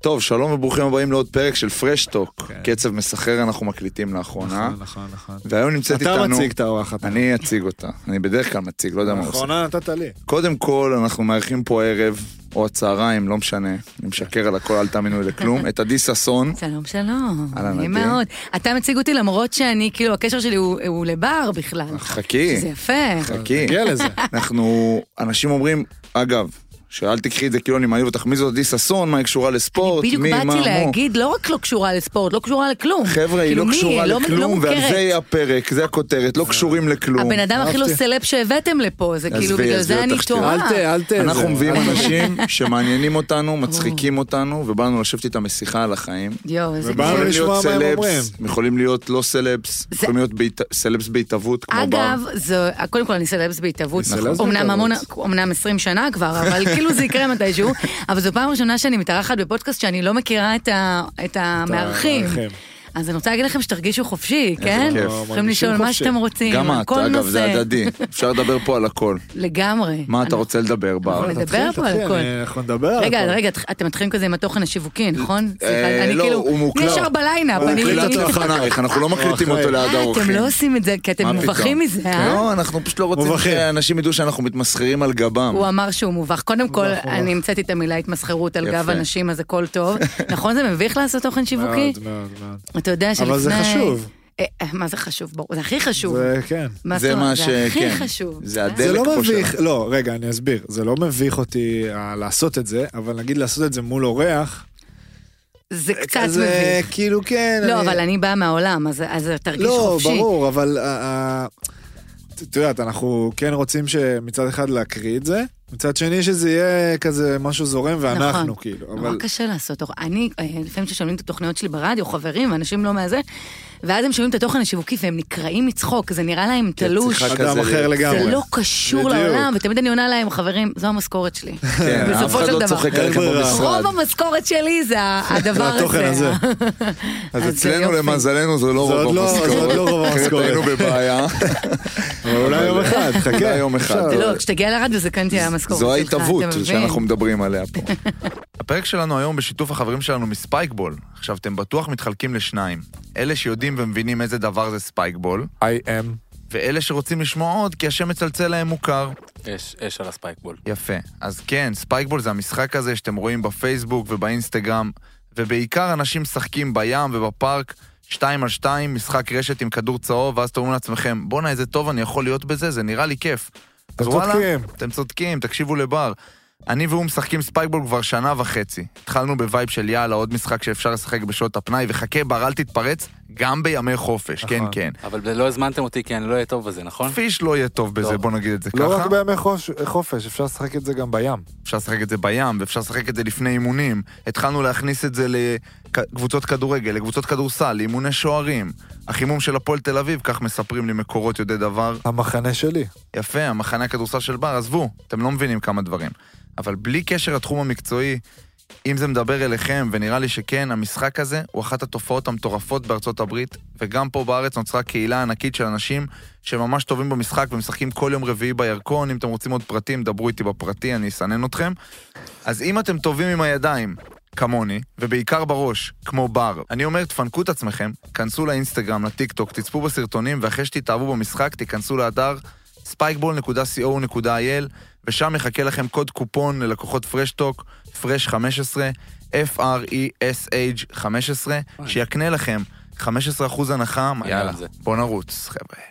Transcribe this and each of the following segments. טוב, שלום וברוכים הבאים לעוד פרק של פרשטוק. כן. קצב מסחרר אנחנו מקליטים לאחרונה. נכון, נכון, נכון. והיום נמצאת אה? איתנו... אתה מציג את האורחת. אני אציג אותה. אני בדרך כלל מציג, לא יודע נכון. מה עושה. האחרונה נתת לי. קודם כל, אנחנו מארחים פה ערב, או הצהריים, לא משנה. אני משקר על הכל, אל תאמינו לי לכלום. את עדי ששון. שלום, שלום. אהלן, נעים עדי. מאוד. אתה מציג אותי למרות שאני, כאילו, הקשר שלי הוא הוא לבר בכלל. חכי, שזה יפה. חכי. נגיע לזה. אנחנו, אנשים אומרים, אגב, שאל תקחי את זה כאילו אני מעליב אותך, מי זאת עדי ששון, מה היא קשורה לספורט, בדיוק מי, מה, באתי מו. להגיד, לא רק לא קשורה לספורט, לא קשורה לכלום. חבר'ה, היא כאילו, לא מי? קשורה לא- לא לכלום, ועל מוכרת. זה יהיה הפרק, זה הכותרת, לא קשורים לכלום. הבן אדם הכי לא אהבתי. סלב שהבאתם לפה, זה כאילו, עזבי, בגלל עזבי זה אני אותך, טועה. אל ת... אל ת... אנחנו זה- מביאים אנשים שמעניינים אותנו, מצחיקים אותנו, ובאנו לשבת איתם שיחה על החיים. יואו, איזה ובאנו כיף. יכולים לשמוע להיות מה הם אומרים. סלבס, הם יכולים להיות לא סלבס, יכולים להיות בית- סלבס בהתהוות, כמו בר. אגב, זו, קודם כל אני סלבס בהתהוות, אני סלבס אמנם המון, בהתהוות. אמנם 20 שנה כבר, אבל כאילו זה יקרה מתישהו, אבל זו פעם ראשונה שאני מתארחת בפודקאסט שאני לא מכירה את, ה, את המארחים. המארחים. אז אני רוצה להגיד לכם שתרגישו חופשי, כן? כיף. יכולים מרגישים לשאול מה חופשי. שאתם רוצים, גם על את, כל אגב, נושא. זה הדדי. אפשר לדבר פה על הכל. לגמרי. מה אתה אנחנו- רוצה לדבר בר? אנחנו תתחיל, נדבר פה על תתחיל, הכל. אני- אנחנו נדבר על הכל. רגע, רגע, אתם מתחילים כזה עם התוכן השיווקי, נכון? סליחה, אני לא, כאילו, הוא מוקלט. ישר בליינאפ, הוא אני הקליט כאילו- לפנייך, אנחנו לא מקליטים אחרי. אותו ליד אה, האורחים. אתם לא עושים את זה, כי אתם מה פתאום? מובכים מזה, אה? לא, אנחנו פשוט לא רוצים מובכים. שאנשים ידעו שאנחנו מתמסחרים על גבם. הוא אמר שהוא מובך. קודם כל, מובך, מובך. אני המצאתי את המילה התמסחרות על יפה. גב אנשים, אז הכל טוב. נכון זה מביך לעשות תוכן שיווקי? מאוד, מאוד, מאוד. אתה יודע שלפני... אבל זה חשוב. אה, אה, מה זה חשוב? ברור, זה הכי חשוב. זה כן. מה זה זאת מה אומרת? ש... זה הכי כן. חשוב. זה אה? הדלק זה פה לא מביך, שלנו. לא, רגע, אני אסביר. זה לא מביך אותי אה, לעשות את זה, אבל נגיד לעשות את זה מול אורח, זה קצת אה, זה מביך. כאילו כן. לא, אבל אני באה מהעולם, אז- אז תרגיש לא, חופשי. ברור, אבל... אה, אה, את- את יודעת, אנחנו כן רוצים שמצד אחד להקריא את זה, מצד שני שזה יהיה כזה משהו זורם ואנחנו נכון. כאילו, נורא אבל קשה לעשות תוכן. אני, אה, לפעמים כששומעים את התוכניות שלי ברדיו, חברים, אנשים לא מהזה, ואז הם שומעים את התוכן השיווקי והם נקרעים מצחוק, זה נראה להם תלוש. צריכה אדם כזה אחר להיות. לגמרי. זה לא קשור בדיוק. לעולם, ותמיד אני עונה להם, חברים, זו המשכורת שלי. כן, אף בסופו אחד של לא דבר. צוחק עליכם אין ברירה. במשרד. רוב המשכורת שלי זה ה- הדבר הזה. התוכן הזה. אז זה אצלנו יופי. למזלנו זה לא זה עוד רוב לא- זה המשכורת. עוד לא רוב אחרת המשכורת. היינו בבעיה. אבל אולי יום אחד, חכה. אולי יום אחד. אפשר. לא, כשתגיע לרדיו זה כן תהיה המשכורת שלך, זו אתה ההתהוות מבין? שאנחנו מדברים עליה פה. הפרק שלנו היום בשיתוף החברים שלנו מספייקבול. עכשיו, אתם בטוח מתחלקים לשניים. אלה שיודעים ומבינים איזה דבר זה ספייקבול, I am. ואלה שרוצים לשמוע עוד כי השם מצלצל להם מוכר. אש, אש על הספייקבול. יפה. אז כן, ספייקבול זה המשחק הזה שאתם רואים בפייסבוק ובאינסטגרם, ובעיקר אנשים משחקים בים ובפארק, שתיים על שתיים, משחק רשת עם כדור צהוב, ואז אתם אומרים לעצמכם, בואנה, איזה טוב אני יכול להיות בזה, זה נראה לי כיף. אז אתם וואלה, צודקים. אתם צודקים, תקשיבו לבר. אני והוא משחקים ספייקבול כבר שנה וחצי. התחלנו בווייב של יאללה, עוד משחק שאפשר לשחק בשעות הפנאי, וחכה בר, אל תתפרץ, גם בימי חופש, נכון. כן, כן. אבל זה לא הזמנתם אותי כי אני לא אהיה טוב בזה, נכון? פיש לא יהיה טוב בזה, טוב. בוא נגיד את זה לא ככה. רק בימי חוש- חופש, אפשר לשחק את זה גם בים. אפשר לשחק את זה בים, ואפשר לשחק את זה לפני אימונים. התחלנו להכניס את זה לקבוצות כדורגל, לקבוצות כדורסל, לאימוני שוערים. החימום של הפועל תל אביב, כך מספרים לי מקורות יודעי דבר. המחנה שלי. יפה, המחנה הכדורסל של בר, עזבו, אתם לא מבינים כמה דברים. אבל בלי קשר לתחום המקצועי, אם זה מדבר אליכם, ונראה לי שכן, המשחק הזה הוא אחת התופעות המטורפות בארצות הברית, וגם פה בארץ נוצרה קהילה ענקית של אנשים שממש טובים במשחק ומשחקים כל יום רביעי בירקון. אם אתם רוצים עוד פרטים, דברו איתי בפרטי, אני אסנן אתכם. אז אם אתם טובים עם הידיים, כמוני, ובעיקר בראש, כמו בר, אני אומר, תפנקו את עצמכם, כנסו לאינסטגרם, לטיקטוק, תצפו בסרטונים, ואחרי שתתאהבו במשחק, תיכנסו לאתר spikeball.co.il, ושם יחכה לכם קוד קופון ללקוחות פרשטוק, פרש 15, E F-R-E-S-H 15, שיקנה לכם 15% הנחה, יאללה, על זה. בואו נרוץ, חבר'ה.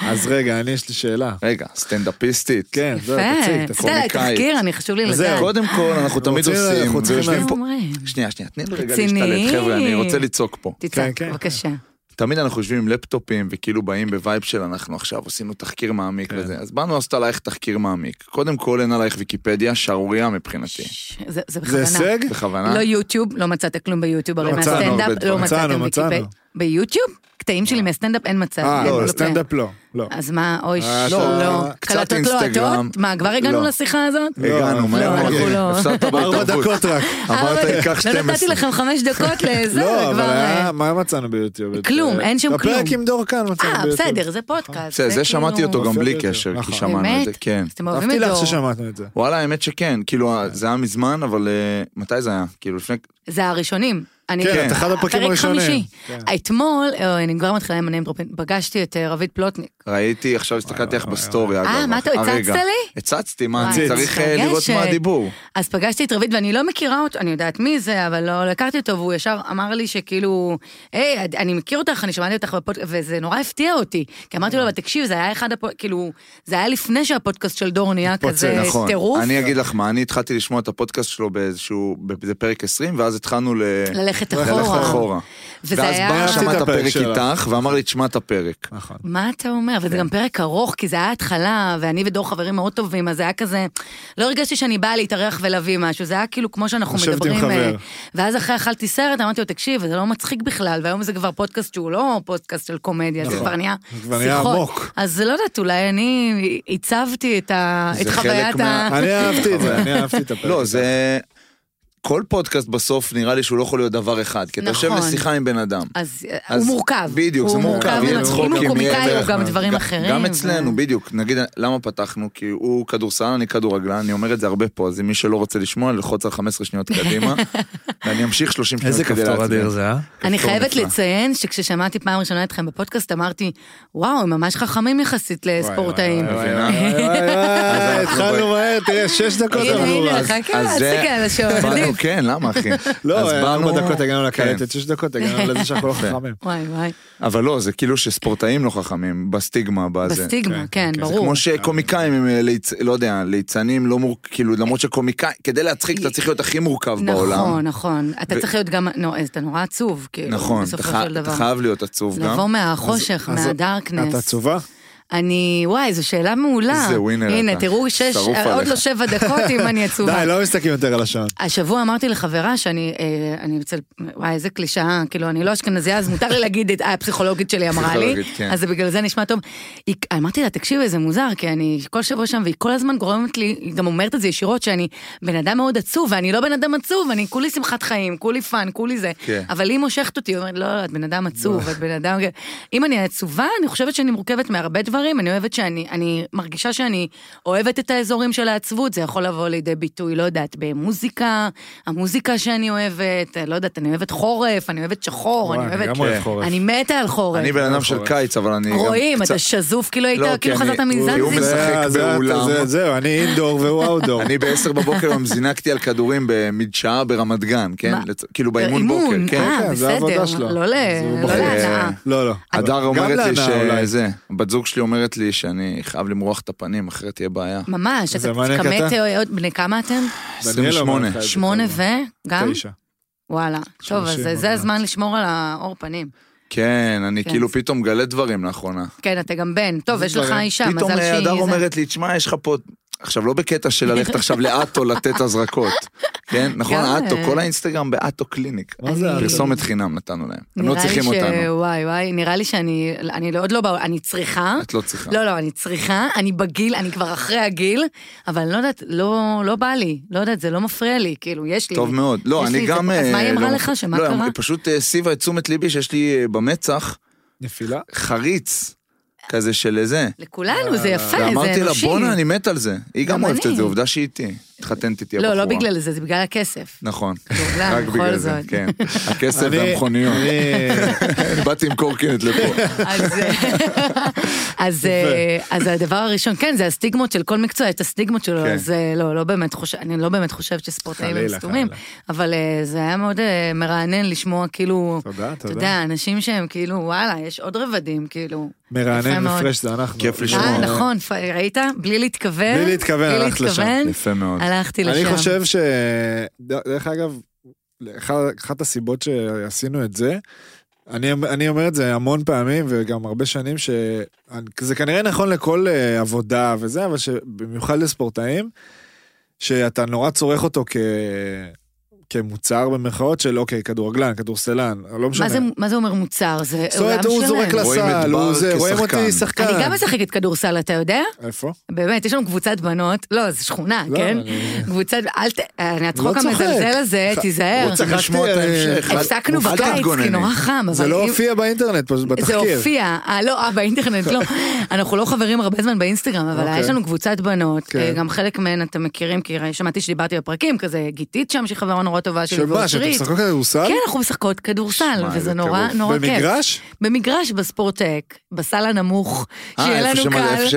אז רגע, אני יש לי שאלה. רגע, סטנדאפיסטית. כן, זהו, תציג, תציג. יפה. תסתכל עליי, קומיקאית. תחקיר, אני חשוב לי זהו, לדעת. קודם כל, אנחנו תמיד רוצים- עושים, אנחנו צריכים ויושבים להבין. פה... אומרים. שנייה, שנייה, תני לי רגע רציני. להשתלט, חבר'ה, אני רוצה לצעוק פה. כן, תצעק, כן. בבקשה. תמיד אנחנו יושבים עם לפטופים וכאילו באים בווייב של אנחנו עכשיו עשינו תחקיר מעמיק כן. וזה, אז באנו לעשות עלייך תחקיר מעמיק. קודם כל אין עלייך ויקיפדיה, שערורייה מבחינתי. ש- זה זה זה בכוונה. הישג? בכוונה. לא יוטיוב, לא מצאת כלום ביוטיוב, הרי מצאנו מהסטנדאפ, הרבה לא דברים. מצאתם מצאנו, מצאנו. ויקיפדיה. ביוטיוב? קטעים שלי מהסטנדאפ אין מצב. אה, אין לא, בלופר. סטנדאפ לא. לא. אז מה, אוי, אה, אתה- לא, קצת קלטות אינסטגרם. לוהטות? מה, כבר הגענו לא. לשיחה הזאת? לא, הגענו, לא, מהר מאוד. אנחנו לא. הפסדת ארבע בהתערבות. דקות רק. אמרת, אבל- ייקח לא נתתי 12. לכם חמש דקות לזה, לא, כבר... אבל אה, היה- מה מצאנו ביוטיוב? את- כלום, אין שם בפרק כלום. עם דור כאן מצאנו אה, ביוטיוב. בסדר, זה פודקאסט. בסדר, זה שמעתי כאילו- אותו גם בלי מופיע קשר, ביותר. כי נכון. שמענו את זה, באמת? כן. אז אתם אוהבים אהבתי את לך דור. ששמענו את זה. וואלה, האמת שכן, כאילו, זה היה מזמן, אבל אה, מתי זה היה? כאילו, לפני... זה הראשונים. אני- כן, את אחד הפרקים הפרק הראשונים. חמישי. כן. אתמול, אה, אני כבר מתחילה עם הניים דרופים, פגשתי את אה, רביד פלוטניק. ראיתי, עכשיו הסתכלתי לך בסטורי, אגב. אה, מה, אתה הרגע. הצצת לי? הצצתי, מה, וואי, צריך אה, לראות מתרגשת. מה הדיבור. אז פגשתי את רביד ואני לא מכירה אותו, אני יודעת מי זה, אבל לא לא הכרתי אותו, והוא ישר אמר לי שכאילו, היי, את- אני מכיר אותך, אני שמעתי אותך בפודקאסט, וזה נורא הפתיע אותי. כי אמרתי נכון. לו, אבל תקשיב, זה היה אחד, הפו- כאילו, זה היה לפני שהפודקאסט של דור נהיה התפוצץ, כזה נכון. טירוף. אני אגיד לך מה, אני התחלתי לשמוע את הפודקאסט שלו באיזשהו, זה פרק 20, ואז התחלנו ל... ללכת ללכת אחורה. אחורה. וזה ואז היה- בא אהבתי שמע את את הפרק הפרק שלך. איתך, ואמר לי, תשמע את הפרק. נכון. מה אתה אומר? כן. וזה גם פרק ארוך, כי זה היה התחלה, ואני ודור חברים מאוד טובים, אז זה היה כזה... לא הרגשתי שאני באה להתארח ולהביא משהו, זה היה כאילו כמו שאנחנו לשבת עם מדברים... חבר. אה, ואז אחרי אכלתי סרט, אמרתי לו, תקשיב, זה לא מצחיק בכלל, והיום זה כבר פודקאסט שהוא לא פודקאסט של קומדיה, זה נכון. כבר נהיה זה כבר נהיה שיחות. עמוק. אז לא יודעת, אולי אני עיצבתי את ה- זה את חלק חוויית ה... מה- אני אהבתי את זה, אני אהבתי את הפרק. לא, זה... כל פודקאסט בסוף נראה לי שהוא לא יכול להיות דבר אחד, כי אתה יושב נכון. לשיחה עם בן אדם. אז אה, אז הוא מורכב. בדיוק, זה הוא מורכב, עם- יהיה אם הוא צחוקים, יהיה קומיקאי, הוא דרך. גם דברים ג- אחרים. גם ו- אצלנו, בדיוק. נגיד, למה פתחנו? כי הוא כדורסלן, אני כדורגלן, אני אומר את זה הרבה פה, אז מי שלא רוצה לשמוע, ללחוץ על 15 שניות קדימה, ואני אמשיך 30 אוקיי, שניות איזה כדי כפתור להצביע. אדיר זה, אה? אני כפתור חייבת נפלא. לציין שכששמעתי פעם ראשונה אתכם בפודקאסט, אמרתי, וואו, הם ממש חכמים יחסית לספורטאים. וואי, וואי, וואי, וואי, וואי, התחלנו מהר, תראה, שש דקות הנה, אנחנו הנה, רק. חכה, אז אל זה- תסתכל על השעון, באנו, עדיף. כן, למה אחי? אז לא, באנו- ארבע דקות הגענו כן. לקלטת, שש דקות הגענו לזה שאנחנו לא חכמים. וואי, וואי. אבל לא, זה כאילו שספורטאים לא חכמים, בסטיגמה, בזה. בסטיגמה, כן, זה ברור. כמו שקומיקאים הם, אה, ליצ- לא יודע, ליצנים לא מורכב, כאילו למרות שקומיקאי, כדי להצחיק אתה צריך להיות הכי מורכב בעולם. נכון, נכון. אתה ו- צריך להיות גם, נו, אז אתה נורא עצוב, כאילו, נכון, אתה בסופו חי- של אתה דבר. חייב להיות עצוב גם. לבוא מהחושך, אז- מהדארקנס. את עצובה? אני, וואי, זו שאלה מעולה. איזה ווינר הנה, אתה. תראו, שש, שרוף עוד עליך. לא שבע דקות אם אני עצובה. די, לא מסתכלים יותר על השעון. השבוע אמרתי לחברה שאני, אה, אני אצל, וואי, איזה קלישאה, כאילו, אני לא אשכנזייה, אז מותר לי להגיד את אה, הפסיכולוגית שלי אמרה לי, פסיכולוגית, כן. אז זה בגלל זה נשמע טוב. היא, אמרתי לה, תקשיבי, זה מוזר, כי אני כל שבוע שם, והיא כל הזמן גורמת לי, היא גם אומרת את זה ישירות, שאני בן אדם מאוד עצוב, ואני לא בן אדם עצוב, אני כולי שמחת חיים, כולי פאן, כולי זה. כן. אבל היא מושכת אותי, היא אומרת, לא, לא, את בן אדם עצוב, את בן אדם... אם אני עצובה, אני חושבת שאני מורכבת מהרבה דברים, אני אוהבת שאני, אני מרגישה שאני אוהבת את האזורים של העצבות, זה יכול לבוא לידי ביטוי, לא יודעת, במוזיקה, המוזיקה שאני אוהבת, לא יודעת, אני אוהבת חורף, אני אוהבת שחור, אני וואי, אני אוהבת... גם אוהב חורף. אני מתה על חורף. כן. אני בן אדם של חורף. קיץ, אבל אני גם רואים, קצת- אתה שזוף, כאילו היית, לא, כאילו כי אני- חזרת הוא- מזנזי. הוא משחק זה- זה- באולם. זה- זהו, אני אינדור והוא אאוטדור. אני בעשר בבוקר היום זינקתי על כדורים במדשאה ברמת גן, כן? מה? לצ- כאילו באימון בוקר, כן. אה, כן, זה העבודה בסדר, שלו. לא ל- אז הוא לא בחוץ. להנאה. לא, לא. הדר אומרת לי להנאה אולי. שזה, בת זוג שלי אומרת לי שאני חייב למרוח את הפנים, אחרת תהיה בעיה. ממש, זה אתה מעניין, כי אתה- תתכמת, עוד- בני כמה אתם? דניאל אמר 28. לך את זה שמונה כמובן. ו... גם? תשע. וואלה. טוב, אז שלושים, זה- עוד זה מעט. הזמן לשמור על האור פנים. כן, אני כן. כאילו פתאום מגלה דברים לאחרונה. כן, אתה גם בן. טוב, זה יש לך דברים. אישה, פתאום אה, מזל הדר שהיא... זה. אומרת לי, תשמע, יש לך פה... עכשיו, לא בקטע של ללכת עכשיו לאטו לתת הזרקות, כן? נכון, גם, אטו, אה, כל האינסטגרם באטו קליניק. מה זה אני- האטו? פרסומת חינם נתנו להם, הם לא נראה לי צריכים ש- אותנו. וואי וואי, נראה לי שאני, אני לא- עוד לא, בא- אני צריכה. את לא צריכה. לא, לא, אני צריכה, אני בגיל, אני כבר אחרי הגיל, אבל לא יודעת, לא, לא בא לי, לא יודעת, זה לא מפריע לי, כאילו, יש לי. טוב מאוד. לא, יש לי אני את זה. גם... אז אה, מה היא אמרה לא- לך? שמה לא, קרה? היא פשוט אה, הסבה את תשומת ליבי שיש לי אה, במצח נפילה? חריץ כזה של זה. לכולנו, אה, זה יפה, אה, זה אנושי. ואמרתי לה, בואנה, אני מת על זה. היא גם גם אוהבת את אני. זה, עובדה שהיא איתי. התחתנת איתי הבחורה. לא, לא בגלל זה, זה בגלל הכסף. נכון. כדורגלן, רק בכל בגלל זה, זאת. כן. הכסף אני- והמכוניות. אני- באתי עם קורקינט לפה. אז, אה, אז, אה, אז הדבר הראשון, כן, זה הסטיגמות של כל מקצוע, יש את הסטיגמות שלו, כן. אז אה, לא, לא באמת חושב, אני לא באמת חושבת שספורטאים הם חלילה, סתומים, אבל אה, זה היה מאוד אה, מרענן לשמוע כאילו, תודה, אתה תודה. יודע, אנשים שהם כאילו, וואלה, יש עוד רבדים, כאילו. יפה מרענן מאוד. מפרש זה אנחנו. כיף לא- לשמוע. אה, נכון, פ- ראית? בלי להתכוון. בלי להתכוון, הלכת לשם. להתכוון, יפה מאוד. הלכתי לשם. אני חושב ש... ד- דרך אגב, אחד- אחת הסיבות שעשינו את זה, אני, אני אומר את זה המון פעמים וגם הרבה שנים, שזה כנראה נכון לכל אה, עבודה וזה, אבל שבמיוחד לספורטאים, שאתה נורא צורך אותו כ... כמוצר במרכאות של אוקיי, כדורגלן, כדורסלן, לא משנה. מה זה- מה זה אומר מוצר? זה זאת עולם אומרת, הוא זורק שלם. רואים את לסל, בר הוא זה, רואים אותי כשחקן. שחקן. אני גם משחקת כדורסל, אתה יודע? איפה? באמת, יש לנו קבוצת בנות, לא, זו שכונה, לא, כן? אני- קבוצת, אל ת... אה, הצחוק לא צוחק. המזלזל הזה, ח- תיזהר. הוא צריך לשמוע את ההמשך. הפסקנו אל בקיץ, תתגונני. כי נורא חם, אבל זה לא אם- הופיע באינטרנט, פשוט זה בתחקיר. הופיע, אה, לא, אה, באינטרנט לא. אנחנו לא חברים הרבה זמן באינסטגרם, אבל אוקיי. יש לנו קבוצת בנות, כן. אה, גם חלק מהן אתם מכירים, כי ראי- שמעתי שדיברתי בפרקים, כזה גיתית שם, שהיא חברה נורא טובה שלי, שמה, שאתם ואושרית. משחקות כדורסל? כן, אנחנו משחקות כדורסל, שמע, וזה איזה נורא טירוף. נורא כיף. כן. במגרש? במגרש בספורטק, בסל הנמוך, אה, שיהיה אה, איפה לנו שמ- קל. איפה כן,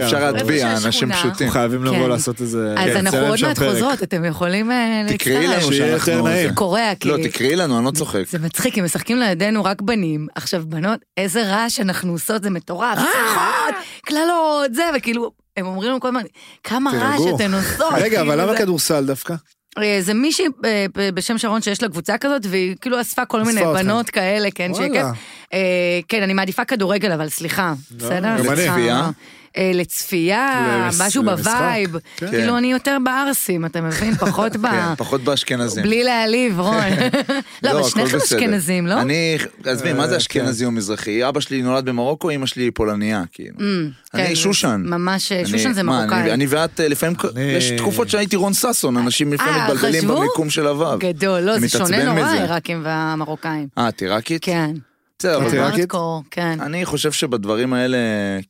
שאפשר אבל- להטביע, איפה אנשים שהשכונה. פשוטים. אנחנו חייבים לבוא כן. לעשות איזה... אז כן, אנחנו צלם עוד של מעט פרק. חוזרות, אתם יכולים אה, תקראי להצטרף. לנו שיהיה שאנחנו... יותר נעים. זה. קורע, כי... לא, תקראי לנו, אני לא צוחק. זה מצחיק, הם משחקים לידינו רק בנים. עכשיו, בנות, איזה רעש אנחנו עושות, זה מטורף. אה! שיחות, קללות, זה, וכאילו, הם אומרים לנו כל הזמן, כן. כמה רעש תירגעו. אתן עושות. רגע, אה, כאילו, אבל למה זה- כדורסל דווקא? אה, זה מישהי אה, ב- בשם שרון שיש לה קבוצה כזאת, והיא כאילו אספה כל מיני אספה אתכם. בנות כאלה, כן, שיהיה וואלה. כיף. אה, כן, אני מעדיפה כדורגל, אבל סליחה, בסדר? גם אני. לא, לצפייה? אה, לצפייה, למס- משהו למשחק. בווייב. כן. כאילו, אני יותר בערסים, אתה מבין? פחות ב... כן, פחות באשכנזים. בלי להעליב, רון. לא, אבל הכל שניכם בסדר. אשכנזים, לא? אני, עזבי, מה זה אה, אשכנזי או מזרחי? אבא שלי נולד במרוקו, אמא שלי היא פולניה, כאילו. אמ, אני כן, שושן. ממש, אני- שושן זה מה, אני- מרוקאי. אני ואת, אה, לפעמים, כ- אני- יש תקופות שהייתי רון ששון, אנשים לפעמים אה, מתבלבלים חשבו? במיקום של הוו. גדול, לא, אני זה שונה מתעצבן נורא, מזה. העיראקים והמרוקאים. אה, את עיראקית? כן. בסדר, כן, אבל את עיראקית? הארדקור, כן. אני חושב שבדברים האלה,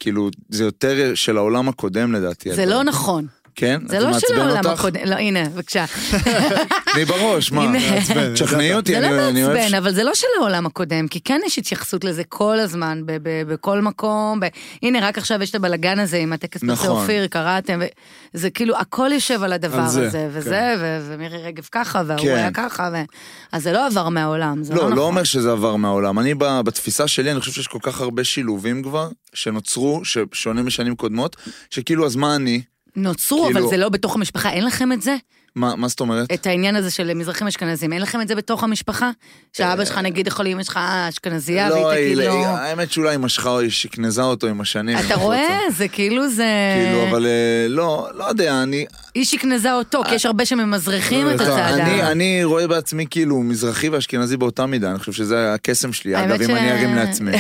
כאילו, זה יותר של העולם הקודם לדעתי. זה הדברים. לא נכון. כן? זה אז לא של מעצבן העולם אותך? הקודם. לא, הנה, בבקשה. אני בראש, מה? הנה. מעצבן, תשכנעי אותי, זה אני לא אני אוהב... ש- מעצבן, אבל זה לא של העולם הקודם, כי כן יש התייחסות לזה כל הזמן, ב- ב- בכל מקום. ב- הנה, רק עכשיו יש את הבלגן הזה עם הטקס פרסי נכון. אופיר, קראתם, ו- זה כאילו, הכל יושב על הדבר על זה, הזה, וזה, כן. ו- ומירי רגב ככה, וההוא כן. היה ככה, ו- אז זה לא עבר מהעולם, זה לא לא, נכון. לא אומר שזה עבר מהעולם. אני, ב- בתפיסה שלי, אני חושב שיש כל כך הרבה שילובים כבר, שנוצרו, ששונים משנים קודמות, שכאילו, אז מה אני? נוצרו, אבל כאילו- זה לא בתוך המשפחה, אין לכם את זה? מה מה זאת אומרת? את העניין הזה של מזרחים אשכנזים, אין לכם את זה בתוך המשפחה? שאבא שלך נגיד יכול לאמא שלך, אה, אשכנזייה, אה, לא, והיא תגיד היא- לו... היא- האמת שאולי היא משכה, היא שכנזה אותו עם השנים. אתה אם רואה? רוצה. זה כאילו זה... כאילו, אבל אה, לא, לא יודע, אני... היא שקנזה אותו, כי יש הרבה שממזרחים את לא, לא, הצד אני, ה... אני רואה בעצמי כאילו מזרחי ואשכנזי באותה מידה, אני חושב שזה הקסם שלי, האמת אגב, אם ש- אני ארים לעצמי.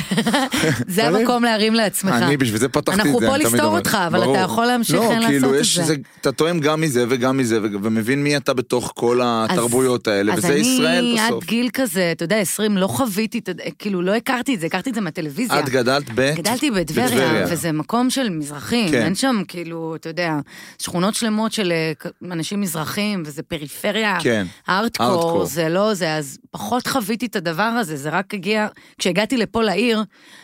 זה המקום להרים לעצמך. אני בשביל זה פתחתי את זה, אנחנו אני פה תמיד לסתור אומר. אותך, אבל אתה ברור. יכול להמשיך כן לעשות לא, כאילו, את יש זה. זה, אתה תואם גם מזה וגם מזה, ו- ומבין מי אתה בתוך כל התרבויות האלה, וזה ישראל אז אני בסוף. עד גיל כזה, אתה יודע, 20, לא חוויתי, אתה יודע, כאילו לא הכרתי את זה, הכרתי את זה מהטלוויזיה. את גדלת ב... גדלתי בטבריה, וזה מקום של מזרחים, כן. אין שם כאילו, אתה יודע, שכונות שלמות של אה, כ- אנשים מזרחים, וזה פריפריה, כן. הארדקור, הארדקור. זה לא זה, אז פחות חוויתי את הדבר הזה, זה רק הגיע, כשהגעתי לפה לעיר,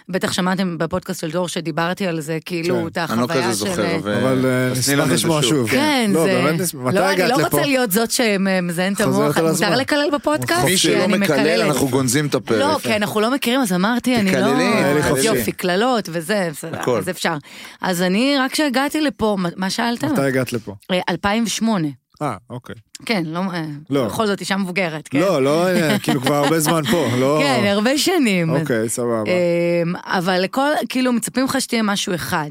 בטח שמעתם בפודקאסט של דור שדיברתי על זה, כאילו, כן, את אני לא החוויה כזה של... זוכר, ו- אבל אה, אז תני נשמח לנו את זה לשמוע שוב. כן, לא, זה... באמת נשמח. מתי לא, הגעת אני לא לפה? רוצה להיות זאת שמזיינת את חוזרת המוח, על מותר הזמן. לקלל בפודקאסט? מי חופשי. שלא לא אני מקלל, מקללת. אנחנו גונזים את הפרק. לא, כי אנחנו לא מכירים, אז אמרתי, אני לא... תקללי, היה לי אז חופשי. יופי, קללות וזה, בסדר, הכל. אז אפשר. אז אני, רק כשהגעתי לפה, מה- מה שאלתם? מתי הגעת לפה? אה, 2008. אה, אוקיי. כן, לא... אה, לא. בכל זאת, אישה מבוגרת, כן? לא, לא, אה, כאילו כבר הרבה זמן פה, לא... כן, הרבה שנים. אוקיי, סבבה. אמ, אבל לכל, כאילו, מצפים לך שתהיה משהו אחד.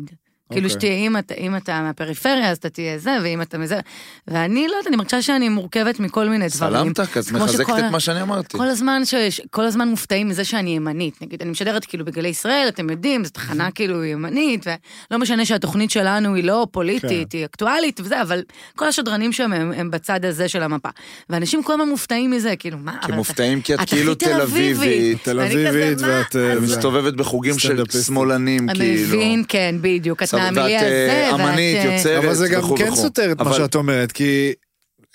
כאילו אוקיי. שתהיה, אם אתה, אם אתה מהפריפריה, אז אתה תהיה זה, ואם אתה מזה... ואני לא יודעת, אני מרגישה שאני מורכבת מכל מיני דברים. סלמת, אז כמו מחזקת שכל- את מה שאני אמרתי. כל הזמן, שיש, כל הזמן מופתעים מזה שאני ימנית. נגיד, אני משדרת כאילו בגלי ישראל, אתם יודעים, זו תחנה כאילו ימנית, ולא משנה שהתוכנית שלנו היא לא פוליטית, כן. היא אקטואלית וזה, אבל כל השדרנים שם הם, הם בצד הזה של המפה. ואנשים כל הזמן מופתעים מזה, כאילו, מה, כי אבל מופתעים כי את הכי כאילו תל אביבית. תל ואני כזה, אביבית מה? ואת, אה, אז- זה- מסתובבת בחוגים של סטנדאפיסטית. שמאלנים, כאילו. מבין, כן, בדיוק. את סבבה, מהמילי ואת, הזה, אה, ואת... אמנית, אה, יוצרת, אבל זה גם וכו' כן וכו'. סותר את מה אבל- שאת אומרת, כי...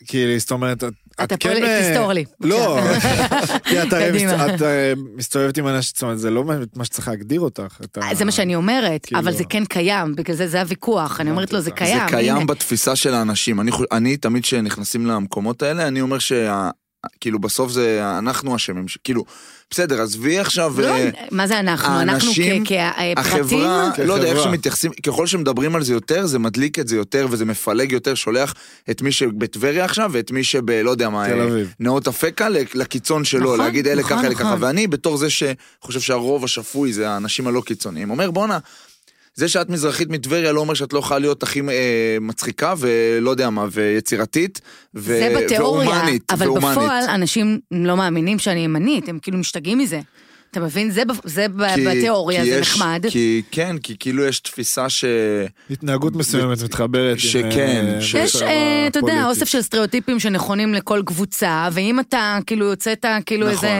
כי זאת אומרת, את- אתה את כן... פועל- אה, תסתור לי. לא, כי את הרי קדימה. מסת- את, אה, מסתובבת עם אנשים, זאת אומרת, זה לא מה שצריך להגדיר אותך. את ה- אה, זה מה שאני אומרת, כאילו- אבל זה כן קיים, בגלל זה זה הוויכוח, אני אומרת לו, זה זה קיים. זה קיים הנה. בתפיסה של האנשים. אני, חו- אני תמיד כשנכנסים למקומות האלה, אני אומר שה... כאילו בסוף זה אנחנו אשמים, ש- כאילו, בסדר, עזבי עכשיו, לא, אה, מה זה אנחנו? אנחנו אה, האנשים, כפרטים? החברה, לא יודע, איך כחברה. שמתייחסים, ככל שמדברים על זה יותר, זה מדליק את זה יותר, וזה מפלג יותר, שולח את מי שבטבריה עכשיו, ואת מי ב... לא יודע מה, תל אה, אביב. נאות אפקה, ל- לכיוון שלו, נכון, להגיד אלה נכון, ככה, אלה נכון. ככה, ואני בתור זה שחושב שהרוב השפוי זה האנשים הלא קיצוניים, אומר בואנה, זה שאת מזרחית מטבריה לא אומר שאת לא יכולה להיות הכי אה, מצחיקה ולא יודע מה, ויצירתית, ו... זה בתיאוריה, והומנית, אבל והומנית. בפועל אנשים לא מאמינים שאני ימנית, הם כאילו משתגעים מזה. אתה מבין? זה, ב- זה ב- כי- בתיאוריה, כי זה יש- נחמד. כי כן, כי כאילו יש תפיסה ש... התנהגות מסוימת לא מתחברת. עם, שכן, אה, ש- יש, מצב אה, אתה יודע, הפוליטי. אוסף של סטריאוטיפים שנכונים לכל קבוצה, ואם אתה כאילו יוצאת כאילו נכון. איזה,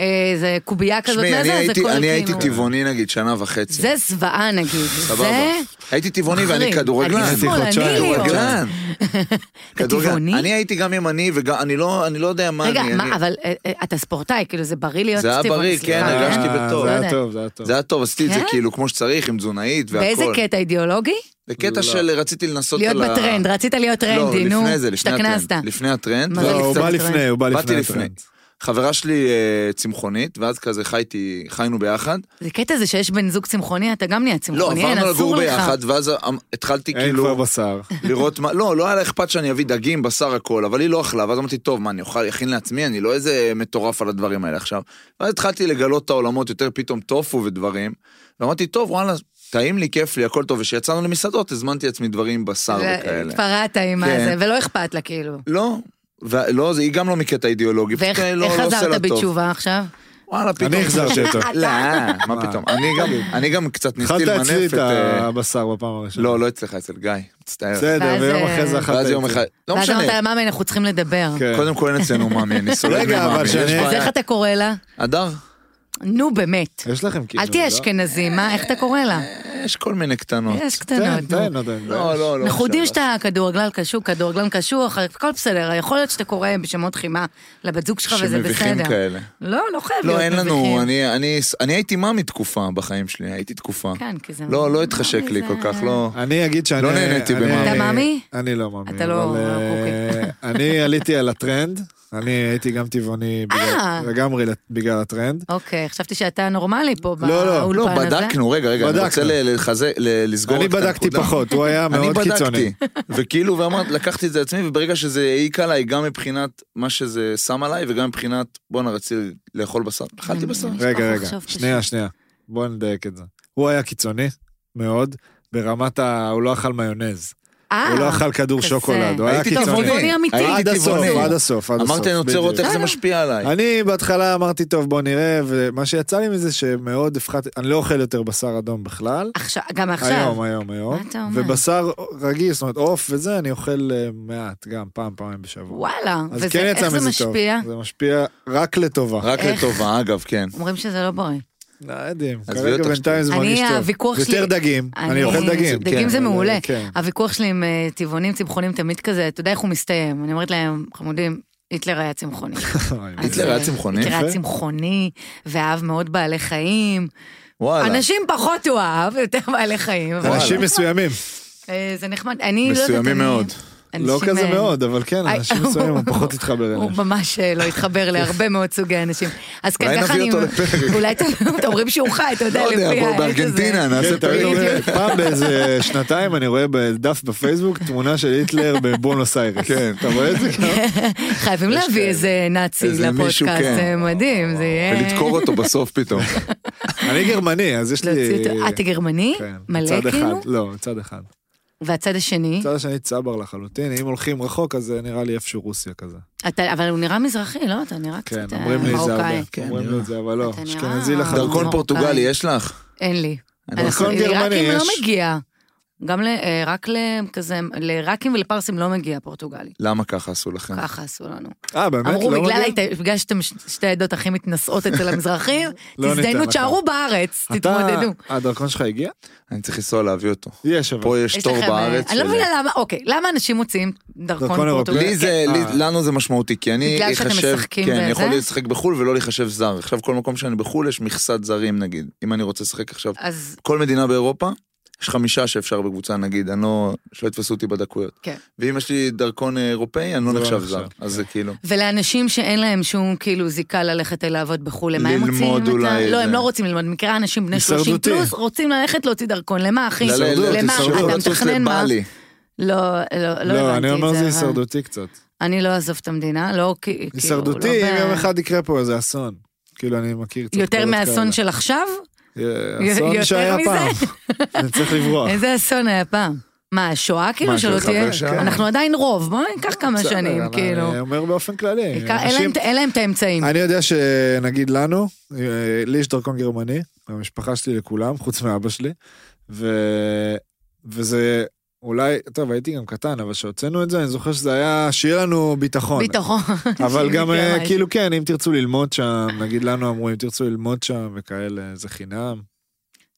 אה, איזה קובייה כזאת, תשמעי, מה אני זה, זה הייתי- כל אני הייתי כאילו- טבעוני נגיד שנה וחצי. זה זוועה נגיד, סבבה. זה... הייתי טבעוני ואני מחריד. כדורגלן. אני שמאלני חודשיים. להיות. כדורגלן. כדורגלן. טבעוני? אני הייתי גם ימני וגם, אני לא אני לא יודע מה רגע, אני. אני- מה, אבל אה, אה, אתה ספורטאי, כאילו זה בריא להיות זה היה טבעוני, בריא, כן, סליחה. אה, הרגשתי בטוב. זה לא היה יודע. טוב, זה היה טוב. זה היה טוב, עשיתי את זה כן? כאילו כמו שצריך, עם תזונאית והכל. באיזה קטע אידיאולוגי? בקטע לא. של רציתי לנסות להיות על ה... בטרנד, רצית להיות טרנדי, לא, נו, לפני זה, לפני השתכנסת. הטרנד. לפני הטרנד. מה ואז זה לא, הוא קצת- בא לפני, הוא בא לפני. באתי לפני. הטרנד. חברה שלי אה, צמחונית, ואז כזה חייתי, חיינו ביחד. זה קטע זה שיש בן זוג צמחוני, אתה גם נהיה לא, צמחוני, אין, עברנו לגור אסור לך. ביחד, ואז אמ- התחלתי אין כבר כאילו בשר. לראות מה, לא, לא היה לה אכפת שאני אביא דגים, בשר, הכל, אבל היא לא אכלה, ואז אמרתי, טוב, מה, אני אוכל, אכין לעצמי, אני לא איזה מטורף על הדברים האלה עכשיו. ואז התחלתי לגלות את העולמות יותר פתאום טופו ודברים, ואמרתי, טוב, וואלה, טעים לי, כיף לי, הכל טוב, וכשיצאנו למסעדות, הזמנתי לעצמי דברים, בשר וכאלה. התפרעת עם כן. הזה, ולא אכפת לה כאילו. לא, ולא, זה היא גם לא מקטע אידיאולוגי. ואיך פשוט אני לא- איך לא עושה לה חזרת טוב. בתשובה עכשיו? וואלה, פתאום. אני החזרתי אותו. לא, מה פתאום. אני גם, אני גם קצת ניסיתי אכלת למנף אצלי את... את אה, הבשר בפעם הראשונה. לא, לא אצלך, אצל גיא, מצטער. בסדר, ואז, ויום אה, אחרי זה אכלת ואז יום אצלי. אחד, לא ואז משנה. אמרת לה, מאמי, אנחנו צריכים לדבר. כן. קודם כל אין אצלנו מאמי, אני סולג רגע, אבל ממאמי. יש שאני- אז בעיה. איך אתה קורא לה? הדר, נו באמת. יש לכם כאילו... אל תהיה אשכנזי, מה, איך אתה קורא לה? יש כל מיני קטנות. יש תן, קטנות. נו. תן, נותן. אה. כן, לא, לא, לא. אנחנו יודעים עכשיו. כן. שאתה כדורגלן קשור, כדורגלן קשוח, הכל בסדר, יכול להיות שאתה קורא בשמות חימה לבת זוג שלך וזה שמביכים בסדר. כאלה. לא, לא חייב להיות לא, אין מביכים. לנו, אני- אני- אני הייתי מאמי תקופה בחיים שלי, הייתי תקופה. כן, כי זה... לא, לא התחשק לי זה- כל כך, לא. אני אגיד שאני... לא נהניתי אני- במאמי. אתה מאמי? אני לא מאמי. אתה לא- אבל, אה, אה, אני עליתי על הטרנד, אני הייתי גם טבעוני בגלל- אה. לגמרי בגלל הטרנד. אוקיי, חשבתי שאתה נורמלי פה לא, לא, לא, לא, באולפן הזה. בדקנו, רגע, רגע, אני בדקנו. רוצה ל- לחזק, ל- לסגור אני את בדקתי הנקודה. פחות, הוא היה אני מאוד בדקתי, קיצוני. וכאילו, ואמרתי, לקחתי את זה לעצמי, וברגע שזה העיק עליי, גם מבחינת מה שזה שם עליי, וגם מבחינת, בואנה, רציתי לאכול בשר, אכלתי בשר. אני- רגע, אוף, רגע, עכשיו קשה. שנייה, שנייה. בוא נדייק את זה. הוא היה קיצוני, מאוד, ברמת ה... הוא לא אכל מיונז. אה, הוא לא אכל כדור כזה. שוקולד, הוא לא היה הייתי קיצוני. טבעוני, טבעוני אמיתי. הייתי עד הסוף, טבעוני. עד הסוף, עד הסוף. אמרתי, אני רוצה לראות בדיוק. איך זה משפיע עליי. אני בהתחלה אמרתי, טוב, בוא נראה, ומה שיצא לי מזה שמאוד הפחדתי, אני לא אוכל יותר בשר אדום בכלל. עכשיו, גם עכשיו. היום, היום, היום. מה אתה אומר? ובשר רגיל, זאת אומרת, עוף וזה, אני אוכל אה, מעט, גם פעם, פעמיים בשבוע. וואלה, אז וזה- כן יצא איך זה מזה טוב. משפיע? זה משפיע רק לטובה. רק איך? לטובה, אגב, כן. אומרים שזה לא בריא. לא יודעים, עזבי כרגע אותך. בינתיים זה אני, מרגיש טוב. הוויכוח שלי- יותר דגים, אני אני- אוכל דגים. דגים כן, זה אבל, מעולה. כן. הוויכוח שלי עם אה, טבעונים, צמחונים, תמיד כזה, אתה יודע איך הוא מסתיים. אני אומרת להם, חמודים, היטלר היה צמחוני. אה, היטלר היה צמחוני? היטלר היה יפה. צמחוני, ואהב מאוד בעלי חיים. וואלה. אנשים פחות הוא אהב, יותר בעלי חיים. אבל- אנשים מסוימים, אה, זה נחמד. אני לא יודעת, מסוימים אני- מאוד. אנשים, לא כזה אה, מאוד, אבל כן, איי, אנשים הוא- מסוימים, הוא פחות התחבר הוא אליהם. ממש אה, לא התחבר להרבה מאוד סוגי אנשים. אז אולי כן, ככה נביא אני... אותו לפרק. אולי אתם אתם אומרים שהוא חי, אתה לא יודע, יודע, לפי בוא, העץ הזה. בארגנטינה נעשה כן, את ה... תמיד בדיוק. אומר, פעם באיזה שנתיים אני רואה בדף בפייסבוק תמונה של היטלר בבונוס איירס. כן. אתה רואה את זה? חייבים להביא איזה נאצי איזה לפודקאסט, מישהו, כן. זה מדהים, זה יהיה... ולדקור אותו בסוף פתאום. אני גרמני, אז יש להוציא לי... אותו. אה, אתה גרמני? כן, צד מלא אחד. כאילו? לא, צד אחד. והצד השני? צד השני צבר לחלוטין, אם הולכים רחוק אז זה נראה לי איפשהו רוסיה כזה. אתה- אבל הוא נראה מזרחי, לא? אתה נראה קצת כן, אה, אומרים לי את זה הרבה. מרוקאי. כן, אומרים לי נראה. את זה, אבל לא. אתה נראה- אשכנזי לחלוטין. דרכון מרוקאי. פורטוגלי יש לך? אין לי. אני לא אנחנו- דרכון גרמני לעיראקים לא יש. מגיע. גם ל- אה, רק לכזה, לעיראקים ולפרסים לא מגיע פורטוגלי. למה ככה עשו לכם? ככה עשו לנו. אה, באמת? אמרו, לא בגלל מגיע? ההת- בגלל שאתם ש- שתי העדות הכי מתנשאות אצל המזרחים, לא ניתן תזדיינו, לכם. תשארו בארץ, תתמודדו. אתה, הדרכון שלך הגיע? אני צריך לנסוע להביא אותו. יש אבל. פה יש יש תור לכם, אה, בארץ. אני לא של- מבינה למה, אוקיי, למה אנשים מוציאים דרכון דרכון פורטוגלי? לי זה, אה. לי, לנו זה משמעותי, כי אני בגלל שאתם אחשב, משחקים כן, אני בזה? יכול לשחק בחו"ל ולא להיחשב זר. עכשיו כל מקום שאני בחו"ל יש מכסת זרים נגיד, אם אני רוצה לשחק עכשיו. כן, אז כל מדינה באירופה, יש חמישה שאפשר בקבוצה נגיד, אני לא, שלא יתפסו אותי בדקויות. כן. ואם יש לי דרכון אירופאי, אני לא זה לא נחשב נחשב, זר, אז זה כאילו. ולאנשים שאין להם שום כאילו זיקה ללכת לעבוד בחו"ל, למה הם ללמוד מוציאים? את ה- אולי לא, זה. הם לא רוצים ללמוד, במקרה אנשים בני 30 הישרדותי. לא, פלוס רוצים ללכת להוציא דרכון, למה אחי? הישרדות, למה? הישרדות. אתה לטוס מתכנן מה? לבלי. לא, לא, לא לא, אני הבנתי אומר את זה אבל- הישרדותי קצת. אני לא אעזוב את המדינה, לא כי- כאילו... הישרדותי, לא ב- אם יום אחד יקרה פה איזה אסון. כאילו אני מכיר קצת. יותר קולות מהאסון כאלה. אה, של עכשיו? אסון יותר שהיה מזה? פעם. אני צריך לברוח. איזה אסון היה פעם. מה, השואה כאילו אה. מה, שלא של תהיה? חבר שלנו? אנחנו עדיין רוב, בוא ניקח כמה בסדר, שנים, אבל כאילו. אני אומר באופן כללי. ייקח- אין להם- אנשים- אין להם את האמצעים. אני יודע שנגיד לנו, אה, לי יש דרכון גרמני, המשפחה שלי לכולם, חוץ מאבא שלי, ו... וזה אולי, טוב, הייתי גם קטן, אבל כשהוצאנו את זה, אני זוכר שזה היה, שיהיה לנו ביטחון. ביטחון. אבל גם אה, ממש. כאילו כן, אם תרצו ללמוד שם, נגיד לנו אמרו, אם תרצו ללמוד שם וכאלה, זה חינם.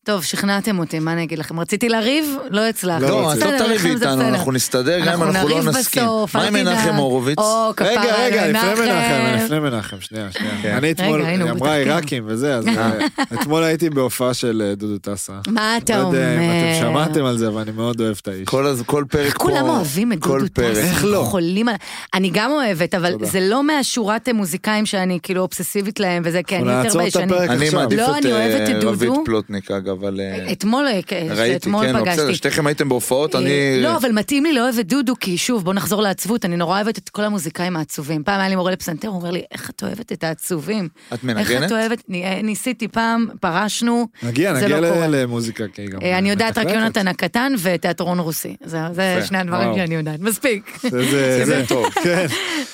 טוב, שכנעתם אותי, מה אני אגיד לכם? רציתי לריב? לא הצלחתי. לא, את לא בסדר, תריבי לכם זה איתנו, בסדר. אנחנו נסתדר גם אם אנחנו אנחנו לא נריב נסכים. בסוף, מה אל עם תדאג. מנחם הורוביץ? או, כפרה רגע, רגע, על לפני מנחם, מנחם. לפני מנחם, שנייה, כן. שנייה. אני אתמול, רגע, הנה, הוא היא אמרה בתחקיר. עיראקים וזה, אז אה, אתמול הייתי בהופעה של אה, דודו טסה. מה אתה לא אומר? יודע אם אתם שמעתם על זה, אבל אני מאוד אוהב את האיש. כל הז- כל פרק איך פה... אה, כולם אוהבים את כל דודו פרק. טסה, איך לא? חולים על... אני גם אוהבת, אבל תודה. זה לא מהשורת מוזיקאים שאני כאילו אובססיבית להם וזה, כי אני אנחנו יותר נעצור את הפרק ביישנים. אני עכשיו. מעדיף לא, את אני אוהבת אה, את רבית דודו. פלוטניק, אגב, על... אה, אתמול, ראיתי, אתמול כן, לא, בסדר, פגשתי. שתיכם הייתם בהופעות, אני... לא, אבל מתאים לי לאוהב את דודו, כי שוב, בוא נחזור לעצבות, אני נורא אוהבת את כל המוזיקאים העצובים. פעם היה לי מורה לפסנתר, הוא אומר לי, איך את אוהבת את העצובים? את איך מנגנת? את אוהבת? נ- אה, ניסיתי פעם, פרשנו, נגיע, זה נגיע לא ל- קורה. למוזיקה, כי היא גם... אה, אני יודעת רק מתכנתת. יונתן הקטן ותיאטרון רוסי. זה- זה יפה, שני הדברים וואו. שאני יודעת, מספיק. זה- זה זה זה טוב. כן.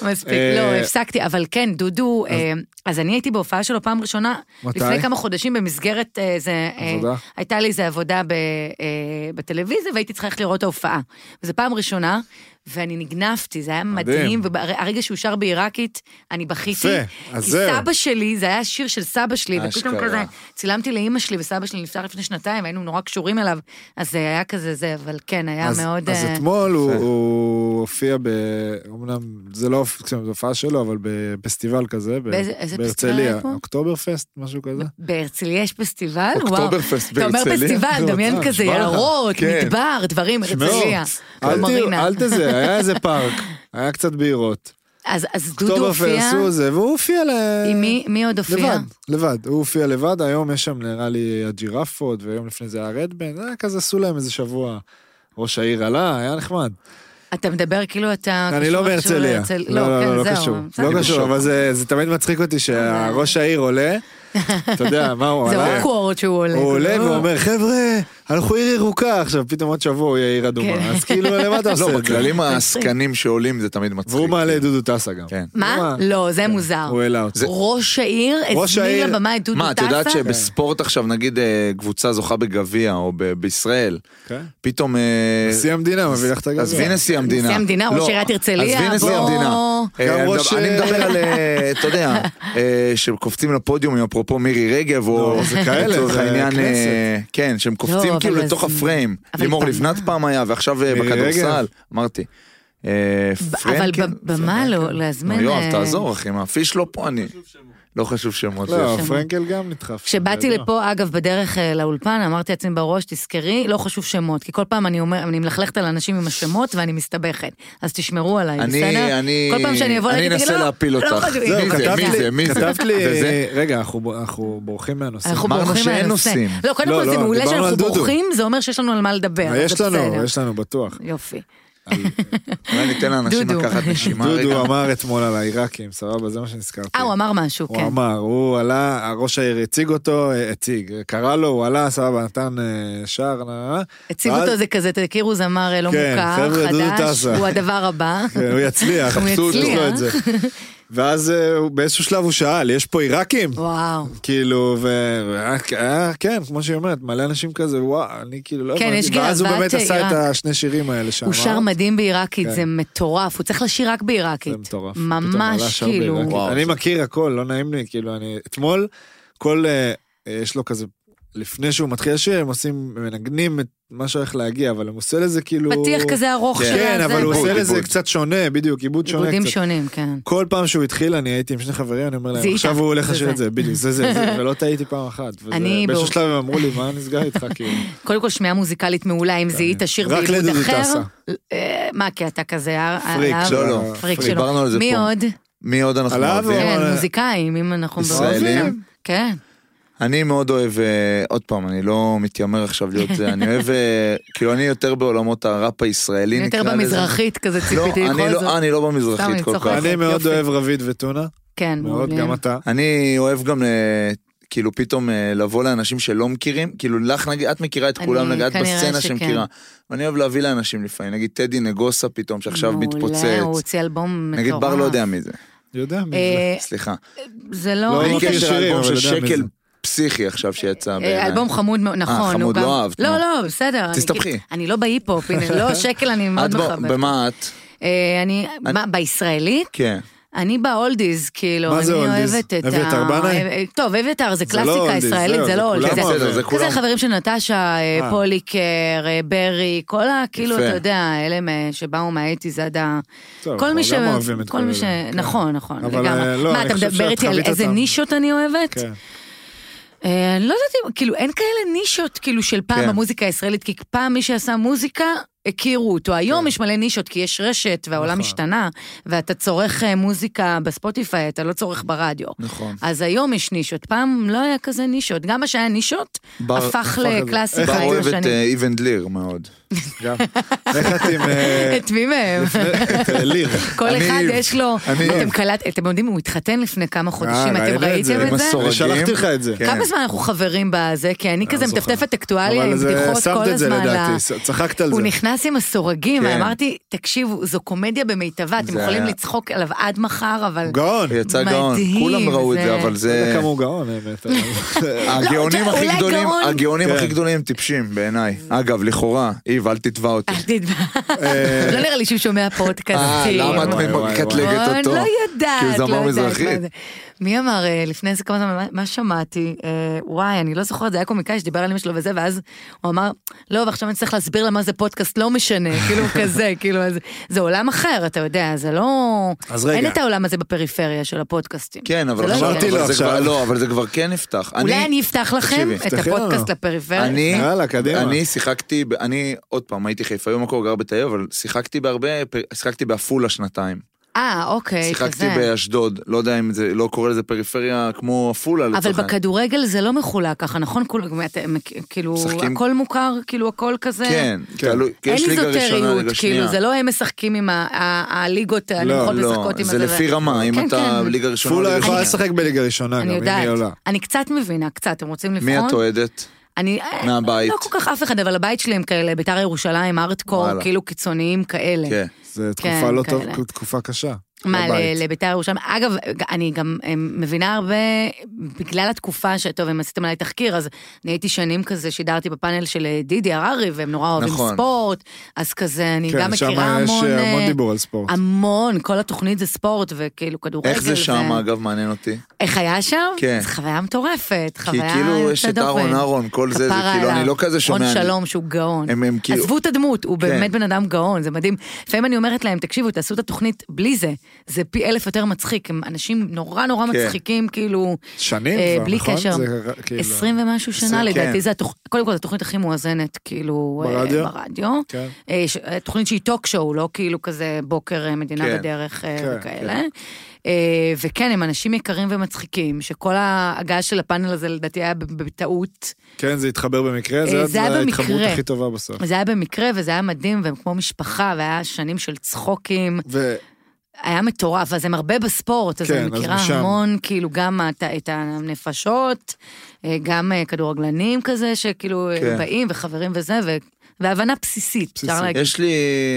מספיק, אה, לא, הפסקתי, אבל כן, דודו, אה, אז אני הייתי בהופעה שלו פעם ראשונה, מתי? לפני כמה חודשים במסגרת אה, זה, אה, עבודה? הייתה לי איזה עבודה ב- אה, בטלוויזיה והייתי צריכה לראות את ההופעה. וזו פעם ראשונה, ואני נגנבתי, זה היה מדהים. מדהים, והרגע שהוא שר בעיראקית, אני בכיתי. יפה, אז כי זהו. סבא שלי, זה היה שיר של סבא שלי, ופתאום אשכרה. כזה, צילמתי לאימא שלי, וסבא שלי נפטר לפני שנתיים, היינו נורא קשורים אליו, אז זה היה כזה זה, אבל כן, היה אז- מאוד... אז אה, אתמול הוא- יפה. הוא הופיע ב... אמנם זה לא הופ- זו הופעה שלו, אבל בפסטיבל כזה. ב- באיזה- איזה פסטיבל בהרצליה. היה פה? אוקטובר פסט, משהו כזה. בהרצליה יש פסטיבל? וואו. אוקטוברפסט אתה אומר בהרצליה? פסטיבל, זה דמיין מצב, כזה נשבע לך. יערות, כן. מדבר, דברים, שמעו, הרצליה, אל תהיו- מרינה. אל תזה, היה איזה פארק, היה קצת בהירות. אז אז דודו אוקטובר הופיע, פסט הוא זה, והוא הופיע ל... עם מי- מי עוד הופיע? לבד, לבד, הוא הופיע לבד, היום יש שם נראה לי הג'ירפות, ויום לפני זה היה רדבן, היה כזה עשו להם איזה שבוע. ראש העיר עלה, היה נחמד. אתה מדבר כאילו אתה... אני קשור לא איכשהו בהרצליה. להרצל- לא, לא, כן, לא, לא זהו, קשור. בסדר. לא קשור, אבל זה- זה תמיד מצחיק אותי שהראש העיר עולה, אתה יודע, מה הוא זה עלה? אוקוורד שהוא עולה. הוא עולה לא. ואומר, חבר'ה, אנחנו עיר ירוקה עכשיו, פתאום עוד שבוע הוא יהיה עיר אדומה. כן. אז כאילו, למה אתה עושה לא, את זה? בכללים העסקנים שעולים זה תמיד מצחיק. והוא מעלה את דודו טסה גם. כן. מה? לא, זה מוזר. הוא העלה אותו. ראש העיר ראש הזמין העיר- לבמה את דודו טסה? מה, את יודעת שבספורט עכשיו, נגיד אה, קבוצה זוכה בגביע, או ב- בישראל, כן. פתאום... אה, נשיא המדינה מביא לך את הגז. עזבי נשיא המדינה. נשיא המדינה, ראש לא, עיריית הרצליה, עזבי נשיא בוא. המדינה. גם אה, ראש- אני מדבר על, אה, אתה יודע, אה, שקופצים לפודיום, עם אפרופו מירי רגב, או... לא, זה כאלה, לצורך זה העניין, כנסת. אה, כן, שהם קופצים לא, אבל כאילו אז- לתוך הפריים. אבל לימור פעם- לבנת פעם היה, ועכשיו אה, מירי רגב. בכדורסל, אמרתי. אה, אבל פרנקל? בבמה לא, פרנקל. להזמין, נו, יואב, אה, תעזור, אחי, מה, פיש לא פה, אני... לא חשוב שמות. לא, שמות. פרנקל גם נדחף. לא. כשבאתי אתה יודע. לפה, אגב, בדרך אה, לאולפן, אמרתי לעצמי בראש, תזכרי, לא חשוב שמות, כי כל פעם אני אומר, אני מלכלכת על אנשים עם השמות ואני מסתבכת. אז תשמרו עליי, בסדר? אני, אני, כל פעם שאני אבוא אני להגיד, תגיד, אנסה לא, להפיל לא אותך. חשוב. מי זהו, זה, כתבת מי לי- זה, מי זה? כתבת לי, וזה? רגע, אנחנו אנחנו בורחים מהנושא. אנחנו אמרנו בורחים שאין מהנושא. נושאים. לא, קודם לא, כל זה לא, מעולה דיברנו שאנחנו על דודו. בורחים, זה אומר שיש לנו על מה לדבר. אז יש זה לנו, בסדר. יש לנו בטוח. יופי. על- אולי ניתן לאנשים דודו. לקחת נשימה רגע. דודו אמר אתמול על העיראקים, סבבה, זה מה שנזכרתי. אה, הוא אמר משהו, הוא כן. אמר, הוא עלה, ראש העיר הציג אותו, אה, הציג, קרא לו, הוא עלה, סבבה, נתן אה, שער, נה, נה, הציג ואז- אותו זה כזה, תכירו זמר אה, לא אה? כן, מוכר, חבר'ה, דודו חדש, טסה. הוא הדבר הבא. כן, הוא יצליח, הוא חפשו אותו, יש לו את זה. יצליח. ואז אה, הוא- באיזשהו שלב הוא שאל, יש פה עיראקים? וואו. כאילו, ו... והיה- היה- כן, כמו שהיא אומרת, מלא אנשים כזה, וואו, אני כאילו לא כן, יש ואז הוא גאוות באמת עשה עיראק. את השני שירים האלה אה, שאמר. הוא שר מדהים בעיראקית, כן. זה מטורף, הוא צריך לשיר רק בעיראקית. זה מטורף. פתאום עלה ממש שר בעיראקית. כאילו. וואו, אני זה- מכיר הכל, לא נעים לי, כאילו, אני... אתמול, כל... אה, אה, יש לו כזה... לפני שהוא מתחיל לשיר, הם עושים, הם מנגנים את מה שהולך להגיע, אבל הם עושה לזה כאילו... פתיח כזה ארוך של כן, הזה. אבל הוא עיבוד, עושה לזה עיבוד. קצת שונה, בדיוק, עיבוד שונה עיבודים קצת. שונים, כן. כל פעם שהוא התחיל, אני הייתי עם שני חברים, אני אומר זה להם, עכשיו איתך, הוא הולך זה לשיר את זה." זה, בדיוק, זה זה, זה, ולא טעיתי פעם אחת. וזה- אני באיזשהו בור- שלב הם אמרו לי, מה נסגר איתך, כאילו? קודם כל שמיעה מוזיקלית מעולה, אם זיהית שיר כן. רק בעיבוד לדודו אחר. טסה. אה, מה, כי אתה כזה... אה, פריק, אה, לא, לא, פריק פריק. שלו. דיברנו על זה מי פה. עוד? מי עוד אנחנו עליו אוהבים? או- כן, אבל- מוזיקאים, אם אנחנו... ישראלים? כן. אני מאוד אוהב, אה, עוד פעם, אני לא מתיימר עכשיו להיות זה, אני אוהב, אה, כאילו אני יותר בעולמות הראפ הישראלי אני נקרא יותר לזה. במזרחית כזה ציפיתי לא, אני בכל לא- זאת. אני לא סתם, במזרחית אני כל צוחקת. כך. אני מאוד יופי. אוהב רביד וטונה, כן, מאוד, מעולים. גם אתה. אני אוהב גם, אה, כאילו פתאום אה, לבוא לאנשים שלא מכירים, כאילו לך נגיד, את מכירה את אני כולם, נגיד, את כנראה בסצנה שכן. שמכירה. אני אוהב להביא לאנשים לפעמים, נגיד טדי נגוסה פתאום, שעכשיו מעולה, הוא מתפוצץ. הוציא אלבום מטורף. נגיד בר לא יודע מי זה, יודע מי זה. אה, סליחה. זה לא לא... בלי מכיר קשר שירים, לאלבום אבל של יודע מי שקל זה. פסיכי עכשיו שיצא אה, בעיניי. אלבום חמוד מאוד, נכון. הוא חמוד, גם- לא אהבת, לא, נו. לא, בסדר. אני תסתבכי. כאילו- אני לא בהיפ-הופ, הנה, לא, שקל אני מאוד את בוא- מחבבת. במה את? אה, אני, מה, בישראלית? כן. אני באולדיז, כאילו, מה אני זה אולדיז? אוהבת את אביתר בנאי? אה, טוב, אביתר זה לא קלאסיקה אולדיז, ישראלית, זהו, זה זה לא אולדיז. כולם זה- בסדר, זה כזה כולם. חברים של נטשה, אה, אה. פוליקר, אה, ברי, כל ה... כאילו, יפה. אתה יודע, אלה מה- שבאו מהאייטיז עד ה... טוב, כל אנחנו מי ש... גם אוהבים את כל כל מי אלה. ש... כן. נכון, נכון, אבל, אה, לגמרי. לא, מה, אני אתה חושב מדבר שאת איתי על חווית איזה אותם. נישות אני אוהבת? כן. אה, לא יודעת אם, כאילו, אין כאלה נישות, כאילו, של פעם כן. המוזיקה הישראלית, כי פעם מי שעשה מוזיקה, הכירו אותו. היום יש מלא נישות, כי יש רשת, והעולם נכון. השתנה, ואתה צורך אה, מוזיקה בספוטיפיי, אתה לא צורך ברדיו. נכון. אז היום יש נישות, פעם לא היה כזה נישות. גם מה שהיה נישות, בר- הפך הפך לקלאסיקה בר עם אוהב את השנים. אה, איבן דליר מאוד. גם. איך את עם... אה, את מי מהם? את, אה, ליר. כל אני- אחד יש לו, אני- אתם קלט, אתם יודעים, הוא התחתן לפני כמה אה, חודשים, אתם ראינו ראיתם את זה? מסורתיים. אני שלחתי לך את זה. כן. כמה זמן אנחנו חברים בזה? כי אני כזה זוכר. מטפטפת אקטואליה עם אבל זה- בדיחות כל שמת את זה הזמן. ל- לדעתי, ס- צחקת על זה. הוא נכנס עם הסורגים, כן. אמרתי, תקשיבו, זו קומדיה במיטבה, אתם זה יכולים היה- לצחוק עליו עד מחר, אבל... הוא גאון. הוא יצא גאון. מדהים, כולם ראו את זה- זה, אבל לא יודע זה... כמה הוא גאון, האמת. אבל- הגאונים לא, הכי אולי גדולים, גאון. הגאונים כן. הכי גדולים הם טיפשים בעיניי. אגב, לכאורה, איב, אל תתבע אותי. אל תדבר. לא נראה לי שהוא שומע אה, פודקאסטים. למה את וואי, וואי, מקטלגת נכון, אותו? לא יודעת, כי הוא זמר לא יודעת מזרחי. מה זה. מי אמר אה, לפני איזה כמה זמן, מה- מה שמעתי, אה, וואי, אני לא זוכרת, זה היה קומיקאי שדיבר על אמא שלו וזה, ואז הוא אמר, לא, ועכשיו אני צריך להסביר לה מה זה פודקאסט, לא משנה, כאילו כזה, כאילו, אז- זה עולם אחר, אתה יודע, זה לא... אז רגע. אין את העולם הזה בפריפריה של הפודקאסטים. כן, אבל זה לא עכשיו- הגיוני. אמרתי לו אבל זה כבר עכשיו. לא, אבל זה כבר כן נפתח. אולי אני אפתח לכם תקשיבי, לא, את תפתחי לנו. הפודקאסט לפריפריה. אני, יאללה, קדימה. אני שיחקתי, ב- אני עוד פעם הייתי חיפאי במקור, גר בתל אביב, אבל שיחקתי בהרבה, פ- שיחקתי בעפולה שנתיים. אה, אוקיי, שיחקתי כזה. באשדוד, לא יודע אם זה, לא קורא לזה פריפריה כמו עפולה אבל לצורך העניין. בכדורגל זה לא מחולק ככה, נכון? כול- אתם, כאילו, משחקים- הכל מוכר, כאילו, הכל כזה... כן, תלוי, אין יש ליגה ראשונה, איזוטריות, ליגה כאילו, שנייה. זה לא הם משחקים עם ה- ה- הליגות הנמוכות לא, משחקות עם זה לפי רמה, כן, אם אתה כן. ליגה ראשונה, פולה ליגה יכולה שנייה. לשחק בליגה ראשונה גם, אני אם היא יודעת. עולה. אני קצת מבינה, קצת, אתם רוצים לבחון? מי את אוהדת? אני... אה, מהבית. לא כל כך אף אחד, אבל הבית שלי הם כאלה, ביתר ירושלים, ארטקור, וואלה. כאילו קיצוניים כאלה. כן. זו כן, תקופה לא כאלה. טובה, תקופה קשה. מה, בבית. ל- לביתר ירושלים? אגב, אני גם אה, מבינה הרבה, בגלל התקופה שטוב, אם עשיתם עליי תחקיר, אז אני הייתי שנים כזה, שידרתי בפאנל של אה, דידי הררי, והם נורא אוהבים נכון. ספורט, אז כזה, אני גם כן, שם מכירה יש המון... אה, המון אה, דיבור על ספורט. המון, כל התוכנית זה ספורט וכאילו כדורגל. איך זה שם, אגב, מעניין אותי? איך היה שם? כן. זו חוויה מטורפת, כי חוויה כאילו יש את יוצאת דופן. אהרון אהרון, כל זה, זה כפרה כאילו, עליו. אני לא כזה שומע. רון אני- שלום שהוא גאון. הם- הם כאילו- עזבו את הדמות, הוא כן. באמת בן אדם גאון, זה מדהים. לפעמים אני אומרת להם, תקשיבו, תעשו את התוכנית בלי זה. זה פי אלף יותר מצחיק, הם אנשים נורא נורא כן. מצחיקים, כאילו... שנים אה, כבר, בלי נכון? קשר. זה ר- כאילו- עשרים ומשהו שנה, עשרים, לדעתי כן. זה התוכנית, קודם כל זו התוכנית הכי מואזנת, כאילו, אה, ברדיו? ברדיו. כן. אה, ש- אה, תוכנית שהיא טוק שואו, לא כאילו כזה בוקר אה, מדינה כן, בדרך אה, כן, וכאלה. אה, וכן, הם אנשים יקרים ומצחיקים, שכל ההגעה של הפאנל הזה לדעתי היה ב- בטעות. כן, זה התחבר במקרה, אה, זה זה היה זה ההתחברות במקרה. הכי טובה בסוף. זה היה במקרה וזה היה מדהים, והם כמו משפחה, והיה שנים של צחוקים, ו- היה מטורף, אז הם הרבה בספורט, אז כן, אני אז מכירה משם. המון, כאילו, גם את, את הנפשות, אה, גם אה, כדורגלנים כזה, שכאילו אה, כן. באים וחברים וזה, ו... והבנה בסיסית, אפשר בסיסית. להגיד. יש לי,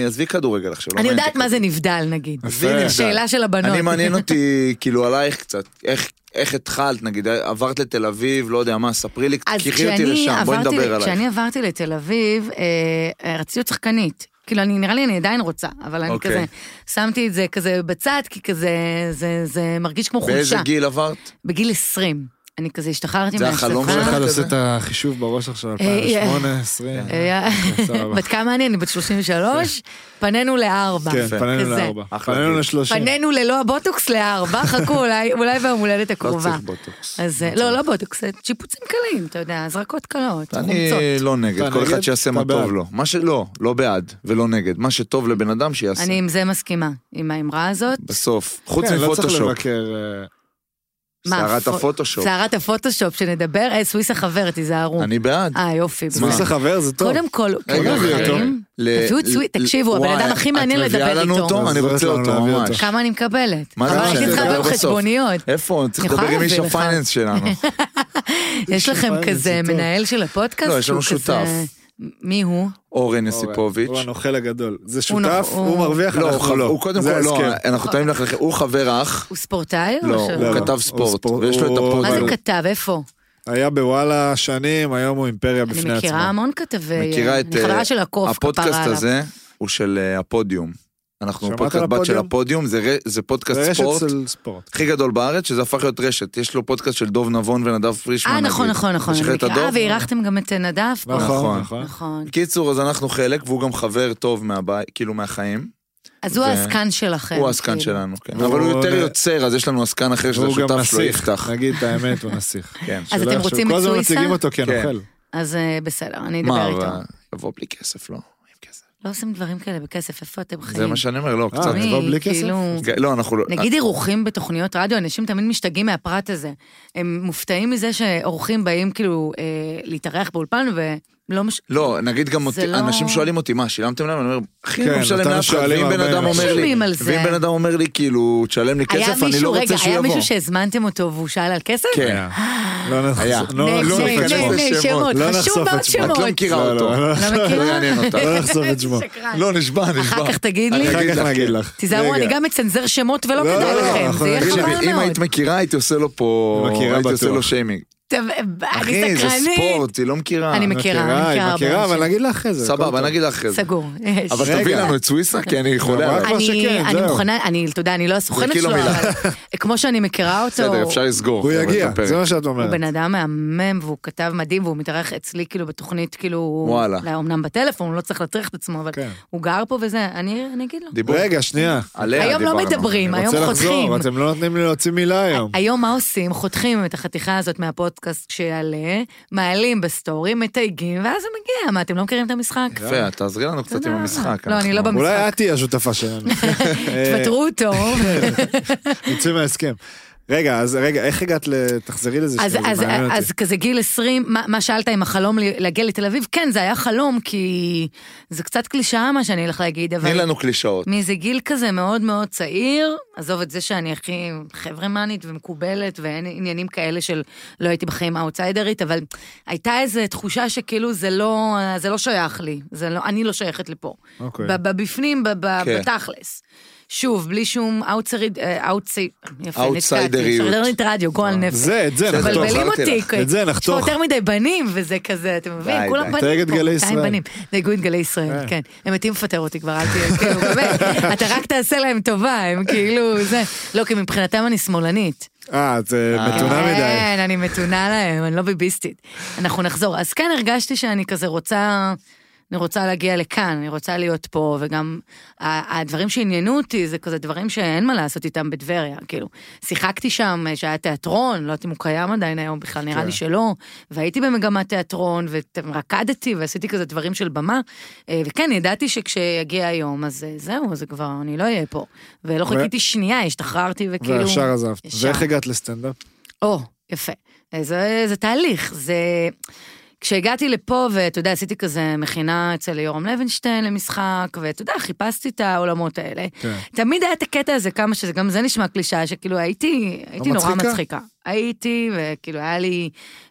עזבי כדורגל עכשיו. לא אני מעניין יודעת אותי מה זה נבדל, נגיד. יפה. עזבי נבדל. שאלה של הבנות. אני מעניין אותי, כאילו, עלייך קצת. איך- איך התחלת, נגיד, עברת לתל אביב, לא יודע מה, ספרי לי, אז קחי אותי כשאני לשם, בואי עברתי- נדבר עלייך. כשאני עברתי לתל אביב, אה, אה, רציתי להיות שחקנית. כאילו, אני, נראה לי אני עדיין רוצה, אבל אני אוקיי. כזה, שמתי את זה כזה בצד, כי כזה, זה, זה מרגיש כמו באיזה חולשה. גיל עברת? בגיל 20. אני כזה השתחררתי זה מהצבא. החלום כל שלך? אחד כזה. עושה את החישוב בראש עכשיו, אה, 2008, 20. אה, סבבה. בת כמה אני? אני בת 33, פנינו לארבע. כן, יפה. פנינו כזה. לארבע. אחלה פנינו גיל. לשלושים. פנינו ללא הבוטוקס לארבע, חכו, אולי- אולי ביום הולדת לא הקרובה. צריך בוטוקס. אז אה, לא, לא בוטוקס, זה שיפוצים קלים, אתה יודע, הזרקות קלות, אני חומצות. לא נגד, אתה כל אחד נגד? שיעשה מה אתה טוב בעד. לו. מה שלא, לא בעד ולא נגד. מה שטוב לבן אדם שיעשה. אני עם זה מסכימה, עם האמרה הזאת. בסוף, חוץ כן, לא צריך מפוטושופ. לבקר. אה, מה, סערת פו- הפוטושופ. סערת הפוטושופ, שנדבר, אה, סוויסה חבר, תיזהרו. אני בעד. אה, יופי. מה? סוויסה בסדר. חבר זה טוב. קודם כל, רגע, כל רגע, החיים, ל- תביאו את ל- סווי- תקשיבו, הבן וואי, אדם הכי מעניין את מביאה לדבר לנו איתו. אותו? אני אז רוצה אנחנו אותו נביא אותו. ממש. כמה אני מקבלת? מה זה אבל משנה? הייתי צריכה נדבר לדבר בסוף. חשבוניות. איפה? צריך אני יכולה לדבר עם איש להביא לך. הפייננס שלנו. יש לכם שפיים, כזה זה טוב. מנהל של הפודקאסט? לא, יש לנו שהוא כזה- שותף. מי הוא? אורן אורן, יסיפוביץ'. הוא הנוכל הגדול. זה הוא נכון. נוח- שותף, הוא הוא- מרוויח, לא, אנחנו הוא- לא. הוא קודם זה כל, לא, ההסכם. אנחנו טעים לך, הוא חבר אח. הוא ספורטאי? או לא, ש- הוא לא, כתב הוא ספורט, ספורט- ויש לו את הוא- מה הפודקאסט. זה אבל- כתב? איפה? אה, היה בוואלה שנים, היום הוא אימפריה בפני עצמו. אני מכירה המון כתבי... מכירה את... אני חברה אה, של הקוף, כפרה עליו. הפודקאסט הזה הוא של אה, הפודיום. אנחנו שמעת פודקאסט על בת של הפודיום? הפודיום, זה ר- זה פודקאסט זה רשת ספורט של ספורט. הכי גדול בארץ, שזה הפך להיות רשת. יש לו פודקאסט של דוב נבון ונדב פרישמן. אה, נכון, נגיד. נכון, נכון. יש לך אני את מכירה. הדוב? אה, ואירחתם גם את נדב פה. נכון. נכון, נכון. נכון. בקיצור, אז אנחנו חלק, והוא גם חבר טוב מהבית, כאילו מהחיים. אז הוא ו- העסקן שלכם. הוא העסקן כאילו. שלנו, כן. והוא- אבל הוא יותר יוצר, אז יש לנו עסקן אחר שזה והוא גם שותף שלו, נסיך, יפתח. נגיד את האמת, הוא נסיך. כן. אז שלא אתם יחשוב- רוצים כל הזמן מיצוי מציגים סל? אותו כן. כנוכל. אז אה, בסדר, אני מה, אדבר איתו. אבל- יבוא בלי כסף, לא? עם כסף. לא עושים דברים כאלה בכסף, איפה אתם חיים? זה מה שאני אומר, לא, אה, קצת. אני- מי, יבוא בלי כסף? כאילו- כן, לא, אנחנו לא... נגיד אירוחים בתוכניות רדיו, אנשים תמיד משתגעים מהפרט הזה. הם מופתעים מזה שאורחים באים כאילו אה, להתארח באולפן ולא מש... לא, נגיד גם זה אותי, לא- אנשים שואלים אותי, מה, שילמתם להם? אני אומר, אחי, אני כן, לא משלם אותנו לאף אחד, שואלים ואם בן הרבה אדם אנשים. אומר לי, משלמים על זה. ואם בן אדם אומר לי, כאילו, תשלם לי היה כסף, אני מישהו- לא רגע, רוצה שהוא היה יבוא. מישהו שהזמנתם אותו והוא שאל על כסף? כן. לא נחשוף- היה. לא נה, נחשוף נה, את נה, שמו. נה, שמות. שמות, לא חשוב נחשוף מאוד את שמו. את שמות. לא מכירה לא, לא, אותו. לא. לא מכירה? לא יעניין אותך. לא נחשוף את שמו. שקרן. לא, נשבע, נשבע. אחר כך תגיד לי. אחר כך רגע. נגיד לך. תיזהרו, רגע. אני גם מצנזר שמות ולא לא, כדאי לא, אה, לכם, אנחנו זה יהיה נגיד חבל תקשיבי, אם מאוד. היית מכירה, הייתי עושה לו פה... מכירה, הייתי עושה בטוח. לו שיימינג. טוב, אה, אני אחי, זה סקרנית. ספורט, היא לא מכירה. אני מכירה, אני היא מכירה מכירה, הרבה אבל אנשים. נגיד לה אחרי זה. הכל סבבה, טוב. נגיד לך אחרי זה. סגור. יש. אבל תביא לנו את סוויסה, כי אני חולה אבל- עליו. מה אני שכן, אני זהו. מוכנה, אני, אתה יודע, אני לא הסוכנת כאילו שלו, מילה. אבל כמו שאני מכירה אותו, בסדר, אפשר לסגור. הוא אבל את יגיע, הפרק. זה מה שאת אומרת. הוא בן אדם מהמם והוא כתב מדהים והוא מתארח אצלי כאילו בתוכנית כאילו, וואלה. לא, אמנם בטלפון, הוא לא צריך להטריח את עצמו, אבל כן. הוא גר פה וזה, אני אני אגיד לו. דיבור. רגע, שנייה. עליה היום לא דיברנו. מדברים, אני היום רוצה חותכים. לחזור, אתם לא נותנים לי להוציא מילה היום. היום מה עושים? חותכים את החתיכה הזאת מהפודקאסט כשיעלה, מעלים בסטורי, מתייגים, ואז זה מגיע. מה, אתם לא מכירים את המשחק? יפה, תעזרי לנו קצת עם תודה. המשחק. לא, אני לא אנחנו- במשחק. אולי את תהיי השותפה שלנו. תפטרו אותו. נצא מההסכם. רגע, אז רגע, איך הגעת ל... תחזרי לזה אז, שנייה, אז, זה מעניין אותי. אז כזה גיל 20, מה, מה שאלת עם החלום ל- להגיע לתל אביב? כן, זה היה חלום, כי זה קצת קלישאה מה שאני הולך להגיד, תני אבל לנו קלישאות. מאיזה גיל כזה מאוד מאוד צעיר, עזוב את זה שאני הכי חברמנית ומקובלת, ואין עניינים כאלה של לא הייתי בחיים האוטסיידרית, אבל הייתה איזו תחושה שכאילו זה לא, זה לא שייך לי, זה לא, אני לא שייכת לפה. אוקיי. ב- בבפנים, ב- ב- כן. בתכלס. שוב, בלי שום אאוטסייד, אאוטסייד, יפה, נתקעתי, אאוטסיידריות. סיידרנית רדיו, גועל נפש. זה, את זה, בסדר, נחתוך. אבל מבלבלים נחתוך. אותי, אמרתי לך. את זה נחתוך. יש פה יותר מדי בנים, וזה כזה, אתם מבינים, די, כולם די. בנים תייגת פה, גלי 200 ישראל. אה. בנים. דייגו את גלי ישראל, כן. הם מתים לפטר אותי כבר, אל תהיה, כאילו, באמת, אתה רק תעשה להם טובה, הם כאילו, זה. לא, כי מבחינתם אני שמאלנית. אה, את אה, מתונה מדי. כן, אני מתונה להם, אני לא ביביסטית. אנחנו נחזור. אז כן, הרגשתי שאני כזה רוצה, אני רוצה להגיע לכאן, אני רוצה להיות פה, וגם ה- הדברים שעניינו אותי זה כזה דברים שאין מה לעשות איתם בטבריה, כאילו. שיחקתי שם, אה, שהיה תיאטרון, לא יודעת אם הוא קיים עדיין היום בכלל, נראה כן. לי שלא, והייתי במגמת תיאטרון, ורקדתי, ועשיתי כזה דברים של במה, אה, וכן, ידעתי שכשיגיע היום, אז אה, זהו, זה כבר, אני לא אהיה פה. ולא חיכיתי שנייה, השתחררתי וכאילו... וישר עזבת. כאילו, ישר. ואיך הגעת לסטנדאפ? או, יפה. אה, זה, זה תהליך, זה... כשהגעתי לפה, ואתה יודע, עשיתי כזה מכינה אצל יורם לוינשטיין למשחק, ואתה יודע, חיפשתי את העולמות האלה. כן. תמיד היה את הקטע הזה, כמה שזה, גם זה נשמע קלישאה, שכאילו הייתי, הייתי נורא מצחיקה? מצחיקה. הייתי, וכאילו היה לי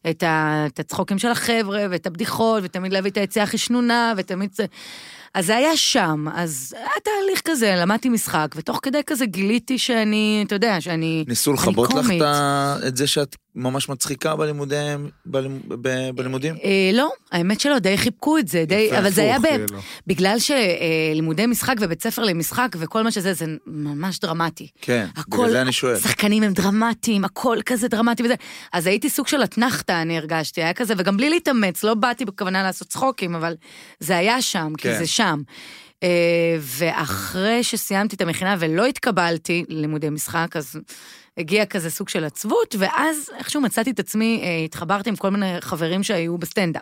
את, ה, את הצחוקים של החבר'ה, ואת הבדיחות, ותמיד להביא את היציאה הכי שנונה, ותמיד זה... אז זה היה שם, אז היה תהליך כזה, למדתי משחק, ותוך כדי כזה גיליתי שאני, אתה יודע, שאני... ניסו אני לכבות לך קומית. את ה- את זה שאת ממש מצחיקה בלימודים? בלימ- ב- בלימודים? אה, לא, האמת שלא, די חיבקו את זה, די, יפה, אבל זה היה הפוך, ב- כאילו. בגלל שלימודי משחק ובית ספר למשחק וכל מה שזה, זה ממש דרמטי. כן, הכל, בגלל זה אני שואל. השחקנים הם דרמטיים, הכל כזה דרמטי וזה. אז הייתי סוג של אתנחתא, אני הרגשתי, היה כזה, וגם בלי להתאמץ, לא באתי בכוונה לעשות צחוקים, אבל זה היה שם, כי כן. זה שם. אה, ואחרי שסיימתי את המכינה ולא התקבלתי ללימודי משחק, אז הגיע כזה סוג של עצבות, ואז איכשהו מצאתי את עצמי, אה, התחברתי עם כל מיני חברים שהיו בסטנדאפ.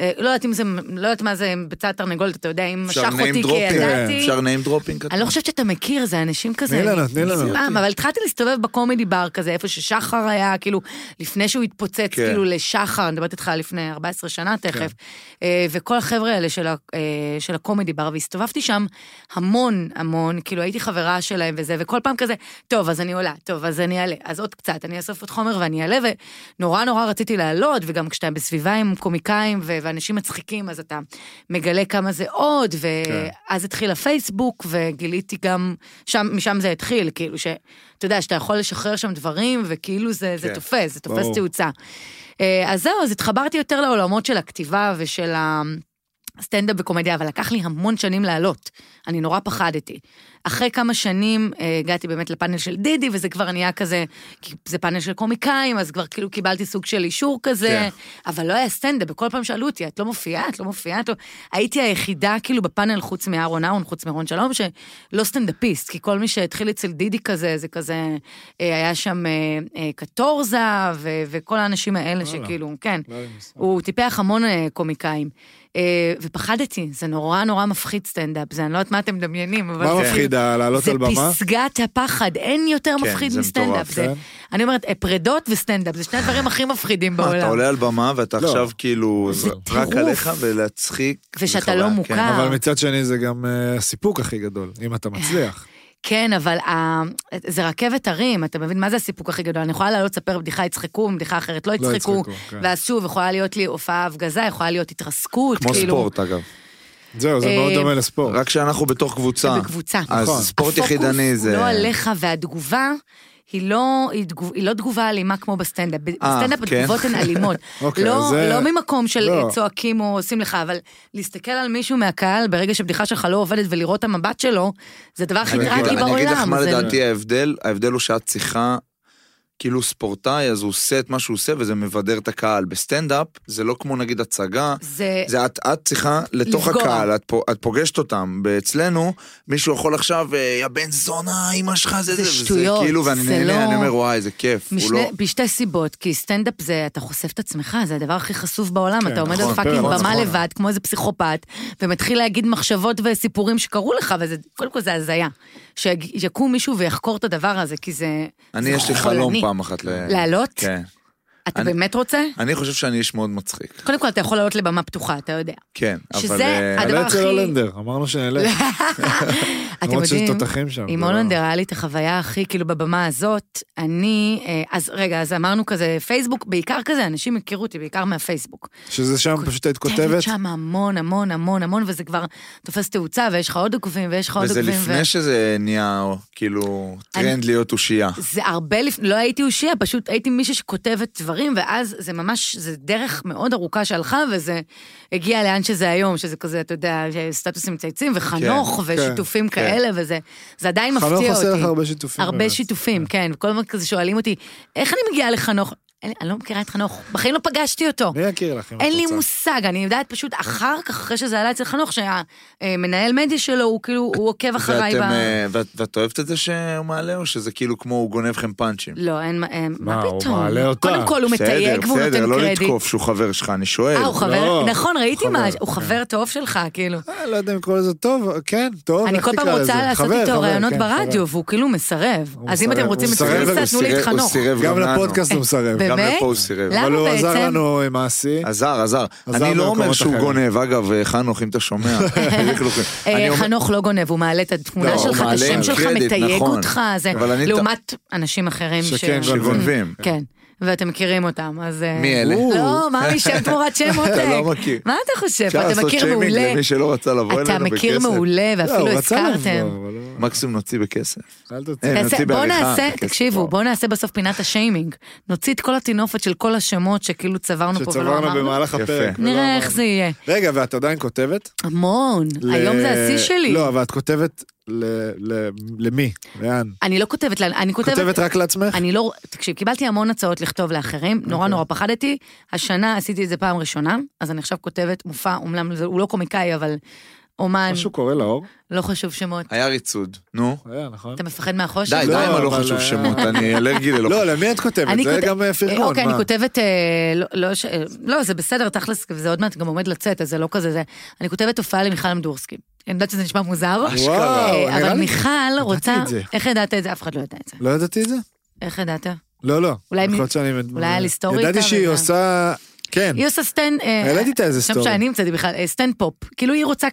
אה, לא יודעת אם זה, לא יודעת מה זה ביצה תרנגולת, אתה יודע, אם משך אפשר אותי name כי dropping? כן, ידעתי. אפשר name dropping? אני לא חושבת שאתה מכיר, זה אנשים כזה... תני לנו, תני לנו. פעם, אבל התחלתי להסתובב בקומדי בר כזה, איפה ששחר היה, כאילו, לפני שהוא התפוצץ, כן. כאילו, לשחר, אני מדברת איתך על לפני 14 שנה כן. תכף, אה, וכל החבר'ה האלה של ה- אה, של הקומדי בר, והסתובבתי שם המון המון, כאילו, הייתי חברה שלהם וזה, וכל פעם כזה, טוב, אז אני עולה, טוב, אז אז אני אעלה. אז עוד קצת, אני אאסוף עוד חומר ואני אעלה, ונורא נורא רציתי לעלות, וגם כשאתה בסביבה עם קומיקאים ו- ואנשים מצחיקים, אז אתה מגלה כמה זה עוד, כן. ואז התחיל הפייסבוק, וגיליתי גם, שם, משם זה התחיל, כאילו ש... אתה יודע, שאתה יכול לשחרר שם דברים, וכאילו זה, זה כן. תופס, זה תופס ברור. תאוצה. אה, אז זהו, אז התחברתי יותר לעולמות של הכתיבה ושל ה... סטנדאפ וקומדיה, אבל לקח לי המון שנים לעלות. אני נורא פחדתי. אחרי כמה שנים אה, הגעתי באמת לפאנל של דידי, וזה כבר נהיה כזה, כי זה פאנל של קומיקאים, אז כבר כאילו קיבלתי סוג של אישור כזה, כן. אבל לא היה סטנדאפ, וכל פעם שאלו אותי, את לא מופיעה, את לא מופיעה, את לא... הייתי היחידה כאילו בפאנל חוץ מאהרון אהרון, חוץ מרון שלום, שלא סטנדאפיסט, כי כל מי שהתחיל אצל דידי כזה, זה כזה, אה, היה שם אה, אה, קטורזה, ו- וכל האנשים האלה וואלה. שכאילו, כן. לא היה לי מושג. הוא טיפח המון אה, קומיקאים. אה, ופחדתי, זה נורא נורא מפחיד סטנדאפ, זה אני לא יודעת מה אתם מדמיינים, אבל... מה זה- מפחיד, ה- לעלות זה על במה? פסגת הפחד, אין יותר כן, מפחיד זה מסטנדאפ. מטורף, זה- כן. אני אומרת, אה, פרדות וסטנדאפ, זה שני הדברים הכי מפחידים מה, אתה בעולם. עולה על במה ואתה לא. עכשיו כאילו זה רק טירוף. עליך ולהצחיק. ושאתה זה חוויה, לא כן. מוכר. אבל מצד שני זה גם אה, הסיפוק הכי גדול, אם אתה מצליח. כן, אבל ה- זה רכבת הרים, אתה מבין מה זה הסיפוק הכי גדול? אני יכולה לעלות לספר בדיחה, יצחקו, בדיחה אחרת לא יצחקו, יצחקו, כן. ואז שוב, יכולה להיות לי הופעה הפגזה, יכולה להיות התרסקות, כמו כאילו, ספורט אגב. זהו, זה אה, מאוד דומה לספורט. רק שאנחנו בתוך קבוצה. בקבוצה. אה. אז נכון. ספורט יחידני זה... הפוקוס הוא לא עליך, והתגובה היא לא, היא, תגוב, היא לא תגובה אלימה כמו בסטנדאפ. ב- אה, בסטנדאפ כן. התגובות הן אלימות. אוקיי, לא, אז זה- לא ממקום של לא. צועקים או עושים לך, אבל להסתכל על מישהו מהקהל ברגע שבדיחה שלך לא עובדת ולראות את המבט שלו, זה הדבר הכי אני אגיד- טרגי אבל בעולם. אני אגיד לך מה זה- לא- לדעתי ההבדל, ההבדל הוא שאת צריכה, כאילו ספורטאי, אז הוא עושה את מה שהוא עושה וזה מבדר את הקהל. בסטנדאפ זה לא כמו נגיד הצגה. זה... זה את, את צריכה לתוך לפגוע. הקהל, את, פו- את פוגשת אותם. אצלנו, מישהו יכול עכשיו, אה, יא בן זונה, אמא שלך, זה זה זה. וזה שטויות, כאילו, ואני זה נהנה, לא- אני אומר, וואי, זה כיף. הוא משני, לא... בשתי סיבות, כי סטנדאפ זה, אתה חושף את עצמך, זה הדבר הכי חשוף בעולם, כן, אתה עומד נכון, על פאקינג נכון, במה נכון. לבד, כמו איזה פסיכופת, ומתחיל להגיד מחשבות וסיפורים שקרו לך, וזה, קודם כל זה הזיה. שיקום מישהו ויחקור את הדבר הזה, כי זה... אני, זה יש לי חולני. חלום פעם אחת ל... לעלות? כן. אתה אני- באמת רוצה? אני חושב שאני איש מאוד מצחיק. קודם כל, אתה יכול לעלות לבמה פתוחה, אתה יודע. כן, אבל... שזה אה, הדבר נעלה אצל הכי- הולנדר, אמרנו שנעלה. אתם למרות שיש יודעים, תותחים שם. עם זה לא- הולנדר היה לי את החוויה הכי, כאילו, בבמה הזאת, אני... אה, אז רגע, אז אמרנו כזה, פייסבוק, בעיקר כזה, אנשים הכירו אותי בעיקר מהפייסבוק. שזה שם פשוט היית כותבת כותבת. שם המון, המון, המון, המון, וזה כבר תופס תאוצה, ויש לך עוד עוקבים, ויש לך עוד וזה עוקבים. לפני שזה נהיה, כאילו, טרנד להיות אושייה. זה הרבה לפני, לא הייתי אושיה, פשוט הייתי מישהי שכותבת דברים, ואז זה ממש, זה דרך מאוד ארוכה שהלכה, וזה הגיע לאן שזה היום, שזה כזה, אתה יודע, סטטוסים מצייצים, וחנוך, כן, ושיתופים כן. כאלה, וזה זה עדיין מפתיע חנוך אותי. עושה לך הרבה שיתופים. הרבה באמת. אה. שיתופים, כן. וכל הזמן כזה שואלים אותי, איך אני מגיעה לחנוך? אין לי- אני לא מכירה את חנוך, בחיים לא פגשתי אותו. מי יכיר לך אם את אין לי רוצה? מושג, אני יודעת פשוט אחר כך, אחרי שזה עלה אצל חנוך, שהמנהל מדיה שלו, הוא כאילו, הוא עוקב אחריי ב... ואתם, אה, ואת- ואת אוהבת את זה שהוא מעלה, או שזה כאילו כמו הוא גונב לכם פאנצ'ים? לא, אין מה, אין- מה, מה הוא פתאום? מעלה אותה. קודם כל הוא בסדר, מתייג והוא בסדר, נותן לא קרדיט. לתקוף שהוא חבר שלך, אני שואל. אה, הוא חבר, לא, נכון, ראיתי הוא מה, חבר, הוא כן. חבר טוב שלך, כאילו. אה, לא יודע אם לקרוא לזה טוב, כן, טוב, אני איך כל פעם תקרא רוצה לזה? לעשות חבר, איתו חבר, ראיונות כן, חבר. ברדיו, והוא כאילו מסרב. הוא אז מסרב, אם אתם הוא רוצים את מסרב, זה, הוא תנו לי את סירב- הוא חנוך. סירב גם לפודקאסט הוא אה, מסרב. באמת? גם לפה הוא סירב. למה אבל הוא בעצם? עזר לנו עם האסי. עזר, עזר. עזר אני לא אומר במקומות שהוא אחרים. גונב, אגב, אה, חנוך, אם אתה שומע. תראי חילוקים. אה, אני אומר- חנוך לא גונב, הוא מעלה את לא, התמונה הוא שלך, את מעלה השם שלך, קרדיט, מתייג נכון. אותך, זה אבל אני- לעומת אנשים אחרים ש- שכן שגונבים. כן, ואתם מכירים אותם, אז... אה, מי אלה? לא, מה משם תמורת שם עותק? אתה לא מכיר. מה אתה חושב? אפשר אתה לעשות מכיר שיימינג מעולה. למי שלא רצה לבוא אלינו אתה בכסף. מכיר מעולה, לא, הוא ואפילו רצה לבוא, הזכרתם. אבל לא- מקסימום נוציא בכסף. אל תוציא. אה, תעשה- נוציא בוא בעריכה, נעשה, בכסף, תקשיבו, וואו. בוא נעשה בסוף פינת השיימינג. נוציא את כל הטינופת של כל השמות שכאילו צברנו פה ולא שצברנו אמרנו. במהלך יפה. הפרק. ולא לא נראה אמרנו. איך זה יהיה. רגע, ואת עדיין כותבת? המון, ל- היום זה השיא שלי. לא, אבל את כותבת ל- ל- למי? לאן? אני לא כותבת, לה- אני כותבת... כותבת רק לעצמך? אני לא, תקשיב, קיבלתי המון הצעות לכתוב לאחרים, אוקיי. נורא נורא פחדתי. השנה עשיתי את זה פעם ראשונה, אז אני עכשיו כותבת מופע, אומנם זה- הוא לא קומיקאי, אבל אומן, משהו קורה לאור? לא חשוב שמות. היה ריצוד, נו. היה, נכון? אתה מפחד מהחושך? די, די לא, עם הלא אבל- אה, חשוב שמות, אני אלרגי ללא לא, חשוב. למי את כותבת? אני זה כותב- גם אה, פרגון, מה? אה, אוקיי, אני כותבת, אה, לא- לא, ש- אה, לא, זה בסדר, תכלס, זה עוד מעט גם עומד לצאת, אז זה לא כזה זה. אני כותבת הופעה למיכל אמדורסקי. אני יודעת שזה נשמע מוזר, אשכרה, אה, נראה אבל לי- מיכל רוצה... את זה. איך ידעת את זה? אף אחד לא ידע את זה. לא ידעתי את זה? איך ידעת? לא, לא. אולי מ- יכול להיות שאני... אולי היה לי סטורי ידעתי איתה שהיא וזה- עושה... כן. היא עושה סטנד... העליתי איתה איזה שם סטורי. שאני המצאתי בכלל, אה, סטנד אה, פופ. כאילו היא רוצה...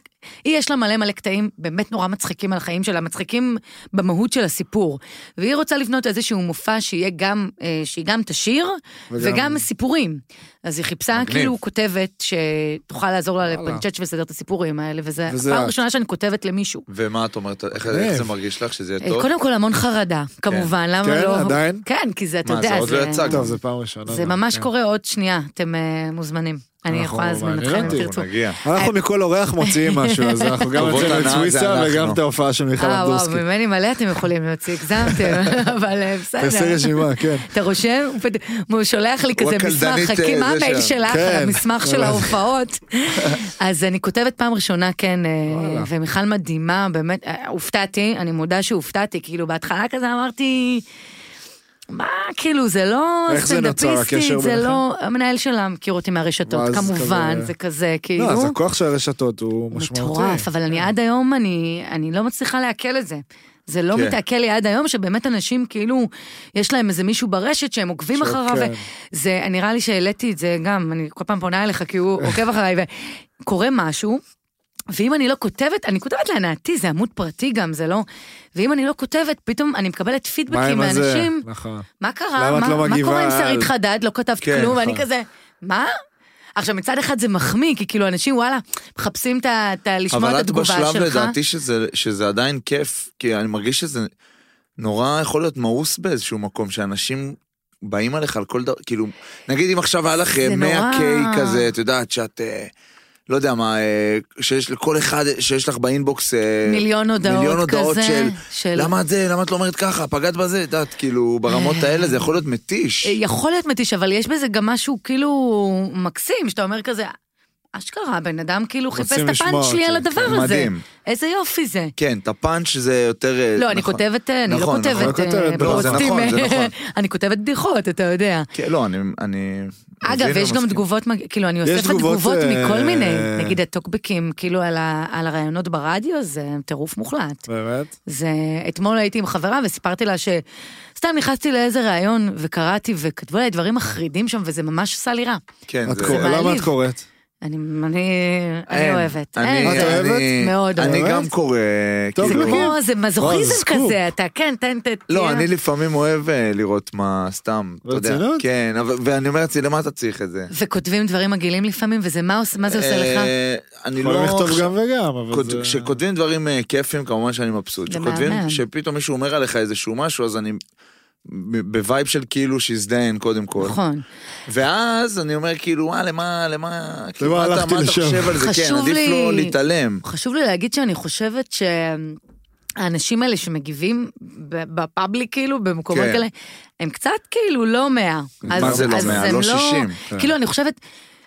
היא יש לה מלא מלא קטעים באמת נורא מצחיקים על החיים שלה, מצחיקים במהות של הסיפור. והיא רוצה לבנות איזשהו מופע שיהיה גם, אה, שהיא גם תשיר, וגם- וגם, וגם סיפורים. אז היא חיפשה מגניב. כאילו כותבת שתוכל לעזור לה וואלה. לפנצ'ץ' ולסדר את הסיפורים האלה, וזה וזה הפעם את. הראשונה שאני כותבת למישהו. ומה את אומרת, איך מגניב. איך זה מרגיש לך, שזה אה, יהיה טוב? קודם כל המון חרדה, כמובן, למה כן, לא... עדיין? כן, כי זה, אתה מה, יודע, זה עוד לא יצא כן. טוב, זה פעם ראשונה. לא, כן. זה ממש קורה עוד שנייה, אתם אה, מוזמנים. אני אנחנו- יכולה להזמין נכון, מעניין אתכם אם אותי, תרצו. אה, נגיע. אה, אנחנו מכל אורח מוציאים משהו, אז אנחנו גם טובות יוצאים את הנאה זה סוויסה אנחנו. וגם את ההופעה של מיכל אה, וואו, אמדורסקי. ממני מלא אתם יכולים להוציא, הגזמתם, אבל אה, תעשה בסדר. רשימה, כן. אתה רושם? הוא פת- הוא שולח לי כזה הקלדנית, מסמך, אה, חכי, מה זה המייל שם. שלך, כן. על המסמך של ההופעות? אז אני כותבת פעם ראשונה, כן, אה, וואלה. ומיכל מדהימה, באמת, אה, הופתעתי, אני מודה שהופתעתי, כאילו בהתחלה כזה אמרתי... מה, כאילו, זה לא איך זה נוצר, הקשר סטנדאפיסטית, זה ביניכם? לא... המנהל שלה מכיר אותי ואז מהרשתות, כמובן, כזה- זה כזה, כאילו... לא, אז הכוח של הרשתות הוא משמעותי. כן. מטורף, אבל אני עד היום, אני, אני לא מצליחה לעכל את זה. זה לא כן. מתעכל לי עד היום, שבאמת אנשים כאילו, יש להם איזה מישהו ברשת שהם עוקבים שכן. אחריו. ו- זה, נראה לי שהעליתי את זה גם, אני כל פעם פונה אליך כי הוא עוקב אחריי, וקורה משהו, ואם אני לא כותבת, אני כותבת להנאתי, זה עמוד פרטי גם, זה לא... ואם אני לא כותבת, פתאום אני מקבלת מה פידבקים עם הזה? מאנשים, נכון. מה למה קרה? את מה, לא מה מגיבה קורה עם על- שרית חדד? לא כתבת כן, כלום, ואני נכון. כזה, מה? עכשיו, מצד אחד זה מחמיא, כי כאילו אנשים, וואלה, מחפשים את ה... את ה- לשמוע אבל את את התגובה שלך. בשלב לדעתי שזה, שזה עדיין כיף, כי אני מרגיש שזה נורא יכול להיות מאוס באיזשהו מקום, שאנשים באים עליך על כל דבר, כאילו, נגיד אם עכשיו היה לך זה 100 נורא. קיי כזה, את יודעת שאת, אה, לא יודע מה, אה, שיש לכל אחד, שיש לך באינבוקס, אה, מיליון הודעות מיליון הודעות כזה, של, של- למה את זה, למה את לא אומרת ככה, פגעת בזה, את יודעת, כאילו, ברמות האלה זה יכול להיות מתיש. אה, יכול להיות מתיש, אבל יש בזה גם משהו כאילו מקסים, שאתה אומר כזה, אשכרה, הבן אדם כאילו רוצים חיפש את לשמוע הפאנץ' שלי אותי." על הדבר הזה. מדהים. איזה יופי זה. כן, את הפאנץ' זה יותר... אה, לא, אני נכון. כותבת, אה, אני לא נכון, נכון, כותבת כותבת, אה, לא, זה פוסטים, נכון, זה אה, נכון. אני כותבת בדיחות, אתה יודע. כן, לא, אני... אני אגב, מבין יש גם ומסכים. תגובות, מג- כאילו, אני יש אוספת תגובות, תגובות אה, מכל מיני, נגיד הטוקבקים, כאילו, על ה- על הרעיונות ברדיו, זה טירוף מוחלט. באמת? זה, אתמול הייתי עם חברה וסיפרתי לה ש... סתם נכנסתי לאיזה ראיון וקראתי וכתבו עליי דברים מחרידים שם וזה ממש עשה לי רע. כן, את זה... קוראת- למה את מעליב. קוראת? אני, אני, אני אין. אוהבת. אני- אין, את אני- זה- אוהבת? מאוד אני אוהבת. גם קורא, טוב, זה כאילו... מגיע. כמו, זה וואי, זה מזוכיזם סקופ. כזה, אתה כן, תן, תן, לא, תהיה. אני לפעמים אוהב אה, לראות מה סתם, אתה יודע. ברצינות? כן, אבל- ואני אומר לעצמי, למה אתה צריך את זה? וכותבים דברים מגעילים לפעמים, וזה מה עוש- מה זה עושה לך? אה, אני יכולים לא... לכתוב עכשיו- גם וגם, אבל כות- זה... כשכותבים דברים אה, כיפים, כמובן שאני מבסוט. זה כשכותבים, מהמם. שפתאום מישהו אומר עליך איזשהו משהו, אז אני... ב- בווייב של כאילו שיזדיין קודם כל. נכון. ואז אני אומר כאילו, וואלה, למה, למה, כאילו, מה אתה הלכתי מה אתה לשם?" חושב על זה? כן, חשוב עדיף לי- לא להתעלם. חשוב לי להגיד שאני חושבת שהאנשים האלה שמגיבים ב- בפאבליק, כאילו, במקומות כן. כאלה, הם קצת כאילו לא מאה. אז- זה לא אז מאה? הם לא 60, כן. כאילו, אני חושבת...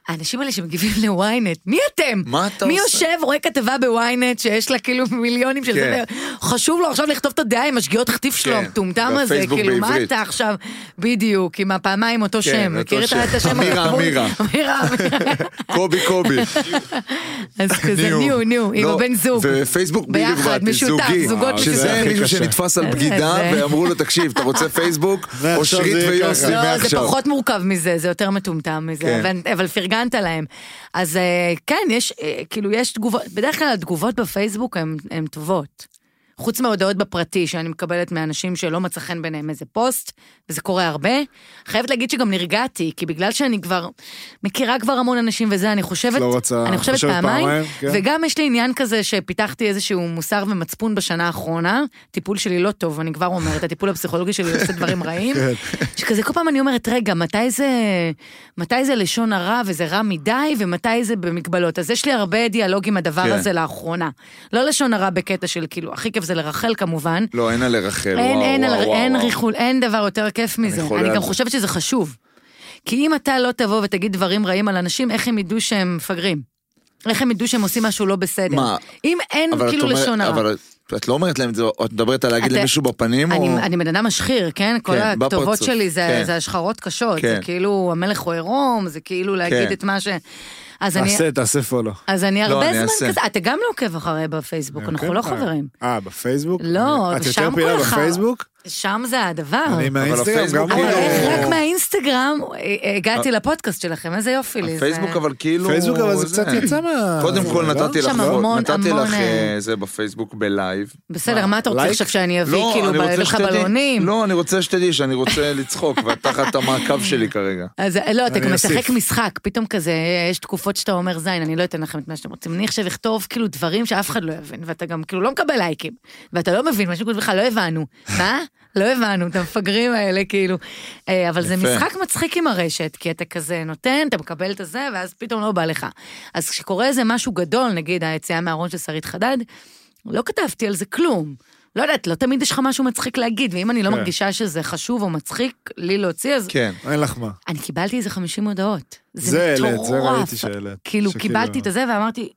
האנשים האלה שמגיבים ל-ynet, מי אתם? מה אתה מי עושה? יושב, רואה כתבה ב-ynet שיש לה כאילו מיליונים של כן. זה, חשוב לו עכשיו לכתוב את הדעה עם השגיאות חטיף שלו, כן, המטומטם הזה, והפייסבוק כאילו, מה בעברית. כן, אתה עכשיו, בדיוק, עם הפעמיים אותו שם, אותו מכיר את שם. ה- את השם? אמירה, הכפול? אמירה. אמירה, אמירה. קובי, קובי. אז כזה ניו, ניו, עם לא, הבן זוג. ופייסבוק בלי ביחד, לבד, משותף, זוגי. זוגות שזה משותפים. מישהו הכי קשה. שנתפס על זה- בגידה, זה- ואמרו ואמרו לו, תקשיב, אתה רוצה פייסבוק? ועכשיו אושרית אושרית זה יהיה ויוסי ויוסי ככה. לא, זה מעכשיו. פחות מורכב מזה, זה יותר מטומטם מזה, כן. אבל- אבל פרגנת להם. אז אה, כן, יש, אה, כאילו, יש תגובות, בדרך כלל התגובות בפייסבוק הן הן טובות. חוץ מההודעות בפרטי שאני מקבלת מאנשים שלא מצא חן ביניהם איזה פוסט, וזה קורה הרבה. חייבת להגיד שגם נרגעתי, כי בגלל שאני כבר מכירה כבר המון אנשים וזה, אני חושבת, לא רוצה- אני חושבת חושבת פעמיים, פעמיים, כן. וגם יש לי עניין כזה שפיתחתי איזשהו מוסר ומצפון בשנה האחרונה, טיפול שלי לא טוב, אני כבר אומרת, הטיפול הפסיכולוגי שלי עושה דברים רעים, שכזה כל פעם אני אומרת, רגע, מתי זה, מתי זה לשון הרע וזה רע מדי, ומתי זה במגבלות. אז יש לי הרבה דיאלוג עם הדבר כן. הזה לאחרונה. לא לשון הרע בקטע של כאילו, הכי כיף זה לרחל כמובן. לא, אין על רחל, אין, וואו, אין, וואו, על, וואו, אין וואו. ריחול, אין דבר יותר כיף מזה. חולה אני על גם זה. חושבת שזה חשוב. כי אם אתה לא תבוא ותגיד דברים רעים על אנשים, איך הם ידעו שהם מפגרים? איך הם ידעו שהם עושים משהו לא בסדר? מה? אם אין אבל את כאילו אומרת- לשון הרע. אבל את לא אומרת להם את זה, את מדברת על להגיד אתה- למישהו בפנים, אני, או... אני בן אדם משחיר, כן? כל כן, הכתובות בפרצוף, שלי זה, כן. זה השחרות קשות, זה כן. כאילו המלך הוא עירום, זה כאילו להגיד כן. לא, את מה ש... אז אני, תעשה, תעשה פולו. אז אני הרבה אני זמן אעשה. כזה, אתה גם לא עוקב אחריי בפייסבוק, אנחנו כן, לא אה. חברים. אה, בפייסבוק? לא, את שם יותר פעילה כל אחד. בפייסבוק? שם זה הדבר. אני מהאינסטגרם הפייסבוק גם אה. אבל איך רק כאילו... מהאינסטגרם אה, הגעתי לפודקאסט שלכם, איזה יופי לי. זה- הפייסבוק אבל כאילו... פייסבוק אבל זה זה. קצת יצא מה... קודם זה, כל לא? נתתי לך, שם המון, נתתי המון, לך אה, אה, זה בפייסבוק בלייב. לא, בסדר, מה אתה רוצה לייק? עכשיו שאני אביא, כאילו, אני רוצה אביא לך שתדעי- בלונים? לא, אני רוצה שתדעי שאני רוצה לצחוק, ואת תחת המעקב שלי כרגע. אז לא, אתה אני גם משחק אוסיף. משחק, פתאום כזה, יש תקופות שאתה אומר, זין, אני לא אתן לכם את מה שאתם רוצים. אני עכשיו אכתוב כאילו דברים שאף אחד לא יבין, ואתה גם כאילו לא מקבל לייקים, ואתה לא מבין, מה שקוראים לך, לא הבנו. מה? לא הבנו, את המפגרים האלה, כאילו. אה, אבל זה יפה. משחק מצחיק עם הרשת, כי אתה כזה נותן, אתה מקבל את הזה, ואז פתאום לא בא לך. אז כשקורה איזה משהו גדול, נגיד היציאה מהארון של שרית חדד, לא כתבתי על זה כלום. לא יודעת, לא תמיד יש לך משהו מצחיק להגיד, ואם אני לא כן. מרגישה שזה חשוב או מצחיק לי להוציא, אז כן. אין לך מה. אני קיבלתי איזה 50 הודעות. זה זה העלית, מטורף. זה ראיתי שהעלית. כאילו, שכאילו- קיבלתי את הזה ואמרתי,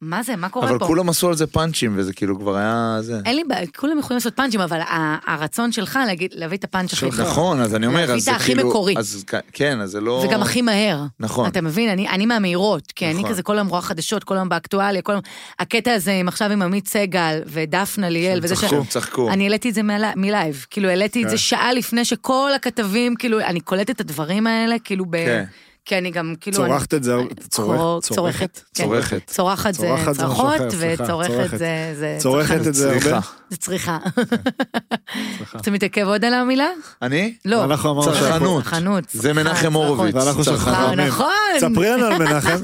מה זה, מה קורה אבל פה? כולם עשו על זה פאנצ'ים, וזה כאילו כבר היה זה. אין לי בעיה, כולם יכולים לעשות פאנצ'ים, אבל ה- הרצון שלך להגיד, להביא את הפאנץ' הכי טוב. נכון, אז אני אומר, להביא אז את זה הכי כאילו... מקורי. אז כ- כן, אז זה לא... וגם הכי מהר. נכון. אתה מבין? אני, אני מהמהירות, כי אני נכון. כזה כל היום רואה חדשות, כל היום באקטואליה, כל היום... הקטע הזה עם עכשיו עם עמית סגל ודפנה ליאל וזה ש... צחקו, צחקו. אני העליתי את זה מלי- מלייב, כאילו העליתי את כן. זה שעה לפני שכל הכתבים, כאילו, אני קולטת את הדברים האלה, כאילו ב... כן. כי אני גם, כאילו... אני- צורכת את זה, הרבה- צורך- צורכת, כן. צורכת. צורכת זה צורחת זה משהו צרחות, אחר, סליחה, וצורכת צורכת. זה... זה צורכת את זה כן, הרבה. סליחה. זה צריכה. אתה מתעכב עוד על המילה? אני? לא. אנחנו אמרנו שאנחנו- צרכנות. צרכנות. זה מנחם צרכנות. הורוביץ. ואנחנו צרכנות. צרכנות. אה, נכון. ספרי לנו על מנחם.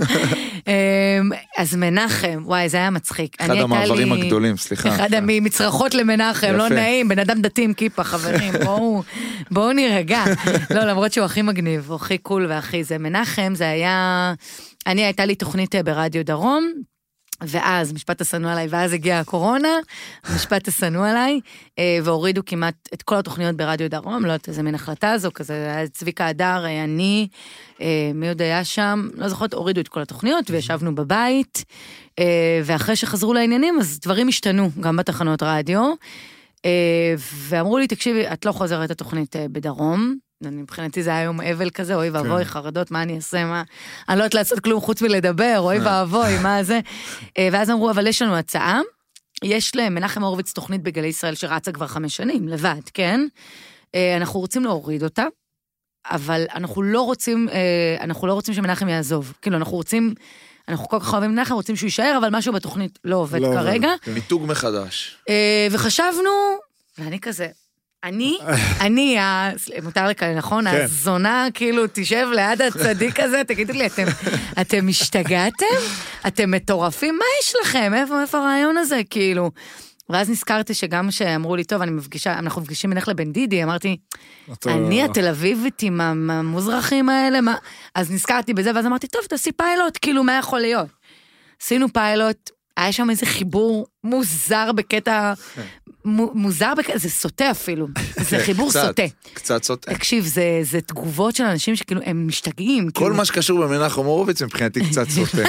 אמ, אז מנחם, וואי, זה היה מצחיק. אחד אני הייתה המעברים לי- הגדולים, סליחה. אחד המצרחות למנחם, לא יפה. נעים, בן אדם דתי עם כיפה, חברים, בואו- בואו נירגע. לא, למרות שהוא הכי מגניב, הוא הכי קול והכי זה. מנחם זה היה, אני הייתה לי תוכנית אה, ברדיו דרום. ואז משפט השנוא עליי, ואז הגיעה הקורונה, משפט השנוא עליי, אה, והורידו כמעט את כל התוכניות ברדיו דרום, לא יודעת איזה מין החלטה זו, כזה, היה צביקה הדר, אה, אני, אה, מי עוד היה שם, לא זוכרת, הורידו את כל התוכניות, וישבנו בבית, אה, ואחרי שחזרו לעניינים, אז דברים השתנו, גם בתחנות רדיו, אה, ואמרו לי, תקשיבי, את לא חוזרת לתוכנית אה, בדרום. אני, מבחינתי זה היה יום אבל כזה, כן. אוי ואבוי, חרדות, מה אני אעשה, מה... אני לא יודעת לעשות כלום חוץ מלדבר, אוי כן. ואבוי, מה זה. אה, ואז אמרו, אבל יש לנו הצעה. יש למנחם הורוביץ תוכנית בגלי ישראל שרצה כבר חמש שנים, לבד, כן? אה, אנחנו רוצים להוריד אותה, אבל אנחנו לא רוצים, אה, אנחנו לא רוצים שמנחם יעזוב. כאילו, אנחנו רוצים, אנחנו כל כך אוהבים את מנחם, רוצים שהוא יישאר, אבל משהו בתוכנית לא עובד לא עובד, כרגע. כן. מיתוג מחדש. אה, וחשבנו, ואני כזה, אני, אני, ה- מותר לקלל, נכון? כן. הזונה, כאילו, תשב ליד הצדיק הזה, תגידו לי, אתם, אתם השתגעתם? אתם מטורפים? מה יש לכם? איפה, איפה הרעיון הזה, כאילו? ואז נזכרתי שגם שאמרו לי, טוב, אני מפגישה, אנחנו מפגישים בדרך כלל בן דידי, אמרתי, אתה- אני התל אביבית עם המ- המוזרחים האלה, מה... אז נזכרתי בזה, ואז אמרתי, טוב, תעשי פיילוט, כאילו, מה יכול להיות? עשינו פיילוט, היה שם איזה חיבור מוזר בקטע, כן. מו- מוזר בקטע, זה סוטה אפילו, זה חיבור קצת, סוטה. קצת סוטה. תקשיב, זה, זה תגובות של אנשים שכאילו, הם משתגעים. כל כאילו, מה שקשור במנחם הורוביץ מבחינתי קצת סוטה.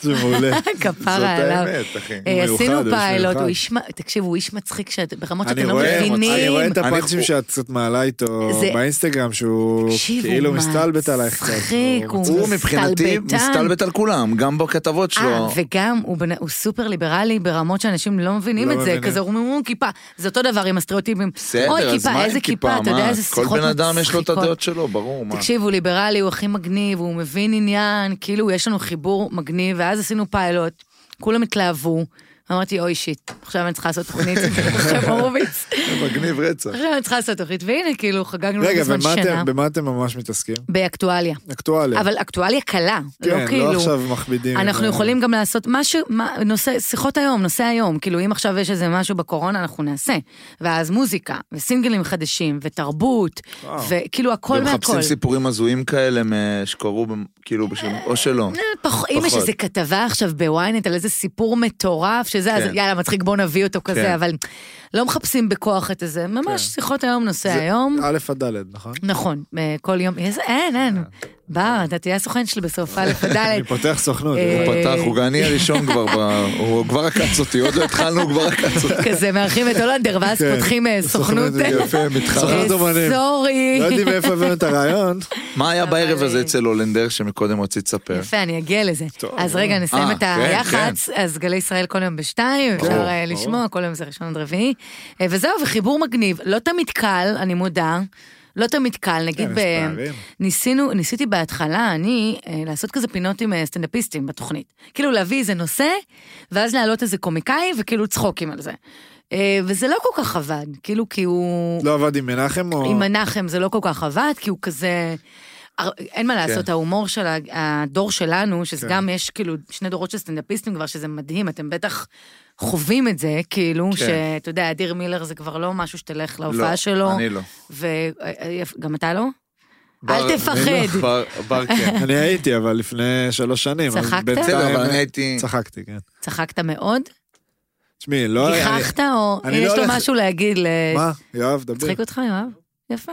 זה מעולה. זאת כפרה עליו. האמת, אחי. לא. אה, הוא עשינו מיוחד, הוא איש פיילוט, הוא מיוחד. איש, מ- תקשיב, הוא איש מצחיק שאת- ברמות שאתם אני לא רואה- אני מבינים. רואה את אני- הפאנצ'ים הוא- שאת קצת מעלה איתו זה- באינסטגרם, שהוא תקשיב, הוא כאילו מסתלבט עלייך קצת. מצחיק, הוא מצחיק. הוא מבחינתי מסתלבטן. מסתלבט על כולם, גם בכתבות שלו. אה, וגם הוא, בנ... הוא סופר ליברלי ברמות שאנשים לא מבינים לא את זה, מבינים. כזה אומרים, "הוא כיפה. זה אותו דבר עם הסטריאוטיפים. אוי, בסדר, אז כיפה, מה איזה עם כיפה? כיפה, אתה יודע מה? איזה שיחות כל בן אדם יש לו את מצחיקות. הדעות שלו, ברור, מה? תקשיב, הוא ליברלי, הוא הכי מגניב, הוא מבין עניין, כאילו יש לנו חיבור מגניב, ואז עשינו פיילוט, כולם התלהבו, אמרתי, אוי שיט, עכשיו אני צריכה לעשות תוכנית, עכשיו הורוביץ, מגניב רצח. עכשיו אני צריכה לעשות תוכנית, והנה, כאילו, חגגנו רגע, בזמן ומה שנה, אתם- במה אתם ממש מתעסקים? באקטואליה. לא. אקטואליה. אבל אקטואליה קלה, לא כן, כאילו... לא עכשיו מכבידים. אנחנו אה, יכולים גם לעשות משהו, מה- נושא, שיחות היום, נושא היום, כאילו אם עכשיו יש איזה משהו בקורונה, אנחנו נעשה. ואז מוזיקה, וסינגלים חדשים, ותרבות, וואו. וכאילו הכל מהכל. ומחפשים סיפורים הזויים כאלה מ- שקרו, במ- כאילו, בשביל- או שלא. אה, פח- אם יש פחות. איזה כתבה עכשיו בוויינט על איזה סיפור מטורף, שזה, אז כן. יאללה, מצחיק, בוא נביא אותו כזה, כן. אבל לא מחפשים בכוח את איזה, ממש שיחות היום, נושא זה- אה- היום. א' עד ד', נכון? נכון, אה, כל יום, איזה- אין, אין. בר, אתה תהיה הסוכן שלי בסוף א' עד אני ד'. פותח סוכנות. אה, הוא פתח, הוא אני הראשון כבר, ב- הוא כבר עקץ אותי, עוד לא התחלנו, הוא כבר עקץ אותי. כזה מארחים את הולנדר, ואז כן. פותחים אה, סוכנות. יפה, מתחרה. סוכנות אומנים. אה, סורי. אה, לא יודעים מאיפה הבאנו אה, את הרעיון. מה היה בערב אבל, הזה אה, אצל הולנדר שמקודם רצית לספר? יפה, אני אגיע לזה. טוב, אז רגע, נסיים אה, את כן, היח"צ, אז גלי ישראל כל יום בשתיים, אפשר אה, כן, ברור. לשמוע, כל יום זה ראשון עד רביעי. אה, וזהו, וחיבור מגניב. לא תמיד קל, אני מודה. לא תמיד קל, נגיד כן, ב... יש פערים. ניסינו, ניסיתי בהתחלה, אני, אה, לעשות כזה פינות עם אה, סטנדאפיסטים בתוכנית. כאילו להביא איזה נושא, ואז להעלות איזה קומיקאי, וכאילו צחוקים על זה. אה, וזה לא כל כך עבד, כאילו, כי הוא... לא עבד עם מנחם או... עם מנחם זה לא כל כך עבד, כי הוא כזה... הר- אין מה לעשות, כן. ההומור של ה- הדור שלנו, שזה כן. גם יש כאילו שני דורות של סטנדאפיסטים כבר, שזה מדהים, אתם בטח חווים את זה, כאילו, כן. שאתה יודע, אדיר מילר זה כבר לא משהו שתלך להופעה לא, שלו, אה, אני לא. וגם אתה לא? בר- אל אני תפחד. לא, בר- בר כן. אני הייתי, אבל לפני שלוש שנים. אז צחקת? בינתיים- בסדר, אבל אני הייתי... צחקתי, כן. צחקת מאוד? תשמעי, לא... גיחכת או אני הנה, לא יש לו הולך- משהו להגיד? ל- אני- מה? יואב, דבר. מצחיק אותך, יואב? יפה.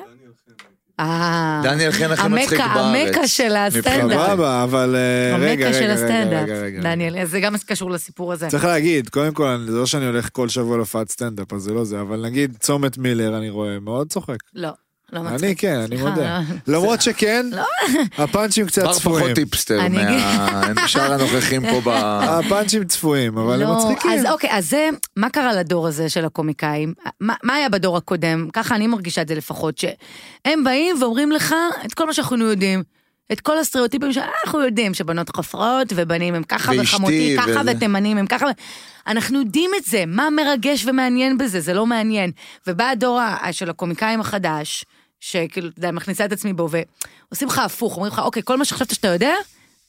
אה, דניאל חן הכי מצחיק המקה, בארץ. המקה של הסטנדאפ. סבבה, אבל אה, רגע, המקה רגע, של רגע, הסטנדאפ, רגע, רגע. דניאל, אז זה גם קשור לסיפור הזה. צריך להגיד, קודם כל, אני- זה לא שאני הולך כל שבוע להופעת סטנדאפ, אז זה לא זה, אבל נגיד צומת מילר, אני רואה, מאוד צוחק. לא, לא מצחיק. אני כן, אני סליחה, לא. מודה. למרות שכן, הפאנצ'ים קצת בר פחות צפויים. טיפסטר אני- משאר הנוכחים פה ב... הפאנצ'ים צפויים, אבל הם לא, מצחיקים. אז אוקיי, אז זה, מה קרה לדור הזה של הקומיקאים? מה, מה היה בדור הקודם? ככה אני מרגישה את זה לפחות, שהם באים ואומרים לך את כל מה שאנחנו יודעים. את כל הסטריאוטיפים שאנחנו יודעים, שבנות חופרות, ובנים הם ככה, ואשתי, וחמותי ככה, וזה. ותימנים הם ככה. אנחנו יודעים את זה, מה מרגש ומעניין בזה, זה לא מעניין. ובא הדור ה- של הקומיקאים החדש, שכאילו, אתה יודע, מכניסה את עצמי בו, ועושים לך הפוך, אומרים לך, אוקיי, כל מה שחשבת שאתה יודע,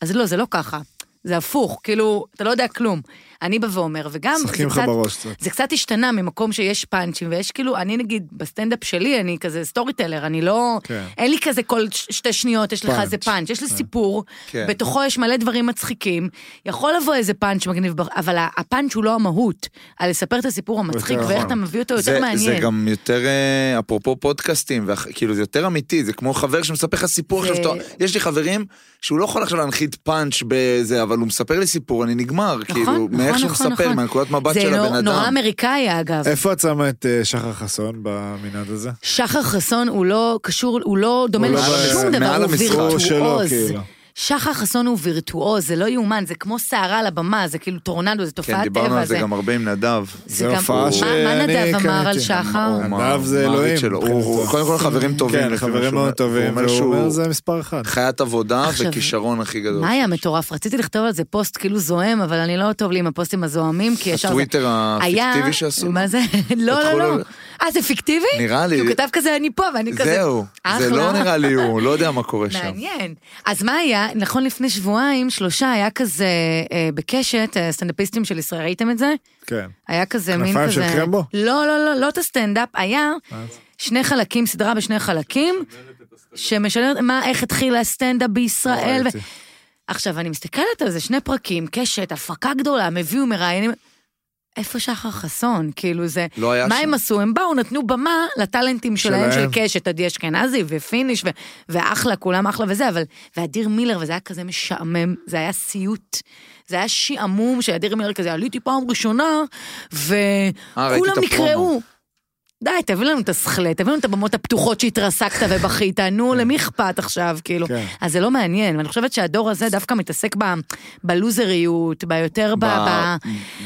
אז לא, זה לא ככה. זה הפוך, כאילו, אתה לא יודע כלום. אני בא ואומר, וגם... משחקים זה לך קצת- בראש קצת. זה קצת השתנה ממקום שיש פאנצ'ים, ויש כאילו, אני נגיד, בסטנדאפ שלי, אני כזה סטורי טלר, אני לא... כן. אין לי כזה כל ש- שתי שניות, יש לך פאנץ'. איזה פאנץ', יש לי סיפור, כן. בתוכו יש מלא דברים מצחיקים, יכול לבוא איזה פאנץ' מגניב, ב- אבל ה- הפאנץ' הוא לא המהות, על לספר את הסיפור המצחיק, יותר ואיך נכון. אתה מביא אותו יותר זה, זה מעניין. גם יותר, אה, אפרופו פודקאסטים, ואח- כאילו זה יותר אמיתי, זה כמו חבר שמספר לך סיפור זה- עכשיו, שאתה- יש לי חברים שהוא לא יכול עכשיו להנחית פאנץ' בזה, אבל הוא מספר לי סיפור, אני נגמר, נכון, כאילו, נכון, מאיך שהוא נכון, מספר, נכון. מהנקודת מבט זה של נור- הבן אדם. נורא אמריקאי, אגב. איפה את שמה את אה, שחר חסון במנעד הזה? שחר חסון הוא לא קשור, הוא לא דומה הוא לא לשום ב- דבר, מעל הוא המשחק. הוא שלו, וירטואוז. כאילו. שחר חסון הוא וירטואוז, זה לא יאומן, זה כמו סערה על הבמה, זה כאילו טורנדו, זה כן, תופעת דיברנו טבע. על זה גם הרבה עם נדב. זה זו גם- הופעה מה- מה שאני נדב אמר על קניתי. שחר? הוא נדב מר- זה מעריץ אלוהים, שלו. הוא- מבחינתו. הוא- קודם כל חברים טובים. כן, לפי מה חברים שהוא מאוד אומר. טובים, הוא והוא אומר שהוא זה מספר אחד. חיית עבודה עכשיו, וכישרון הכי גדול. מה היה מטורף? רציתי לכתוב על זה פוסט כאילו זוהם, אבל אני לא טוב לי עם הפוסטים הזוהמים, כי ישר... זה- הטוויטר היה- הפיקטיבי שעשו. מה זה? לא, לקחו לא, לא. לו- אה, זה פיקטיבי? נראה לי. הוא כתב כזה, אני פה, ואני כזה... זהו, זה אחלה. לא נראה לי הוא, לא יודע מה קורה שם. מעניין. אז מה היה? נכון לפני שבועיים, שלושה, היה כזה אה, בקשת, אה, סטנדאפיסטים של ישראל, ראיתם את זה? כן. היה כזה מין כזה... כנפיים של קרמבו? לא, לא, לא, לא את הסטנדאפ, היה שני חלקים, סדרה בשני חלקים, שמשלמת מה, איך התחיל הסטנדאפ בישראל. לא ו- ראיתי. עכשיו, אני מסתכלת על זה, שני פרקים, קשת, הפקה גדולה, הם הביאו מראיינים. איפה שחר חסון? כאילו זה... לא היה מה שם. הם עשו? הם באו, נתנו במה לטאלנטים שלהם, של שלהם. קשת, עדי אשכנזי ופיניש, ו- ואחלה, כולם אחלה וזה, אבל... ואדיר מילר, וזה היה כזה משעמם, זה היה סיוט. זה היה שעמום שאדיר מילר כזה, עליתי פעם ראשונה, אה, ראיתי וכולם את הפרומו. נקראו. די, תביא לנו את הסכלט, תביא לנו את הבמות הפתוחות שהתרסקת ובכית, נו, כן. למי אכפת עכשיו, כאילו. כן. אז זה לא מעניין, ואני חושבת שהדור הזה דווקא מתעסק ב- בלוזריות, ביותר ב... ב...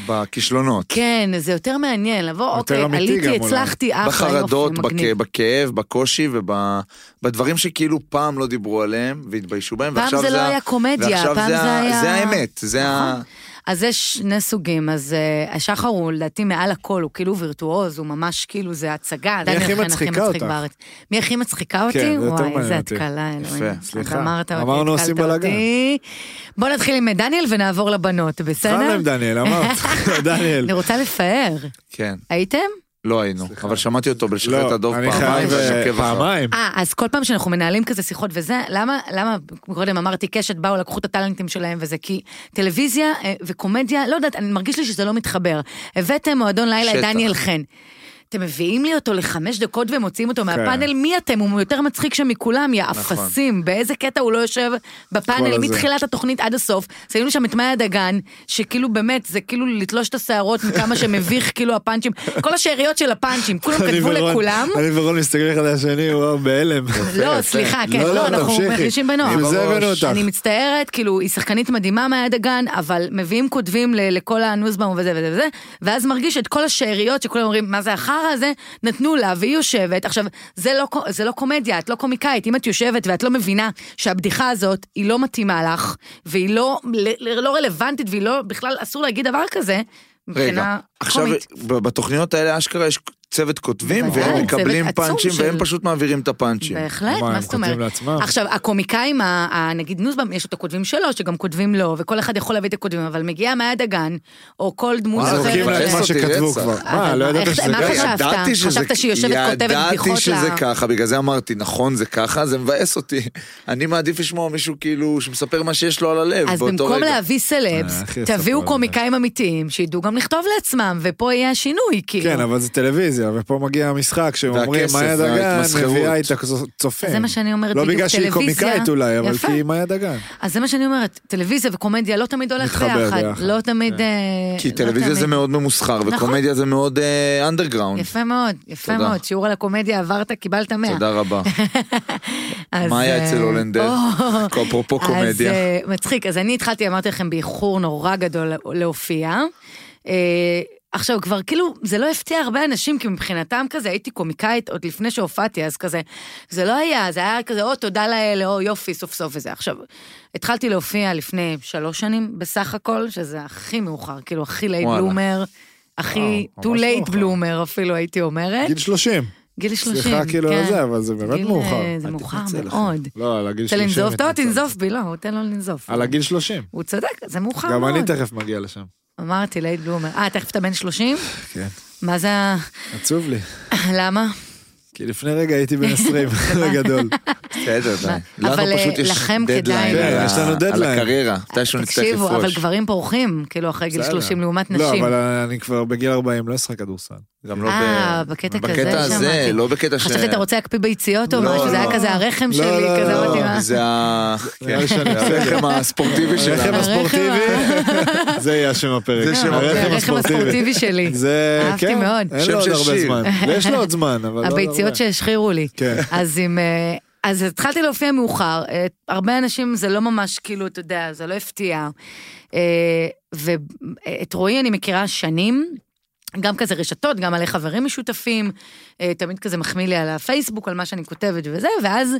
בכישלונות. כן, זה יותר מעניין, לבוא, יותר אוקיי, אמיתי גם עליתי, אולי. הצלחתי, אחלה, יופי, בחרדות, בכ- מגניב. בכאב, בקושי ובדברים שכאילו פעם לא דיברו עליהם והתביישו בהם, פעם ועכשיו זה לא ה- היה קומדיה, ועכשיו פעם ה- זה היה- זה האמת, זה ה... נכון. אז יש שני סוגים, אז אה, השחר הוא לדעתי מעל הכל, הוא כאילו וירטואוז, הוא ממש כאילו, זה הצגה. דני הכי חן מצחיקה אותך? בארץ. מי הכי מצחיקה אותי? כן, זה יותר וואי, מעניין איזה אותי. התקלה, יפה, אלוהים. סליחה. אתה אמרת אותי, אמרנו, עושים התקלת בלאגן. אותי. בוא נתחיל עם דניאל ונעבור לבנות, התחלנו בסדר? עם דניאל, אמרת. לא, דניאל. אני רוצה לפאר. כן, הייתם? לא היינו, אבל שמעתי אותו בלשחרר את הדוב לא, אני פעמיים, חייב ואני אה, עוקב אחריו. פעמיים. אה, אז כל פעם שאנחנו מנהלים כזה שיחות וזה, למה, למה קודם אמרתי קשת, באו, לקחו את הטאלנטים שלהם וזה, כי טלוויזיה אה, וקומדיה, לא יודעת, אני מרגיש לי שזה לא מתחבר. הבאתם מועדון לילה את שטח. דניאל חן. אתם מביאים לי אותו לחמש דקות ומוציאים אותו כן. נכון. מהפאנל, מי אתם? הוא יותר מצחיק שמכולם, יא אפסים. באיזה קטע הוא לא יושב בפאנל, הזה. מתחילת התוכנית עד הסוף. שמים שם את מאיה דגן, שכאילו באמת, זה כאילו לתלוש את השערות מכמה שמביך כאילו הפאנצ'ים. כל השאריות של הפאנצ'ים, כולם אני כתבו ורון- לכולם. אני ורון מסתכלים אחד על השני, וואו, בהלם. לא, סליחה, כן, לא, לא, לא, אנחנו תמשיכי. מרגישים בנוח. בשביל זה הבאנו אותך. אני מצטערת, כאילו, היא שחקנית מדהימה מאיה דגן, אבל מביאים כותבים ל- לכל הנוסבאום וזה וזה וזה, ואז מרגיש את כל השאריות שכולם אומרים, מה זה החרא הזה, נתנו לה, והיא יושבת. עכשיו, זה לא, ק- זה לא קומדיה, את לא קומיקאית. אם את יושבת ואת לא מבינה שהבדיחה הזאת, היא לא מתאימה לך, והיא לא, ל- ל- לא רלוונטית, והיא לא, בכלל אסור להגיד דבר כזה, רגע, מבחינה עכשיו קומית. ב- בתוכניות האלה אשכרה יש צוות כותבים בוודאי, והם צוות מקבלים עצום פאנצ'ים של- והם פשוט מעבירים את הפאנצ'ים. בהחלט, מה, מה כן, הם זאת כותבים אומרת? לעצמם? עכשיו, הקומיקאים, ה- ה- נגיד נוסבאום, יש את הכותבים שלו, שגם כותבים לו, וכל אחד יכול להביא את הכותבים, אבל מגיעה מאיה דגן, או כל דמות וואו, אה, זורקים לה אחרת. את מבאס מה ש- אותי שכתבו רצח. כבר. אבל מה, לא מה, ידעת איך- שזה מה רגע, ככה? חשבת? ידעתי שזה- חשבת שהיא יושבת, כותבת בדיחות ידעתי שזה ל- ככה, בגלל זה אמרתי, נכון זה ככה, זה מבאס אותי. אני מעדיף לשמוע מישהו כאילו שמספר מה שיש לו על הלב אז באותו במקום רגע. להביא סלבס, אה, הכי תביאו סבבה. קומיקאים אמיתיים, שידעו גם לכתוב לעצמם, ופה יהיה השינוי, כאילו. כן, אבל זה טלוויזיה, ופה מגיע המשחק, שהם אומרים, והכסף, מאיה דגן וההתמסחרות." מביאה איתה כזו- צופים. זה מה שאני אומרת, לא בדיוק, בגלל שהיא טלוויזיה. קומיקאית אולי, אבל יפה. כי היא מאיה דגן. אז זה מה שאני אומרת, טלוויזיה וקומדיה לא תמיד הולך מתחבר ביחד. ביחד. כן. לא תמיד... אה, כי לא טלוויזיה זה תמיד. מאוד ממוסחר, נכון. וקומדיה זה מאוד אה, אנדרגראונד. יפה מאוד, יפה תודה. מאוד. שיעור על הקומדיה עברת, קיבלת 100. תודה רבה. אז, מה היה אה, אצל הולנדר? או. אפרופו אז, קומדיה. אה, מצחיק, אז אני התחלתי, אמרתי לכם, באיחור נורא גדול להופיע. אה, עכשיו כבר כאילו, זה לא הפתיע הרבה אנשים, כי מבחינתם כזה, הייתי קומיקאית עוד לפני שהופעתי, אז כזה, זה לא היה, זה היה כזה, או תודה לאלה, או יופי, סוף סוף וזה. עכשיו, התחלתי להופיע לפני שלוש שנים בסך הכל, שזה הכי מאוחר, כאילו, הכי לייט וואלה. בלומר, הכי too ממש late מאוחר. בלומר אפילו, הייתי אומרת. גיל 30. אה? גיל 30, סליחה, כאילו, כן. על זה, אבל זה באמת גיל, מאוחר. אה, זה אל מאוחר תתנצל לך. מאוד. לא, על הגיל רוצה 30. לנזוף? לא, מתנצל. תנזוף בי, לא, תן לו לנזוף. על הגיל 30. הוא צודק, זה מאוחר מאוד. גם אני תכף מגיע לשם. אמרתי, לייט בלומר. אה, תכף אתה בן 30? כן. מה זה ה... עצוב לי. למה? כי לפני רגע הייתי בן 20, גדול. בסדר, די. מה- לנו אבל, פשוט אה, יש לכם כדאי. אה, דדליין על כן, ה- יש לנו על דדליין. הקריירה, מתישהו נצטרך לפרוש. תקשיבו, אבל גברים פורחים, כאילו, אחרי גיל בסדר. 30 לעומת לא, נשים. אבל אני כבר בגיל 40 לא אשחק כדורסל. גם לא ב... אה, בקטע כזה בקטע הזה, שמעתי. לא בקטע ש... חשבתי אתה רוצה להקפיא ביציות או לא, משהו, זה היה לא. כזה הרחם לא, שלי, לא, כזה לא. אמרתי מה. זה ה... נראה לי שאני זה הרחם הספורטיבי אה, הרחם שלנו. הספורטיבי, זה יהיה השם הפרק. זה שם זה אה, הרחם הספורטיבי שלי. זה, אהבתי כן, מאוד. אין שם לו עוד של הרבה שיר. זמן. יש לו עוד זמן, אבל לא... הביציות הרבה. שהשחירו לי. כן. אז אם... אה, אז התחלתי להופיע מאוחר, אה, הרבה אנשים זה לא ממש כאילו, אתה יודע, זה לא הפתיע. אה, ואת רועי אני מכירה שנים, גם כזה רשתות, גם עלי חברים משותפים, אה, תמיד כזה מחמיא לי על הפייסבוק, על מה שאני כותבת וזה, ואז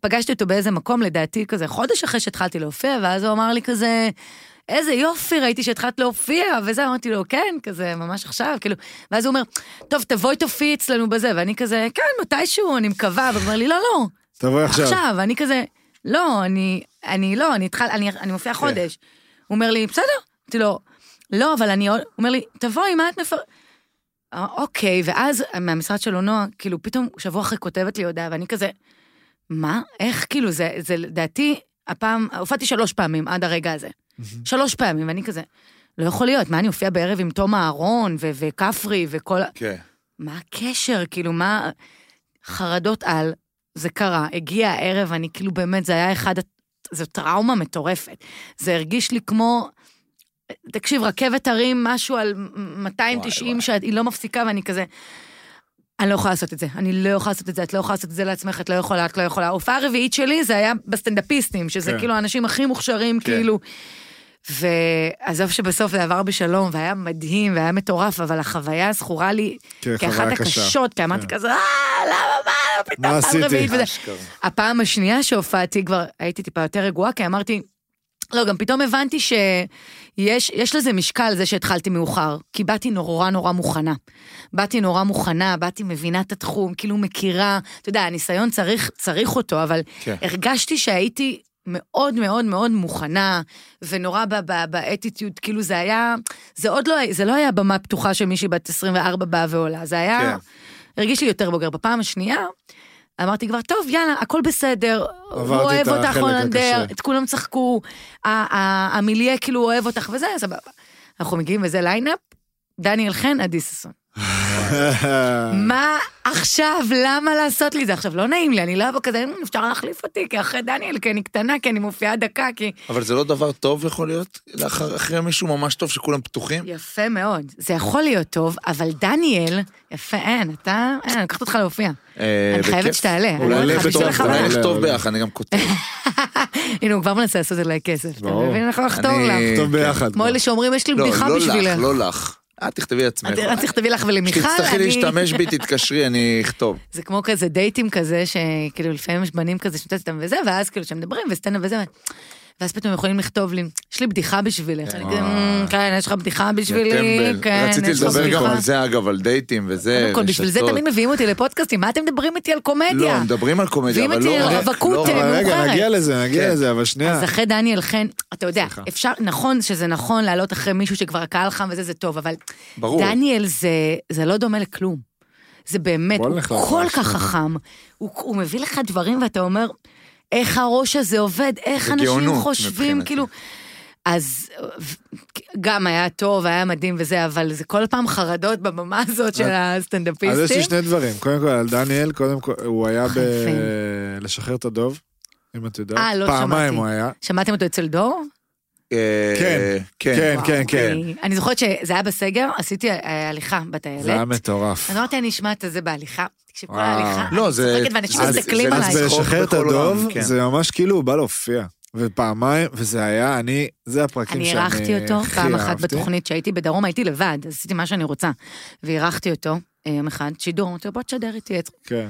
פגשתי אותו באיזה מקום, לדעתי כזה חודש אחרי שהתחלתי להופיע, ואז הוא אמר לי כזה, איזה יופי, ראיתי שהתחלת להופיע, וזה, אמרתי לו, כן, כזה, ממש עכשיו, כאילו, ואז הוא אומר, טוב, תבואי תופיעי אצלנו בזה, ואני כזה, כן, מתישהו, אני מקווה, והוא אומר לי, לא, לא, תבואי עכשיו. עכשיו, אני כזה, לא, אני, אני לא, אני התחל, אני, אני מופיע חודש. הוא אומר לי, בסדר. אמרתי לו, לא, אבל אני עוד, הוא אומר לי, תבואי, מה את מפר... אה, אוקיי, ואז מהמשרד שלו נועה, כאילו, פתאום שבוע אחרי כותבת לי הודעה, ואני כזה, מה? איך? כאילו, זה, זה לדעתי, הפעם, הופעתי שלוש פעמים עד הרגע הזה. שלוש פעמים, ואני כזה, לא יכול להיות, מה, אני אופיע בערב עם תום אהרון ו- וכפרי וכל... ה- כן. מה הקשר? כאילו, מה... חרדות על, זה קרה, הגיע הערב, אני כאילו באמת, זה היה אחד, הט- זו טראומה מטורפת. זה הרגיש לי כמו, תקשיב, רכבת הרים, משהו על 290 שהיא לא מפסיקה, ואני כזה, אני לא יכולה לעשות את זה, אני לא יכולה לעשות את זה, את לא יכולה לעשות את זה לעצמך, את לא יכולה, את לא יכולה. ההופעה הרביעית שלי זה היה בסטנדאפיסטים, שזה כן. כאילו האנשים הכי מוכשרים, כן. כאילו. ועזוב שבסוף זה עבר בשלום, והיה מדהים, והיה מטורף, אבל החוויה זכורה לי כאחת כחוויה כן, קשה. הקשות, כי אמרתי כזה, אה, למה, מה, מה פתאום פעם רביעית עשיתי? וזה. הפעם השנייה שהופעתי כבר הייתי טיפה יותר רגועה, כי אמרתי, לא, גם פתאום הבנתי שיש יש לזה משקל, זה שהתחלתי מאוחר, כי באתי נורא נורא מוכנה. באתי נורא מוכנה, באתי מבינה את התחום, כאילו מכירה, אתה יודע, הניסיון צריך, צריך אותו, אבל כן. הרגשתי שהייתי מאוד מאוד מאוד מוכנה, ונורא ב- ב- באטיטיוד, כאילו זה היה, זה עוד לא, זה לא היה במה פתוחה שמישהי בת 24 באה ועולה, זה היה, כן. הרגיש לי יותר בוגר. בפעם השנייה, אמרתי כבר, טוב, יאללה, הכל בסדר, הוא עברתי את אוהב אותך, החלק הולנדר, הקשה. את כולם צחקו, ה- ה- המיליה כאילו אוהב אותך וזה, סבבה. אנחנו מגיעים וזה ליינאפ, דניאל חן, עדי ששון. אה. מה עכשיו? למה לעשות לי זה? עכשיו, לא נעים לי, אני לא אבוא כזה, "מ, אפשר להחליף אותי, כי אחרי דניאל, כי אני קטנה, כי אני מופיעה דקה, כי... אבל זה לא דבר טוב יכול להיות? לאחר- אחרי מישהו ממש טוב שכולם פתוחים? יפה מאוד. זה יכול להיות טוב, אבל דניאל, יפה, אין, אתה... אין, לקחת אותך להופיע. אה, אני חייבת בכיף. שתעלה, אני אולי אומרת לך, לכתוב- בשביל החוויה. אולי נכתוב ביחד, אני גם כותב. הנה, הוא כבר מנסה לעשות עליי כסף, אתה ברור. מבין? אנחנו נחתור אני- לך. טוב ביחד. כמו אלה שאומרים, יש לי לא, בדיחה לא בשבילך. לך, לא לך. את תכתבי לעצמך. את תכתבי לך ולמיכל, כשתצטרכי אני- להשתמש בי, תתקשרי, אני אכתוב. זה כמו כזה דייטים כזה, שכאילו לפעמים יש בנים כזה שנותנת איתם וזה, ואז כאילו שמדברים וסצנה וזה, ואז פתאום יכולים לכתוב לי, יש לי בדיחה בשבילך. אני כזה, "מ, כן, יש לך בדיחה בשבילי, טמבל. כן, רציתי יש לך לדבר דבר גם בדיחה. על זה, אגב, על דייטים וזה, קודם כל, בשביל זה רשתות. תמיד מביאים אותי לפודקאסטים, מה אתם מדברים איתי על לא, קומדיה? מדברים על קומדיה, ואם אבל את לא רק. רווקות, לא רק. אה, אבל רגע, מאוחרת. נגיע לזה, כן. נגיע לזה, אבל שנייה. אז אחרי דניאל חן, אתה יודע, אפשר, נכון שזה נכון לעלות אחרי מישהו שכבר הקהל חם וזה, זה טוב, אבל ברור. דניאל זה, זה לא דומה לכלום. זה באמת, בוא הוא נלך כל לראש. כך חכם, הוא, הוא מביא לך דברים ואתה אומר, איך הראש הזה עובד, איך זה אנשים גאונות חושבים, מבחינתי. כאילו... אז גם היה טוב, היה מדהים וזה, אבל זה כל פעם חרדות בבמה הזאת של אז יש הסטנדאפיסטים. לי שני דברים. קודם כל, על דניאל, קודם כל, הוא אה, היה ב... חנפן. לשחרר את הדוב, אם את יודעת. אה, לא פעמיים שמעתי. הוא היה. שמעתם אותו אצל דור? אה, כן, כן. כן, וואו, כן, כן. אני- אני זוכרת שזה היה בסגר, עשיתי אה, הליכה זה היה בטיילת. מטורף. אז אמרתי, אני אשמע את זה בהליכה. תקשיב, כל וואו. ההליכה, לא, אה, אני זה- צוחקת ואנשים אז- מסתכלים זה- אז עליי. צחוק בלשחרר את בכל הדוב, עולם, כן. זה ממש כאילו, הוא בא להופיע. ופעמיים, וזה היה, אני, זה הפרקים אני שאני הכי אה, אירחתי אותו פעם אחת אהבתי. בתוכנית שהייתי בדרום, הייתי לבד, אז עשיתי מה שאני רוצה. ואירחתי אותו אה, יום אחד, שידור, אמרתי לו, בוא תשדר איתי את... כן,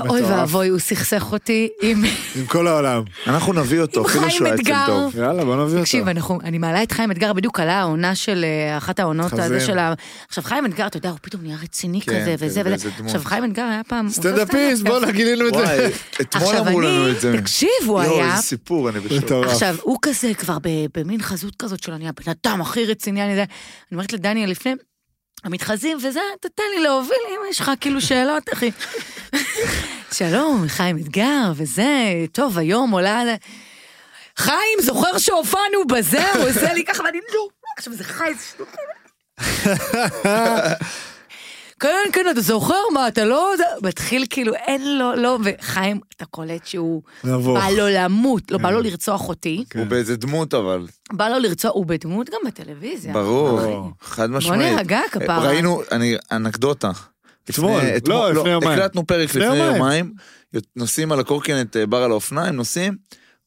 אוי ואבוי, הוא סכסך אותי עם עם כל העולם. כן. אנחנו נביא אותו, עם אפילו חיים שהוא היה אתגר. אצל דוב. יאללה, בוא נביא תקשיב, אותו. אנחנו, אני מעלה את חיים אתגר, בדיוק עלה העונה של אה, אחת העונות חזיר. הזה של ה... עכשיו, חיים אתגר, אתה יודע, הוא פתאום נהיה רציני כן, כזה כן, וזה ואיזה וזה. דמות. עכשיו, חיים אתגר היה פעם... הוא עושה סטנדאפיסט, סטנדאפ. בואנה, גילינו את וואי, זה. אתמול אמרו לנו את זה. עכשיו אני, תקשיב, הוא יואו, היה... איזה סיפור, אני בשוק. מטורף. עכשיו, הוא כזה כבר ב- במין חזות כזאת שלו, אני הבן אדם הכי רציני, אני זה. אני אומרת לדניאל לפני, המתחזים וזה, תתן לי להוביל, אם יש לך כאילו שאלות, אחי. שלום, חיים אתגר, וזה, טוב, היום עולה... חיים, זוכר שהופענו בזה, הוא עושה לי ככה, ואני לא... עכשיו, זה חי, זה שלוחים. כן, כן, אתה זוכר מה, אתה לא... מתחיל כאילו, אין לו, לא, וחיים, אתה קולט שהוא... נבוך. בא לו למות, לא, בא כן. לו לרצוח אותי. הוא באיזה דמות אבל, בא לו לרצוח, הוא בדמות גם בטלוויזיה. ברור, ברור. חד משמעית. נירגע, כן. כפרה. ראינו, אני, אנקדוטה. אתמול, לפני- לא, לפני יומיים. הקלטנו פרק לפני לפני יומיים. יומיים, נוסעים על הקורקינט אה, בר על האופניים, נוסעים,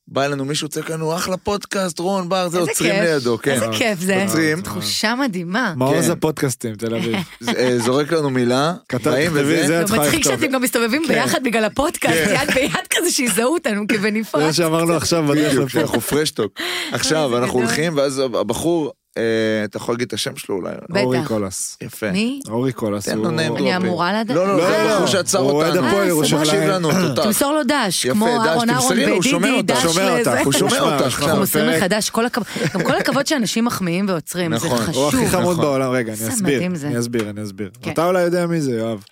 בא אלינו מישהו, צועק לנו, אחלה פודקאסט, רון, בר, זה איזה עוצרים כיף. לידו, כן. איזה כיף זה. עוצרים. תחושה מדהימה. מעוז כן. הפודקאסטים, תל אביב. אה, זורק לנו מילה, כתב, באים תכתבי את וזה, זה. זה את צריכה לא, מצחיק לכתוב. שאתם גם מסתובבים כן. ביחד בגלל הפודקאסט, יד ביד כזה שיזהו אותנו זה כבנפרד. מה שאמרנו עכשיו בדרך בדיוק, לפה. אנחנו פרשטוק. עכשיו, איזה אנחנו גדול. הולכים, ואז הבחור, אה, אתה יכול להגיד את השם שלו אולי? לא. כן. בטח. אורי קולס. יפה. מי? אורי קולס. תן לו הוא- name dropping. אני אמורה לדעת? לא, לא, לא, זה לא. הבחור שעצר הוא אוהד אותנו. אה, הפועל ירושלים. מקשיב לנו, תותח. תמסור לו דש, כן. יפה, כמו דש, אהרון אהרון תמסרי לו, הוא שומע אותה. בדידי, דש שומע לזה. אותך, הוא הוא שומע שומע אותך, אותך. נכון. אנחנו עכשיו. מוסרים פרק. מחדש, כל הכבוד, גם כל הכבוד שאנשים מחמיאים ועוצרים, זה נכון, הוא הוא חשוב. הכי חמוד נכון. בעולם. רגע, אני איזה אסביר. מדהים זה. אני אסביר, אני אסביר. כן. אתה אולי יודע מי זה, יואב.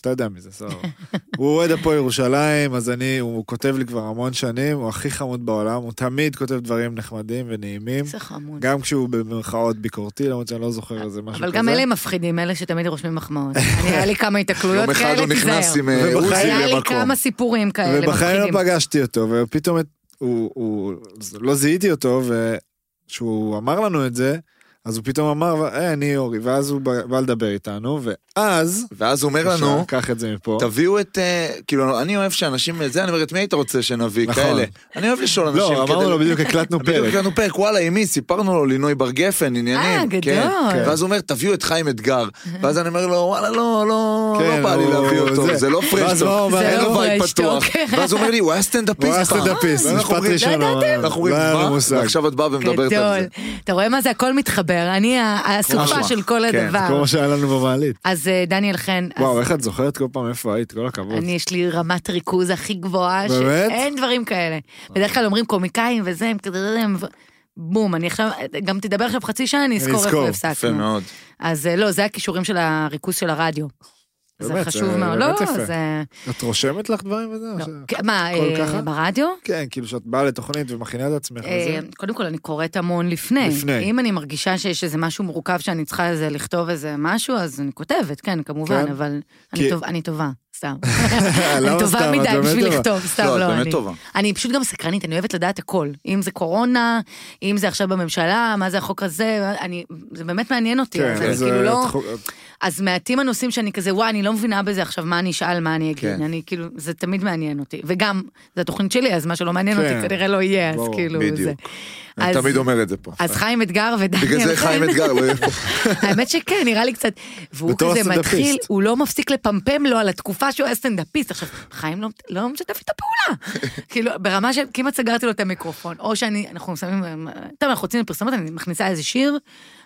אתה יודע מי זה, סבבה. הוא אוהד הפועל ירושלים, אז אני, הוא כותב לי כבר המון שנים, הוא הכי חמוד בעולם, הוא תמיד כותב דברים נחמדים ונעימים. איזה חמוד. גם כשהוא במרכאות ביקורתי, למרות שאני לא זוכר איזה משהו כזה. אבל גם אלה מפחידים, אלה שתמיד רושמים מחמאות. אני, היה לי כמה יום התקלויות אחד כאלה, הוא נכנס תיזהר. עם אה, ובחיים- עוזי היה לי למקום. כמה סיפורים כאלה ובחיים מפחידים. לא פגשתי אותו, ופתאום את, הוא, הוא, לא זיהיתי אותו, וכשהוא אמר לנו את זה, אז הוא פתאום אמר, אה, אני אורי, ואז הוא בא בא לדבר איתנו, ואז, ואז הוא אומר לנו, בבקשה, קח את זה מפה. תביאו את, אה, כאילו, אני אוהב שאנשים, את זה, אני אומר, את מי היית רוצה שנביא, נכון. כאלה. אני אוהב לשאול אנשים. לא, כדי- אמרנו לו, בדיוק הקלטנו בדיוק פרק. הגענו פרק, וואלה, עם מי? סיפרנו לו לינוי בר גפן, עניינים. אה, גדול. כן. כן. ואז הוא אומר, תביאו את חיים אתגר. ואז אני אומר לו, וואלה, לא, לא, כן, לא בא לי הוא- להביא אותו, זה- זה לא ואז מה הוא פרשטוק, אמר? אין זה לו לא בית פתוח. פרשטוק. ואז הוא אומר לי, הוא היה סטנדאפיסט. הוא היה פעם." סטנדאפיסט, ואנחנו משפט אומרים, ראשון. לא הוא אמר. אנחנו אומרים, לא היה לנו מה? מושג. ועכשיו את באה ומדברת על גדול. זה. אתה רואה מה זה הכל מתחבר, אני ה- ממש. האסופה של כל כן, כמו הדבר. מה שהיה לנו במעלית. אז אה, דניאל חן, אה. אז וואו, איך את זוכרת כל פעם איפה היית, כל הכבוד. אני יש לי רמת ריכוז הכי גבוהה, באמת? שאין דברים כאלה. בדרך כלל אומרים קומיקאים וזה, הם כזה, אה, הם- בום, אני עכשיו, גם תדבר עכשיו חצי שעה, אני אזכור אזכור. איפה יפה הפסקנו. מאוד. אז אה, לא, זה הכישורים של הריכוז של הרדיו. זה באמת, חשוב זה מאוד. באמת לא, יפה. זה... את רושמת לך דברים וזה? או לא. ש- כן, מה, הכל אה, ככה? ברדיו? כן, כאילו שאת באה לתוכנית ומכינה את עצמך אה, וזה. קודם כל, אני קוראת המון לפני. לפני. אם אני מרגישה שיש איזה משהו מורכב שאני צריכה איזה לכתוב איזה משהו, אז אני כותבת, כן, כמובן, כן. אבל כי- אני טוב- אני טובה, סתם. למה אני טובה סתם? את מדי באמת בשביל טובה. לכתוב, סתם, לא, את לא, באמת אני... טובה. אני פשוט גם סקרנית, אני אוהבת לדעת הכל. אם זה קורונה, אם זה עכשיו בממשלה, מה זה החוק הזה, אני... זה באמת מעניין אותי. כן, אבל אז, כאילו אה, לא... את חו- אז מעטים הנושאים שאני כזה, וואי, אני לא מבינה בזה עכשיו, מה אני אשאל, מה אני אגיד. כן. אני כאילו, זה תמיד מעניין אותי. וגם, זו התוכנית שלי, אז מה שלא מעניין כן. אותי כנראה לא יהיה, אז ברור, כאילו זה. בדיוק. אני אז- תמיד אומר את זה פה. אז חיים אתגר ודניאל בגלל זה חיים אתגר לא יהיה פה. האמת שכן, נראה לי קצת. והוא בתור כזה הסטנדאפיסט. מתחיל, הוא לא מפסיק לפמפם לו על התקופה שהוא היה סטנדאפיסט. עכשיו, חיים לא- לא משתף איתו פעולה. כאילו, ברמה של כמעט סגרתי לו את המיקרופון. או שאני, אנחנו שמים, טוב, אנחנו יוצאים לפרסומות, אני מכניסה איזה שיר,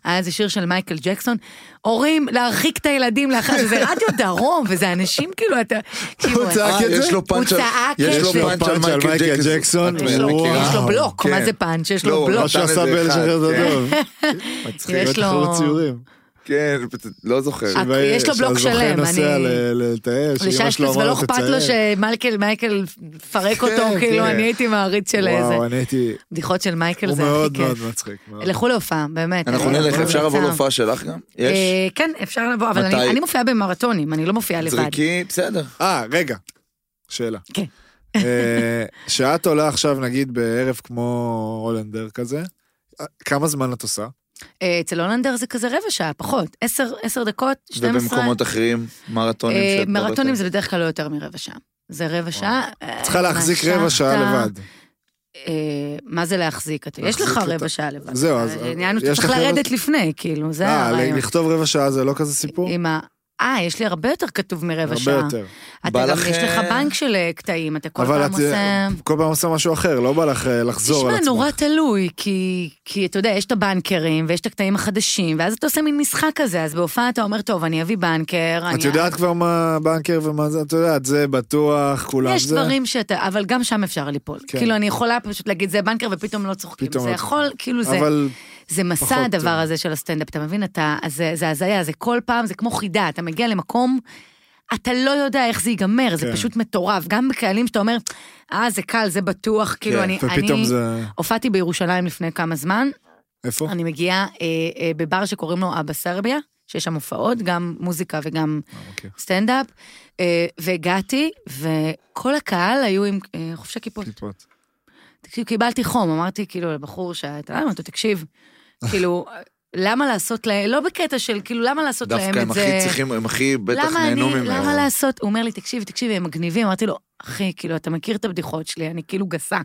היה איזה שיר של מייקל ג'קסון, הורים, להרחיק את הילדים לאחר, שזה רדיו דרום, וזה אנשים, כאילו, אתה... כאילו, הוא צעק אה, את זה? יש לו פאנץ' הוא על- צעק יש את לו זה. פאנץ' על מייקל ג'קסון. יש לו- וואו. יש לו בלוק, מה כן. זה פאנץ'? יש לא, לו הוא בלוק. מה נתן שעשה איזה בן אחד, שחרר כן. הדוב. יש מצחיק, לא לו- התחלת ציורים. כן, לא זוכר. אה, יש לו בלוק שהזוכה שלם, נוסע אני- ל- לטייל, שאמא שלו לששטוס, אמרה לו ולא תצייר. אכפת לו שמייקל, מייקל, פרק אותו, כן, כאילו, כן. אני הייתי מעריץ של איזה. וואו, אני הייתי... בדיחות של מייקל הוא זה הכי מאוד מאוד כיף. מצחיק. מאוד. לכו להופעה, באמת. אנחנו אני נלך, ממליצה. אפשר לבוא להופעה שלך גם? יש? לא אה, כן, אפשר לבוא, אבל מתי? אני- אני מופיעה במרתונים, אני לא מופיעה לבד. זריקי, בסדר. אה, רגע. שאלה. כן. אה, שאת עולה עכשיו, נגיד, בערב כמו הולנדר כזה, אה, כמה זמן את עושה? אה, אצל הולנדר זה כזה רבע שעה, פחות. עשר עשר דקות, 12. ובמקומות אחרים, מרתונים אה, שאת מרתונים מדברת זה בדרך כלל לא יותר מרבע שעה. זה רבע שעה. אה, צריכה להחזיק משכת, רבע שעה לבד. אה, מה זה להחזיק? אתה- יש להחזיק לך אותה. רבע שעה לבד. אה, זהו, אז- העניין הוא יש שצריך לך רבע- לרדת לפני, כאילו, זה אה, הרעיון. לכתוב רבע שעה זה לא כזה סיפור? עם ה... אה, יש לי הרבה יותר כתוב מרבע שעה. הרבה יותר. אתה בא גם, לך, יש לך אה, בנק של אה, קטעים, אתה כל אבל פעם את עושה... אה, כל פעם עושה משהו אחר, לא בא לך אה, לחזור על תשמע, עצמך. נורא תלוי, כי, כי אתה יודע, יש את הבנקרים ויש את הקטעים החדשים, ואז אתה עושה מין משחק כזה, אז בהופעה אתה אומר, טוב, אני אביא בנקר, אני... את יודעת כבר מה בנקר ומה זה, את יודעת, זה בטוח, כולם זה. יש דברים שאתה, אבל גם שם אפשר ליפול. כן. כאילו, אני יכולה פשוט להגיד, זה בנקר, ופתאום לא צוחקים. פתאום זה לא יכול, כאילו, זה... אבל זה מסע פחות, הדבר אה. הזה של הסטנדאפ, אתה מבין? אתה, אז זה, זה הזיה, זה כל פעם, זה כמו חידה, אתה מגיע למקום, אתה לא יודע איך זה ייגמר, זה כן. פשוט מטורף. גם בקהלים שאתה אומר, אה, זה קל, זה בטוח, כאילו, אני... כן, ופתאום אני... זה... אוקיי. הופעתי בירושלים לפני כמה זמן, איפה? אני מגיעה אה, אה, בבר שקוראים לו אבא סרביה, שיש שם הופעות, גם מוזיקה וגם אה, אוקיי. סטנדאפ, אה, והגעתי, וכל הקהל היו עם אה, חובשי כיפות. טיפות. תקשיב, כאילו, קיבלתי חום, אמרתי כאילו לבחור שאתה, אמרתי, תקשיב, כאילו, למה לעשות להם, לא בקטע של, כאילו, למה לעשות להם את דווקא זה? הם הכי צריכים, הם הכי בטח למה נהנו אני- ממנו. למה לעשות? הוא אומר לי, תקשיב, תקשיב, הם מגניבים. אמרתי לו, אחי, כאילו, אתה מכיר את הבדיחות שלי, אני כאילו גסה.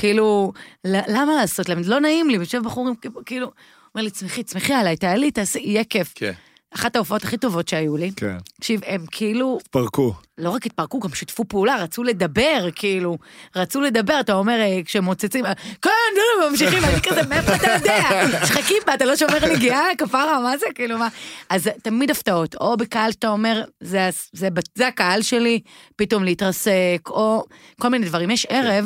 כאילו, ל- למה לעשות להם? לא נעים לי, יושב בחור עם, כאילו, אומר לי, צמחי, צמחי עליי, תעלי, תעשי, יהיה כיף. כן. אחת ההופעות הכי טובות שהיו לי. כן. תקשיב, הם כאילו, פרקו. לא רק התפרקו, גם שיתפו פעולה, רצו לדבר, כאילו, רצו לדבר, אתה אומר, אה, כשמוצצים, אה, כן, לא, לא, ממשיכים, אני כזה, מאיפה אתה יודע? שחקים בה, אתה לא שומר נגיעה, כפרה, מה זה, כאילו, מה? אז תמיד הפתעות, או בקהל שאתה אומר, "זה הס- זה ב- זה הקהל שלי, פתאום להתרסק, או כל מיני דברים. יש ערב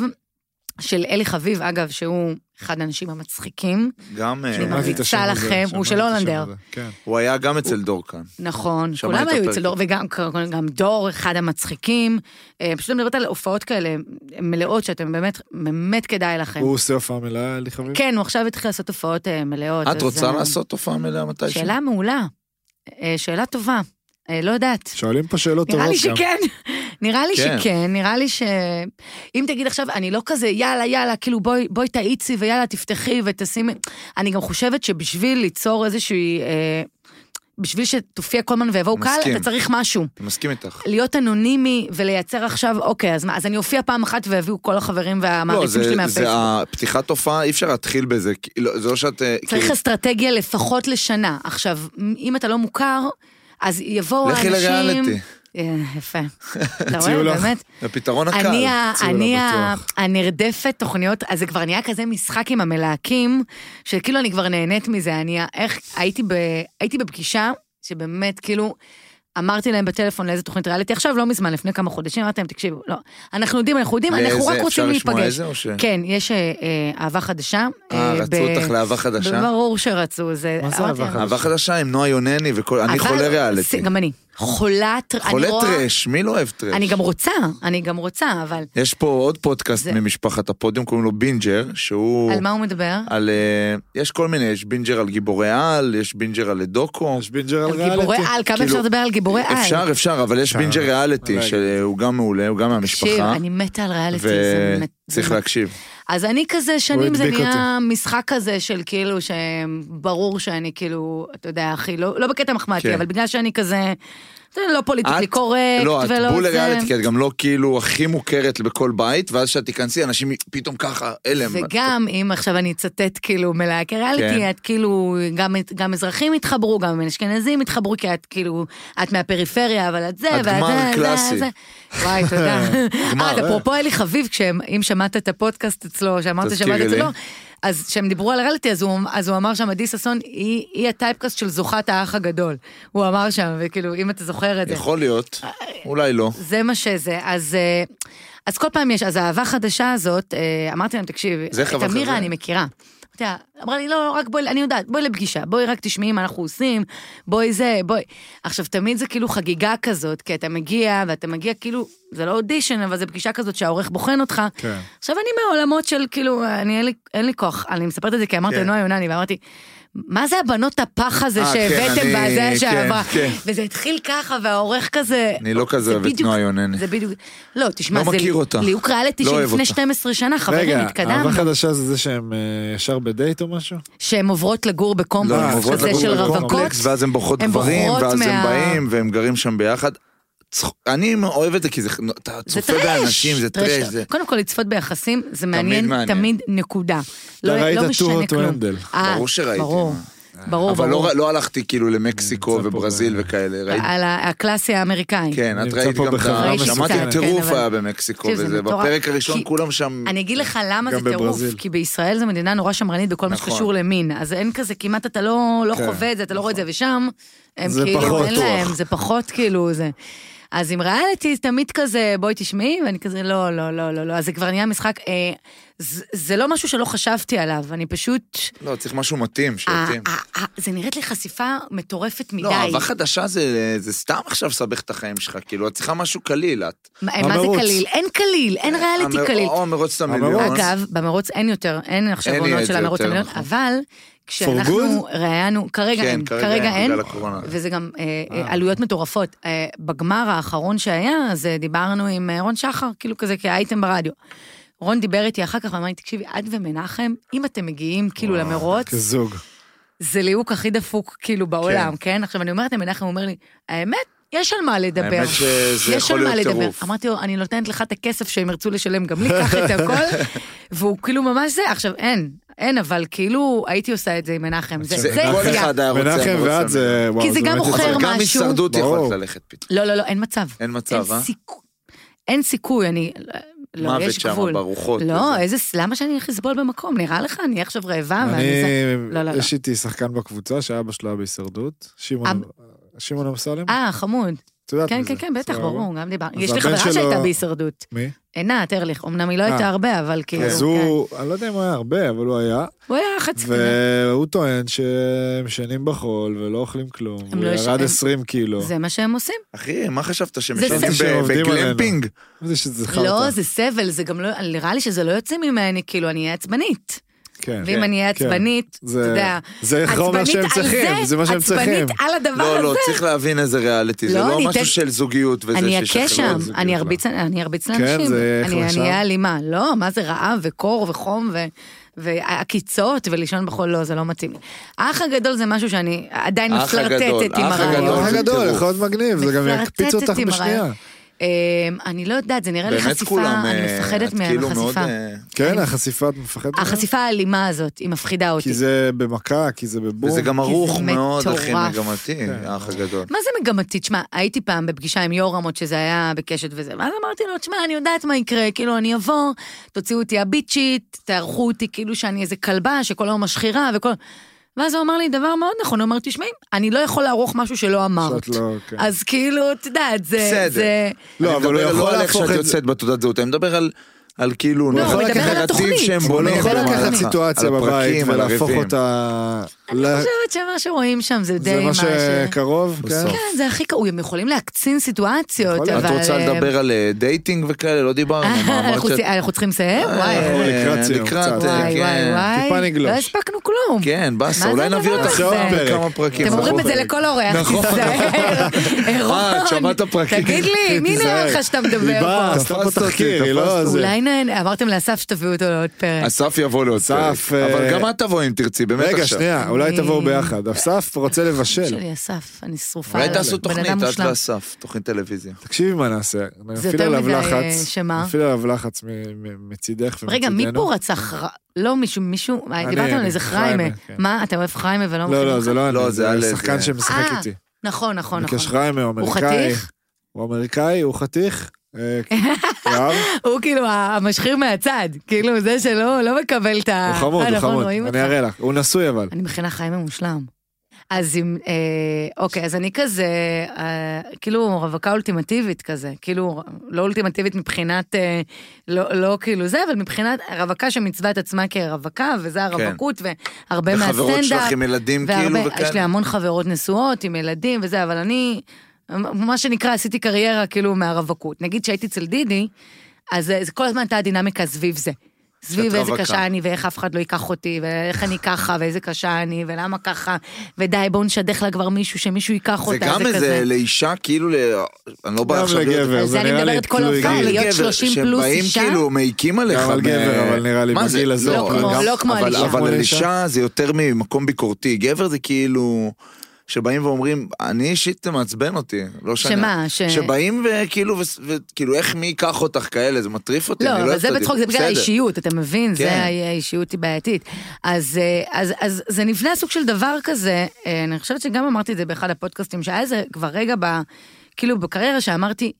של אלי חביב, אגב, שהוא אחד האנשים המצחיקים, גם, אה, שמעתי. שמעתי את השם הזה, לכם, הוא שמעתי של את השם הולנדר. הזה, כן. הוא היה גם אצל דורקן. נכון, שמעתי כולם את היו הפרק. אצל דור, וגם גם דור, אחד המצחיקים. אה, פשוט אני מדברת על הופעות כאלה מלאות, שאתם באמת, באמת כדאי לכם. הוא עושה הופעה מלאה, לי חביב? כן, הוא עכשיו התחיל לעשות הופעות אה, מלאות. את אז, רוצה אה, לעשות הופעה מלאה מתישהו? שאלה מעולה. אה, שאלה טובה. אה, לא יודעת. שואלים פה שאלות טובות נראה לי גם. שכן, נראה לי כן. שכן, נראה לי ש... אם תגיד עכשיו, אני לא כזה, יאללה, יאללה, כאילו בואי, בואי תאיצי ויאללה, תפתחי ותשימי... אני גם חושבת שבשביל ליצור איזושהי... אה, בשביל שתופיע כל הזמן ויבואו קהל, מסכים. אתה צריך משהו. אני מסכים איתך. להיות אנונימי ולייצר עכשיו, אוקיי, אז מה, אז אני אופיע פעם אחת ויביאו כל החברים והמעריצים שלי לא, זה מהפייסבוק. הפתיחת הופעה, אי אפשר להתחיל בזה. כי- לא, זה לא שאת... אה, צריך כאילו, אסטרטגיה לפחות לשנה. עכשיו, אם אתה לא מוכר, אז יבואו לכי האנשים... לריאליטי. אה, יפה. אתה הציעו רואה, לך. באמת? זה הפתרון הקל. אני, ה- לא הציעו לה אני ה- בטוח. הנרדפת תוכניות, אז זה כבר נהיה כזה משחק עם המלהקים, שכאילו אני כבר נהנית מזה, אני ה- איך, הייתי, ב, הייתי בפגישה, שבאמת, כאילו, אמרתי להם בטלפון לאיזה תוכנית ריאליטי, עכשיו לא מזמן, לפני כמה חודשים, אמרתי להם, תקשיבו, לא, אנחנו יודעים, אנחנו יודעים, אנחנו לאיזה- רק רוצים אפשר לשמוע להיפגש. איזה או ש... כן, יש אה, אה, אהבה חדשה. אה, אה, רצו ב- אותך לאהבה חדשה? ברור שרצו, זה... מה זה אמרתי אהבה להם, חדשה? אהבה חדשה עם נועה יונני וכל... אני אבל- חולה ריאליטי. גם אני. חולת, אני חולה רואה- טרש, מי לא אוהב טרש? אני גם רוצה, אני גם רוצה, אבל יש פה עוד פודקאסט זה- ממשפחת הפודיום, קוראים לו בינג'ר, שהוא... על מה הוא מדבר? על... אה, יש כל מיני, יש בינג'ר על גיבורי על, יש בינג'ר על לדוקו. יש בינג'ר על על גיבורי ריאליטי. על, כמה כאילו, אפשר לדבר על גיבורי על? אפשר, אפשר, אבל יש אפשר. בינג'ר ריאליטי, רגע. שהוא גם מעולה, הוא גם תקשיב, מהמשפחה. אני מתה על ריאליטי, זה באמת... וצריך זה- להקשיב. אז אני כזה, שנים זה הדביק נהיה משחק כזה של כאילו, שברור שאני כאילו, אתה יודע, אחי, לא לא בקטע מחמאתי, כן. אבל בגלל שאני כזה, אתה יודע, לא פוליטיקלי את- קורקט, לא, את ולא בול זה. לריאליטי, כי את גם לא כאילו הכי מוכרת בכל בית, ואז כשאת תיכנסי, אנשים פתאום ככה, הלם. וגם אם עכשיו אני אצטט כאילו מלהקי כן. ריאליטי, את כאילו, גם- גם אזרחים התחברו, גם אשכנזים התחברו, כי את כאילו, את מהפריפריה, אבל את זה, את ואת גמר זה, זה, קלאסי. זה. וואי, תודה. גמר, אה, את אה. אפרופו אלי חביב, כשהם- אם שמעת את הפודקאסט אצלו, שאמרת תזכירי שמעת לי. אצלו, אז כשהם דיברו על ריאליטי, אז הוא, אז הוא אמר שם, עדי ששון, היא, היא הטייפקאסט של זוכת האח הגדול. הוא אמר שם, וכאילו, אם אתה זוכר את זה. יכול להיות, אולי לא. זה מה שזה. אז, אה, אז כל פעם יש, אז האהבה החדשה הזאת, אה, אמרתי להם, תקשיב, זה את חבל חבר." אמירה אני מכירה. אתה יודע, אמרה לי, לא, רק בואי, אני יודעת, בואי לפגישה, בואי רק תשמעי מה אנחנו עושים, בואי זה, בואי. עכשיו, תמיד זה כאילו חגיגה כזאת, כי אתה מגיע, ואתה מגיע כאילו, זה לא אודישן, אבל זו פגישה כזאת שהעורך בוחן אותך. כן. עכשיו, אני מהעולמות של כאילו, אני, אין לי, אין לי כוח, אני מספרת את זה כי אמרת כן. לנועה יונני, ואמרתי, מה זה הבנות הפח הזה אה, כן, שהבאתם אני- בזה כן, שעברה? כן. וזה התחיל ככה, והעורך כזה... אני לא כזה זה אוהב את בדיוק- נועה יונני. זה בדיוק... לא, תשמע, לא זה מכיר אותה. ליהוק ריאליטי לא של אוהב לפני אותה. 12 שנה, חברים, רגע, אהבה התקדמנו. חדשה זה זה שהם אה, ישר בדייט או משהו? שהן עוברות לגור לא, הן בקומפלקס עוברות כזה לגור של בקומפלקס, רווקות. ואז הן בוחרות הן גברים, בוחרות ואז הם מה- באים, והם גרים שם ביחד. צח- אני אוהב את זה, כי זה, אתה זה צופה טרש. באנשים, זה טרש, זה... קודם כל, לצפות ביחסים, זה מעניין, מעניין. תמיד נקודה. לא ראית לא Too משנה Hot to כלום. Handle. אה, ברור שראיתי, ברור, ברור. אבל ברור. לא, לא הלכתי כאילו למקסיקו נמצא פה וברזיל ב- וכאלה, ראיתי, על ה- הקלאסי האמריקאי. כן, את נמצא ראית פה גם את ה... בחברה שמעתי מסוכנת. טירוף כן, אבל- היה במקסיקו תקשיב, זה וזה, מטורף. בפרק הראשון כי- כולם שם... אני אגיד לך למה גם זה טירוף, בברזיל. כי בישראל זו מדינה נורא שמרנית בכל מה נכון. שקשור למין, אז אין כזה, כמעט אתה לא, לא כן, חווה את זה, אתה לא רואה את זה, ושם, הם זה כאילו, פחות אין בטוח. להם, זה פחות כאילו זה. אז עם ריאליטי זה תמיד כזה, בואי תשמעי, ואני כזה, לא, לא, לא, לא, לא, אז זה כבר נהיה משחק, אה, זה, זה לא משהו שלא חשבתי עליו, אני פשוט, לא, צריך משהו מתאים, כן, אה, שיתאים. אה, אה, זה נראית לי חשיפה מטורפת מדי. לא, אהבה חדשה זה, זה סתם עכשיו סבך את החיים שלך, כאילו, את צריכה משהו קליל, את. מה מה זה המרוץ. קליל? אין קליל, אין ריאליטי המר- קליל. או מרוץ המרוץ. המיליון. אגב, במרוץ אין יותר, אין עכשיו אין לי את עונות של זה המרוץ יותר, המיליון, נכון. אבל כשאנחנו ראיינו, כרגע כן, אין, כרגע כרגע אין, אין, בגלל הקורונה. וזה גם אה, אה, עלויות מטורפות. אה, בגמר האחרון שהיה, אז אה, דיברנו עם אה, רון שחר, כאילו כזה כאייטם ברדיו. רון דיבר איתי אחר כך ואמר לי, תקשיבי, את ומנחם, אם אתם מגיעים כאילו למרוץ, כזוג. זה ליהוק הכי דפוק כאילו בעולם, כן? עכשיו אני אומרת למנחם, הוא אומר לי, האמת, יש על מה לדבר. האמת שזה יש יכול על מה להיות לדבר. טירוף. אמרתי לו, אני נותנת לך את הכסף שהם ירצו לשלם גם לי, קח את הכל. והוא כאילו ממש זה, עכשיו אין, אין, אבל כאילו הייתי עושה את זה עם מנחם. זה זה זה כל הגיע. אחד היה רוצה מנחם מרוץ ואת המיליון. זה... וואו, כי זה גם באמת מוכר יפה. אבל גם משהו. הישרדות יכולת ברור. ללכת פתאום. לא, לא, לא, אין מצב. אין אין מצב, אה? סיכוי. אין סיכוי, אני... לא, מוות יש שם, גבול. ברוחות. לא, וזה. איזה... למה שאני אלך לסבול במקום? נראה לך? אני עכשיו רעבה ואני... זה- לא, לא, אני... לא. יש איתי שחקן בקבוצה שאבא שלו היה בהישרדות. שמעון- שמעון אמסלם? אה, חמוד. את יודעת כן, מי זה, כן, כן, בטח, סבבה? ברור, גם דיברנו. אז יש לי הבן חברה שלו- שהייתה בהישרדות. מי? עינת ארליך, אמנם היא לא אה. הייתה הרבה, אבל כאילו... אז כן. הוא, אני לא יודע אם הוא היה הרבה, אבל הוא היה, הוא היה חצי... והוא טוען שהם ישנים בחול ולא אוכלים כלום, הם הוא לא ירד ישנים. 20 קילו. זה מה שהם עושים. אחי, מה חשבת שהם אה, זה משנים סבל. שעובדים עלינו. בגלמפינג? זה שזה לא, חרטא. זה סבל, זה גם לא... נראה לי שזה לא יוצא ממני, כאילו, אני אהיה עצבנית. כן. ואם אני אהיה כן. עצבנית, אתה זה- יודע... זה חומר עצבנית שהם על צריכים, זה מה שהם צריכים. עצבנית על הדבר לא, לא, הזה. צריך להבין איזה ריאליטי, זה לא, לא אני משהו אתן- של זוגיות וזה אני שישחררו אכה את שם, זה. אני ארביץ אני ארביץ כן, לאנשים. זה אני- איך אני למשל? אהיה אלימה. לא, מה זה רעב וקור וחום ו- והקיצות ולישון בחול, לא, זה לא מתאים. האח הגדול זה משהו שאני עדיין האח הגדול, מפלרטטת עם האח הרעיון. הגדול. אח זה הגדול, טירוף. לא, יכול להיות מגניב, כן, זה גם מפלרטטת יקפיץ אותך עם בשנייה. הרעיון. אמ, אני לא יודעת, זה נראה לי באמת חשיפה, כולם, אני אה, מפחדת את כאילו מאוד, מהחשיפה. אה, כן, החשיפה, את מפחדת? ממנה? החשיפה האלימה הזאת, היא מפחידה אותי. כי זה במכה, כי זה בבום. וזה גם ערוך מאוד, מטורף. אחי, מגמתי, כן. האח הגדול. מה זה מגמתי? תשמע, הייתי פעם בפגישה עם יורם עוד שזה היה בקשת וזה, ואז אמרתי לו, תשמע, אני יודעת מה יקרה, כאילו, אני אבוא, תוציאו אותי הביצ'ית, תערכו אותי כאילו שאני איזה כלבה שכל היום משחירה וכל... ואז הוא אמר לי דבר מאוד נכון, הוא אמר, תשמעי, אני לא יכול לערוך משהו שלא אמרת. שאת לא, כן. אז כאילו, את יודעת, זה... בסדר. זה- לא, אני אבל הוא מדבר יכול לא על איך להפוך שאת את זה- יוצאת בתעודת זהות, אני מדבר על על כאילו לא, הוא נרטיב מדבר על התוכנית. שהם הוא הוא לא בונים. יכול בונה במהלך- לקחת סיטואציה על בבית פרקים, על ולהפוך ריבים. אותה... אני ל- חושבת שמה שרואים שם זה לא- זה די מה מה ש... שקרוב, כן? בסוף. כן, זה הכי קרוב, הם יכולים להקצין סיטואציות, יכול אבל... להיות. נכון, את רוצה אה, לדבר על אה, דייטינג וכאלה? לא דיברנו. אה, מה, אמרת שאת- אנחנו רוצים- אנחנו צריכים לסיים? אה, וואי, אנחנו לקראת סיום לקראת, קצת. אה, וואי, כן. וואי, וואי. טיפה נגלוש. לא הספקנו כלום. כן, באסה, מה אולי זה נביא הדבר אותך הזה? עוד כמה פרקים. אתם אומרים את זה נכון. לכל אורח, נכון. תיזהר. אה, את רון, שמעת פרקים. תגיד לי, מי כן, תיזהר. נראה לך שאתה היא מדבר באה, פה? עשתה תפסת פה אותי, תחקיר, היא לא... תפסת זה. אולי נ- אמרתם לאסף שתביאו אותו לעוד פרק. אסף יבוא לעוד פרק. אסף, אבל אה, גם את תבואי אם תרצי, באמת עכשיו. רגע, שנייה, אולי אני- תבואו ביחד. אסף רוצה לבשל. שלי אסף, אני שרופה כן. אולי עליו. תעשו לא. בן תוכנית, אדם את מושלם. ואסף, תוכנית טלוויזיה. תקשיבי מה נעשה. נפעיל יותר עליו מדי, לחץ. אה, שמה? נפעיל עליו לחץ מ- מ- מצידך ומצידנו. רגע, מי פה רצח? ר- לא מישהו, מישהו, אני, דיברתם על אני, איזה חיימה, חיימה. כן. מה, אתה אוהב חיימה ולא לא, לא, מכינים זה לך? לא לא, אני, זה זה על- שחקן זה- שמשחק אה, איתי. נכון, נכון, נכון. ביקש ריימה, הוא הוא אמריקאי. חתיך? הוא אמריקאי, הוא חתיך. אה, יואב, הוא כאילו המשחיר מהצד. כאילו, זה שלא לא מקבל את ה... הוא חמוד, אה, הוא נכון, חמוד. רואים אני אותך. אראה לך. הוא נשוי אבל. אני מכינה חיים ממושלם. אז אם, אה, אוקיי, אז אני כזה, אה, כאילו רווקה אולטימטיבית כזה, כאילו, לא אולטימטיבית מבחינת, אה, לא, לא כאילו זה, אבל מבחינת רווקה שמצווה את עצמה כרווקה, וזה כן. הרווקות, והרבה וחברות מהסטנדאפ, שלך עם ילדים כאילו, והרבה, יש לי וכאלה. המון חברות נשואות עם ילדים וזה, אבל אני, מה שנקרא, עשיתי קריירה כאילו מהרווקות. נגיד שהייתי אצל דידי, אז אה, זה כל הזמן הייתה הדינמיקה סביב זה. סביב איזה רווקה. קשה אני, ואיך אף אחד לא ייקח אותי, ואיך אני ככה, ואיזה קשה אני, ולמה ככה, ודי, בואו נשדך לה כבר מישהו, שמישהו ייקח זה אותה, גם איזה, כזה. לאישה כאילו, ל- אני לא בא גם עכשיו להיות... לגבר, על זה זה אני נראה לי מדברת כל תלוי הזמן, גיל. להיות גבר, 30 פלוס כן, שבאים אישה? כאילו מעיקים עליך. גם על מ- גבר, אבל נראה לי מה זה? בגיל הזה. לא אבל כמו- גם- לא כמו על אבל- אישה. אבל כמו על לאישה? אישה זה יותר ממקום ביקורתי. גבר זה כאילו... שבאים ואומרים, אני אישית זה מעצבן אותי, לא שאני... שמה? ש- שבאים וכאילו, וס- וכאילו, איך מי ייקח אותך כאלה, זה מטריף אותי, לא, אני לא אבל אוהב זה את בצחוק, זה הדיבור. בגלל בסדר. האישיות, אתה מבין? זה כן. האישיות היא בעייתית. אז, אה, אז, אז זה נבנה סוג של דבר כזה, אה, אני חושבת שגם אמרתי את זה באחד הפודקאסטים, שהיה איזה כבר רגע ב... כאילו בקריירה שאמרתי,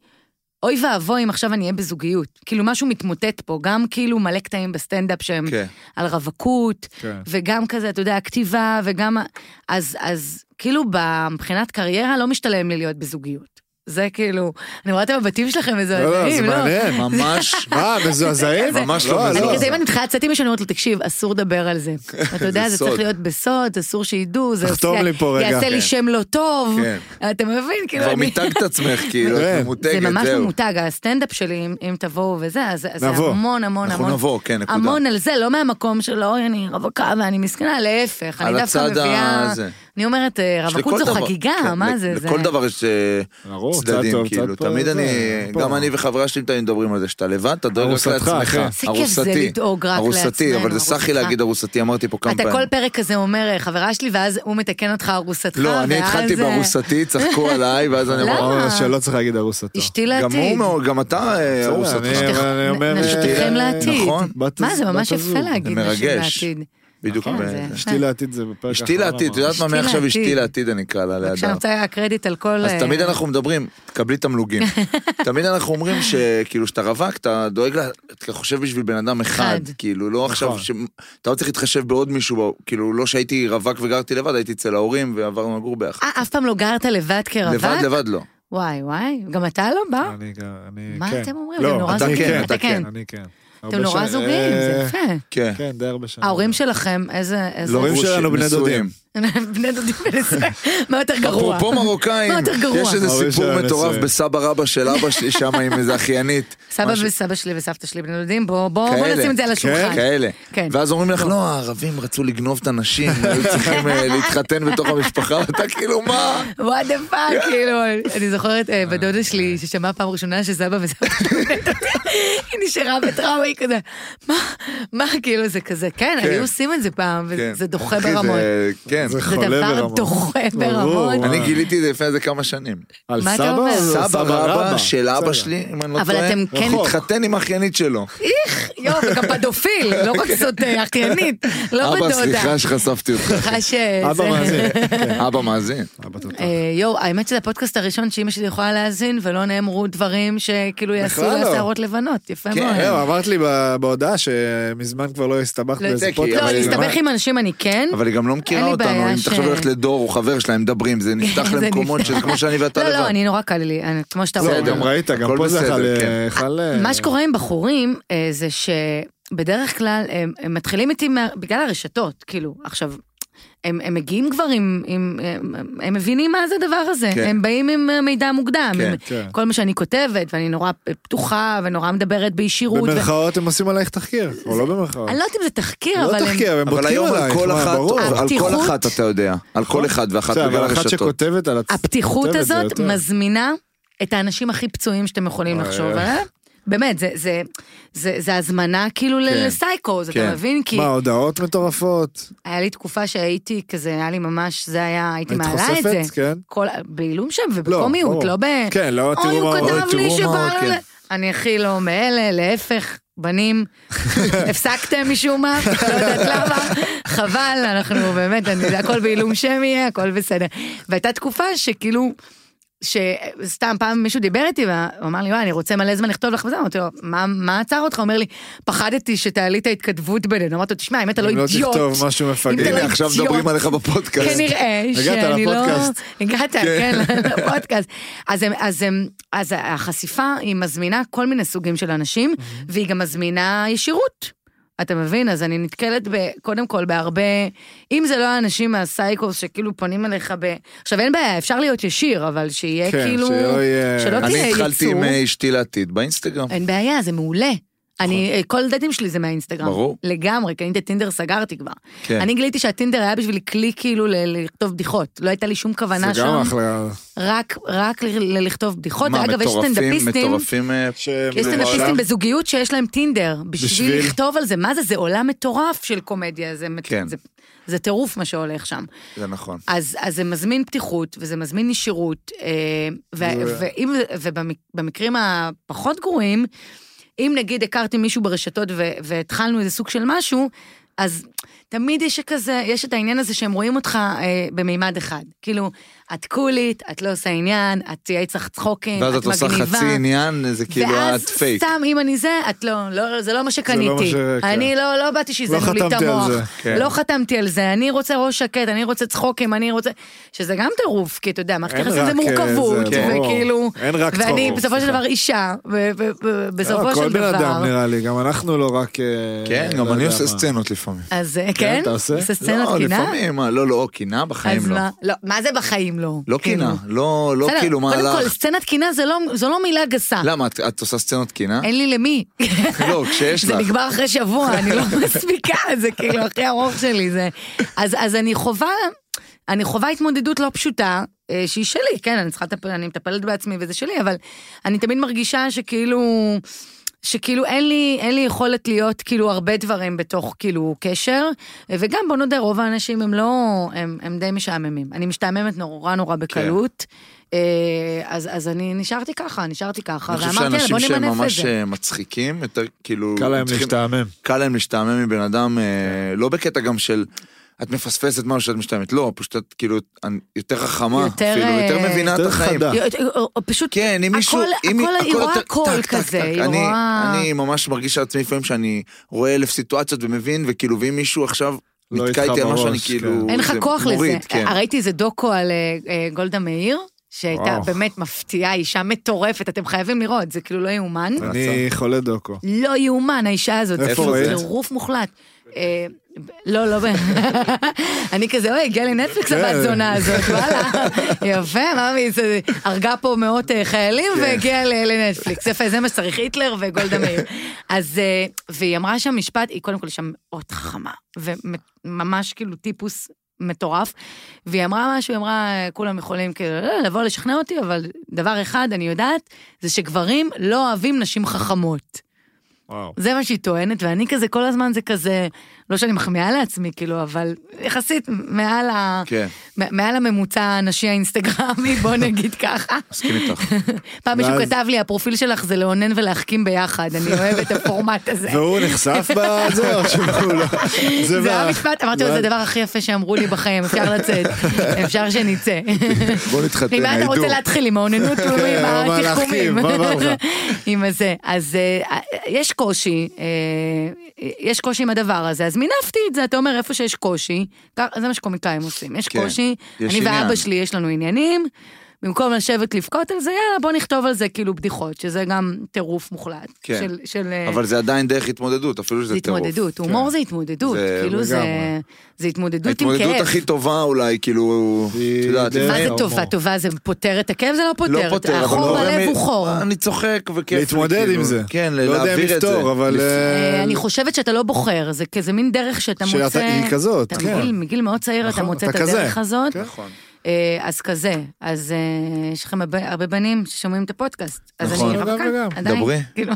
אוי ואבוי אם עכשיו אני אהיה בזוגיות. כאילו משהו מתמוטט פה, גם כאילו מלא קטעים בסטנדאפ שהם כן. על רווקות, כן. וגם כזה, אתה יודע, הכתיבה, וגם... ה- אז, אז כאילו מבחינת קריירה לא משתלם לי להיות בזוגיות. זה כאילו, אני רואה את הבתים שלכם לא, לא, מזועזעים, זה לא? מעניין. ממש, מה, מזועזעים? זה- ממש לא אני מזועזע. כזה, אם אני מתחילה לצאת עם מישהו, אני אומרת לו, תקשיב, אסור לדבר על זה. אתה יודע, זה זה צריך סוד. להיות בסוד, אסור שידעו, זה תחתום עושה- לי פה רגע. יעשה כן. לי שם לא טוב. כן. אתה מבין? כאילו, כבר אני... מיתגת עצמך, כאילו, כן. את זה ממותגת, ממש זהו. ממותג, הסטנדאפ שלי, אם- אם תבואו וזה, אז אז זה נבוא. המון המון אנחנו המון. נבוא, כן, נקודה. המון על זה, לא מהמקום של אוי, אני רווקה ואני מסכנה, להפך, על אני דווקא הצד מביאה... הזה. אני אומרת, אה, יש רווקות לכל זו דבר- חגיגה, כן, מה ל- זה? זה- לכל דבר יש אה, ברור, צד צדדים, טוב, כאילו, צד פה, תמיד זה, אני, פה. גם אני וחברה שלי תמיד מדברים על זה, שאתה לבד, אתה דואג רק ארוסתך, לעצמך, אחי. ארוסתי. איזה כיף זה לדאוג רק ארוסתי, לעצמנו, אבל זה ארוסתך. סחי להגיד ארוסתי, אמרתי פה כמה אתה כל פעמים. פרק כזה אומר, חברה שלי, ואז הוא מתקן אותך ארוסתך, לא, אני ואז, התחלתי אה, בארוסתי, צחקו עליי, ואז אני למה? אומר, אמרנו שלא צריך להגיד ארוסתו. אשתי לא- גם לעתיד. הוא מאוד, גם אתה אה, בסדר, ארוסתך. אני- אני אומר, אה, נשותיכם לעתיד. נכון, בת- מה, זה בת ממש הזוג. יפה להגיד נשים מרגש. לעתיד. בדיוק. כן, ב- זה- אשתי לא לעתיד זה בפרק אשתי לעתיד, את יודעת מה, אשתי מעכשיו אשתי לעתיד. לעתיד אני אקרא לה בבקשה, אני לידה. רוצה קרדיט על כל... אז אה, תמיד אנחנו מדברים, תקבלי תמלוגים. תמיד אנחנו אומרים שכאילו שאתה רווק, אתה דואג, לה- אתה חושב בשביל בן אדם אחד, אחד. כאילו לא עכשיו, נכון. ש- אתה לא צריך להתחשב בעוד מישהו, כאילו לא שהייתי רווק וגרתי לבד, הייתי אצל ההורים ועברנו לגור ביחד. אה, אף פעם לא גרת לבד כרווק? לבד לבד לא. וואי, וואי, גם אתה לא בא? אני גם, אני מה כן. אתם אומרים? לא, אתם נורא אתה זוגיים. כן, אתה כן. אני כן. הרבה אתם נורא שנים- זוגיים, זה אה, יפה. כן. כן, די הרבה שנים. ההורים שלכם, איזה... איזה- לא, ההורים גרוש- שלנו בני נשואים. דודים. בני דודים בן עשרה, מה יותר גרוע? אפרופו מרוקאים, מה יותר גרוע? יש איזה ההורים סיפור שלהם מטורף נשואים. בסבא רבא של אבא שלי שם עם איזה אחיינית. סבא משהו- וסבא שלי וסבתא שלי בני דודים, בואו בוא, בוא כאלה. נשים את זה על השולחן. כאלה. כן. ואז אומרים לך, לא, הערבים רצו לגנוב את הנשים, היו צריכים אה, להתחתן בתוך המשפחה, ואתה כאילו, מה? וואט דה פאק, כאילו, אני זוכרת אה, בדודה שלי ששמעה פעם ראשונה שסבא וסבא היא נשארה בטראומה, היא כזה, מה, מה, כאילו, זה כזה, כן, כן. היו עושים את זה פעם, כן. וזה דוחה אחי, זה- ברמות. אה, כן. זה זה חולה דבר ברמות. דוחה ברור. ברמות. אני גיליתי את זה לפני איזה כמה שנים. על מה אתה סבא? אומר? או סבא, סבא רבא של בסדר. נכון. אבא שלי, אם אני לא אבל טועה, אתם כן- התחתן עם האחיינית שלו. יואו, וגם פדופיל, לא רק זאת אה, אחיינית, לא אבא, בדודה. סליחה שחשפתי אותך. סליחה שזה- אבא מאזין. כן, אבא מאזין. אבא תותח. אה, יואו, האמת שזה הפודקאסט הראשון שאימא שלי יכולה להאזין, ולא נאמרו דברים שכאילו יעשו בכלל לה לא. שערות לבנות, יפה כן, מאוד. אה, זהו, אמרת לי ב- בהודעה שמזמן כבר לא הסתבכת לא, באיזה כי- פודקאסט. לא, אבל- להסתבך עם אנשים אני כן, אבל היא גם לא אין מכירה לי אותם, אותנו, היה אם ש- כן, תחשוב ללכת לדור או חבר שלהם, מדברים, זה נפתח זה למקומות נפתח. שזה כמו שאני ואתה לא, לא, לבד. אני נורא קל לי, אני- כמו שאתה לא, אומר. גם ראית, גם הכל פה זה אה, בסדר, חל- כן. חל... מה שקורה עם בחורים אה, זה שבדרך כלל הם, הם מתחילים איתי מה, בגלל הרשתות, כאילו, עכשיו, הם, הם מגיעים כבר עם, עם הם, הם מבינים מה זה הדבר הזה, כן. הם באים עם אה, מידע מוקדם, כן, הם, כן. כל מה שאני כותבת, ואני נורא פתוחה ונורא מדברת בישירות. במרכאות הם עושים עלייך תחקיר, או לא ו... במרכאות. אני לא יודעת אם זה תחקיר, לא אבל הם... תחקיר, הם אבל בודקים היום על עלייך, כל מה, אחת, ברור. נכון. על כל הפתיחות- אחת אתה יודע, על כל אחד ואחת בסדר, בגלל אבל אחת הרשתות. שכותבת על עצמה, הפתיחות כותבת, זה הזאת יותר. אה, מזמינה את האנשים הכי פצועים שאתם יכולים אוי, לחשוב אוי. עליהם. באמת, זה, זה, זה, זה הזמנה כאילו כן, כן, לסייקו, כן. כן. אתה מבין? כי מה, הודעות מטורפות? היה לי תקופה שהייתי כזה, היה לי ממש, זה היה, הייתי היית מעלה את זה. חושפת? כן. כל, בעילום שם ובקומיות, ברור. לא ב... כן, לא, אוי, תראו הוא מה... אוי, כתב לי תראו מה, שבא לו... כן. ל- אני הכי לא מאלה, להפך, בנים, הפסקתם משום מה, לא יודעת למה, חבל, אנחנו באמת, אני, הכל בעילום שם יהיה, הכל בסדר. והייתה תקופה שכאילו... שסתם פעם מישהו דיבר איתי והוא אמר לי, וואי, אני רוצה מלא זמן לכתוב לך וזה, אמרתי לו, "מה- מה עצר אותך? הוא אומר לי, פחדתי שתעלי את ההתכתבות בינינו. אמרתי לו, תשמע, אם אתה לא אם לא אידיוט, תכתוב משהו מפגר. אתה לא הנה, עכשיו אידיוט. מדברים עליך בפודקאסט. כנראה הגעת שאני לא... לפודקאסט. הגעת, כן, לפודקאסט. אז, הם, אז, הם, אז החשיפה היא מזמינה כל מיני סוגים של אנשים, והיא גם מזמינה ישירות. אתה מבין? אז אני נתקלת ב, קודם כל בהרבה, אם זה לא האנשים מהסייקוס שכאילו פונים אליך ב... עכשיו אין בעיה, אפשר להיות ישיר, אבל שיהיה כן, כאילו... שלא יהיה- שלא תהיה אני התחלתי יצור. אה, עם אה, אשתי לעתיד באינסטגרם. אין בעיה, זה מעולה. אני, אה, כל הדייטים שלי זה מהאינסטגרם. נכון. ברור. לגמרי, כי אני את הטינדר סגרתי כבר. כן. אני גיליתי שהטינדר היה בשבילי כלי כאילו ל- לכתוב בדיחות. לא הייתה לי שום כוונה זה גם שם, אחלה. רק, רק ל- ל- לכתוב בדיחות. מה, ואגב, יש מטורפים, סטנדאפיסטים, מטורפים, אה, שהם יש סטנדאפיסטים בעולם- בזוגיות שיש להם טינדר, בשביל בשביל- לכתוב על זה. מה זה, זה עולם מטורף של קומדיה, זה מט- כן. זה- זה טירוף מה שהולך שם. זה נכון. אז, אז זה מזמין פתיחות, וזה מזמין ישירות, אה, ו, זה- ואם, ובמקרים הפחות גרועים, אם נגיד הכרתי מישהו ברשתות ו, והתחלנו איזה סוג של משהו, אז תמיד יש כזה, יש את העניין הזה שהם רואים אותך אה, במימד אחד. כאילו, את קולית, את לא עושה עניין, את תהיה צריך צחוקים, אה, את מגניבה. ואז את עושה חצי עניין, זה כאילו את פייק. ואז סתם אם אני זה, את לא, לא, זה לא מה לא מה שקניתי. ש- כן. אני לא, לא באתי שיזיינו לי את חתמתי על המוח. זה, כן. לא חתמתי על זה, אני רוצה ראש שקט, אני רוצה צחוקים, אני רוצה... שזה גם טירוף, כי אתה יודע, מערכת אין יחסים זה רק, אה, מורכבות, זה, ברור. וכאילו... אין רק ואני צחוקים, בסופו של סליחה. דבר אישה, ובסופו לא, של כל בן אדם דבר... נראה לי, גם אנחנו לא רק... אה, כן, לא גם אני יודע עושה מה. סצנות לפעמים. אז אה, כן? אתה עושה? עושה סצנת קינה? לא, לפעמים, מה, לא, לא, קינה בחיים אז לא. מה? לא, מה זה בחיים לא? לא כאילו. קינה, לא, לא בסדר, כאילו, מה קודם כל, לך? סצנת קינה זה לא- זו לא מילה גסה. למה, את- את עושה סצנות קינה? אין לי למי. לא, כשיש זה לך. נגמר אחרי שבוע, אני לא מספיקה, זה כאילו הכי ארוך שלי, זה... אז, אז אני חווה, אני חווה התמודדות לא פשוטה, אה, שהיא שלי, כן, אני צריכה לטפל, אני מטפלת בעצמי וזה שלי, אבל אני תמיד מרגישה שכאילו... שכאילו אין לי, אין לי יכולת להיות כאילו הרבה דברים בתוך כאילו קשר, אה, וגם בוא נודה, רוב האנשים הם לא, הם, הם די משעממים. אני משתעממת נורא נורא בקלות, כן. אה, אז, אז אני נשארתי ככה, נשארתי ככה, אני חושב ואמרתי, "יאללה, שאנשים בוא שהם נמנף את זה. ממש אה, מצחיקים, יותר כאילו... קל להם צריכים- להשתעמם. קל להם להשתעמם מבן אדם, אה, כן. לא בקטע גם של... את מפספסת משהו שאת משתעממת, לא, פשוט את כאילו אני- יותר חכמה, יותר, אפילו, אה, יותר מבינה את יותר החיים. חדה. פשוט כן, אם מישהו... הכל- אם- הכל- היא רואה יותר- הכל טק, טק, כזה, טק. היא אני- רואה- אני ממש מרגיש על עצמי לפעמים שאני רואה אלף סיטואציות ומבין, וכאילו, ואם מישהו עכשיו לא נתקע איתך איתי על משהו, בראש, אני כאילו... כן. אין לך זה כוח לזה. אה, מוריד, כן. ראיתי איזה דוקו על אה, אה, גולדה מאיר, שהייתה וואו. באמת מפתיעה, אישה מטורפת, אתם חייבים לראות, זה כאילו לא יאומן. אני חולה דוקו. לא יאומן, האישה הזאת. איפה זה ראית? טירוף מוחלט. אה, לא, לא, ב- אני כזה, אוי, הגיע לי נטפליקס כן. הבת זונה הזאת, וואלה, יפה, מאמי, זה- הרגה פה מאות אה, חיילים כן. והגיעה ל- לנטפליקס, יפה, זה מה שצריך, היטלר וגולדה מאיר. אז, אה, והיא אמרה שם משפט, היא קודם כל שם מאוד חכמה, וממש כאילו טיפוס מטורף, והיא אמרה משהו, היא אמרה, כולם יכולים כאילו "אה, לבוא לשכנע אותי, אבל דבר אחד אני יודעת, זה שגברים לא אוהבים נשים חכמות. וואו. זה מה שהיא טוענת, ואני כזה, כל הזמן זה כזה, לא שאני מחמיאה לעצמי, כאילו, אבל יחסית מעל, ה... כן. מ- מעל הממוצע הנשי האינסטגרמי, בוא נגיד ככה. מסכים איתך. כן. פעם מישהו ואז- כתב לי, הפרופיל שלך זה לאונן ולהחכים ביחד, אני אוהב את הפורמט הזה. והוא נחשף בזה, או שהוא לא... זה מה- המשפט, אמרתי לו, זה מה- הדבר הכי יפה שאמרו לי בחיים, אפשר לצאת, אפשר שנצא. בוא נתחתן, עם מה אתה רוצה העידור. להתחיל? עם האוננות או עם מה להחכים? התחכומים? מה בא לך? עם הזה. אז אה, יש קושי, אה, יש קושי עם הדבר הזה, אז מינפתי את זה, אתה אומר, איפה שיש קושי, כך- זה מה שקומיקאים עושים, יש כן, קושי, יש אני עניין. ואבא שלי יש לנו עניינים. במקום לשבת לבכות על זה, יאללה, בוא נכתוב על זה כאילו בדיחות, שזה גם טירוף מוחלט. כן. של, של, אה, אבל זה עדיין דרך התמודדות, אפילו זה שזה טירוף. התמודדות, הומור זה התמודדות, זה כאילו זה, לגמרי. זה התמודדות עם כאב. ההתמודדות הכי טובה אולי, כאילו, היא את יודעת, דרך- מה לפעמים- זה ההומור. טובה? טובה זה פותר את הכאב? זה לא פותר. לא פותר, אבל החור לא בלב גורם- הוא חור. אני צוחק וכיף. לי, להתמודד כאילו. עם זה. כן, לא יודע אם להעביר את זה. לפתור, אבל... אה, אה, אני חושבת שאתה לא בוחר, זה כזה מין דרך שאתה שאתה- מוצא... היא כזאת, אתה כן. מגיל- מגיל מאוד צעיר אתה נכון, מוצא את אתה כזה, הדרך הזאת. כן. נכון. אה, אז כזה, אז אה, יש לכם הרבה- הרבה בנים ששומעים את הפודקאסט. אז נכון. אני גם רווקה, וגם. עדיין. דברי. כאילו,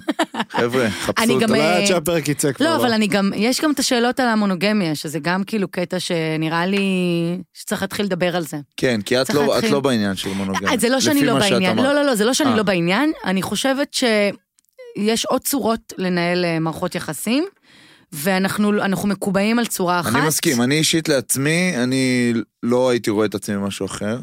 חבר'ה, חפשו אני אותו. גם- אולי אה, עד לא שהפרק יצא כבר. לא, אבל אני גם, יש גם את השאלות על המונוגמיה, שזה גם כאילו קטע שנראה לי שצריך להתחיל לדבר על זה. כן, כי את צריך לא- את להתחיל. לא בעניין של מונוגמיה. אה, זה לא לפי שאני לא מה שאת בעניין, אמרת. לא, לא, לא, זה לא שאני אה. לא בעניין, אני חושבת שיש עוד צורות לנהל אה, מערכות יחסים, ואנחנו אנחנו מקובעים על צורה אחת. אני מסכים, אני אישית לעצמי, אני לא הייתי רואה את עצמי במשהו אחר.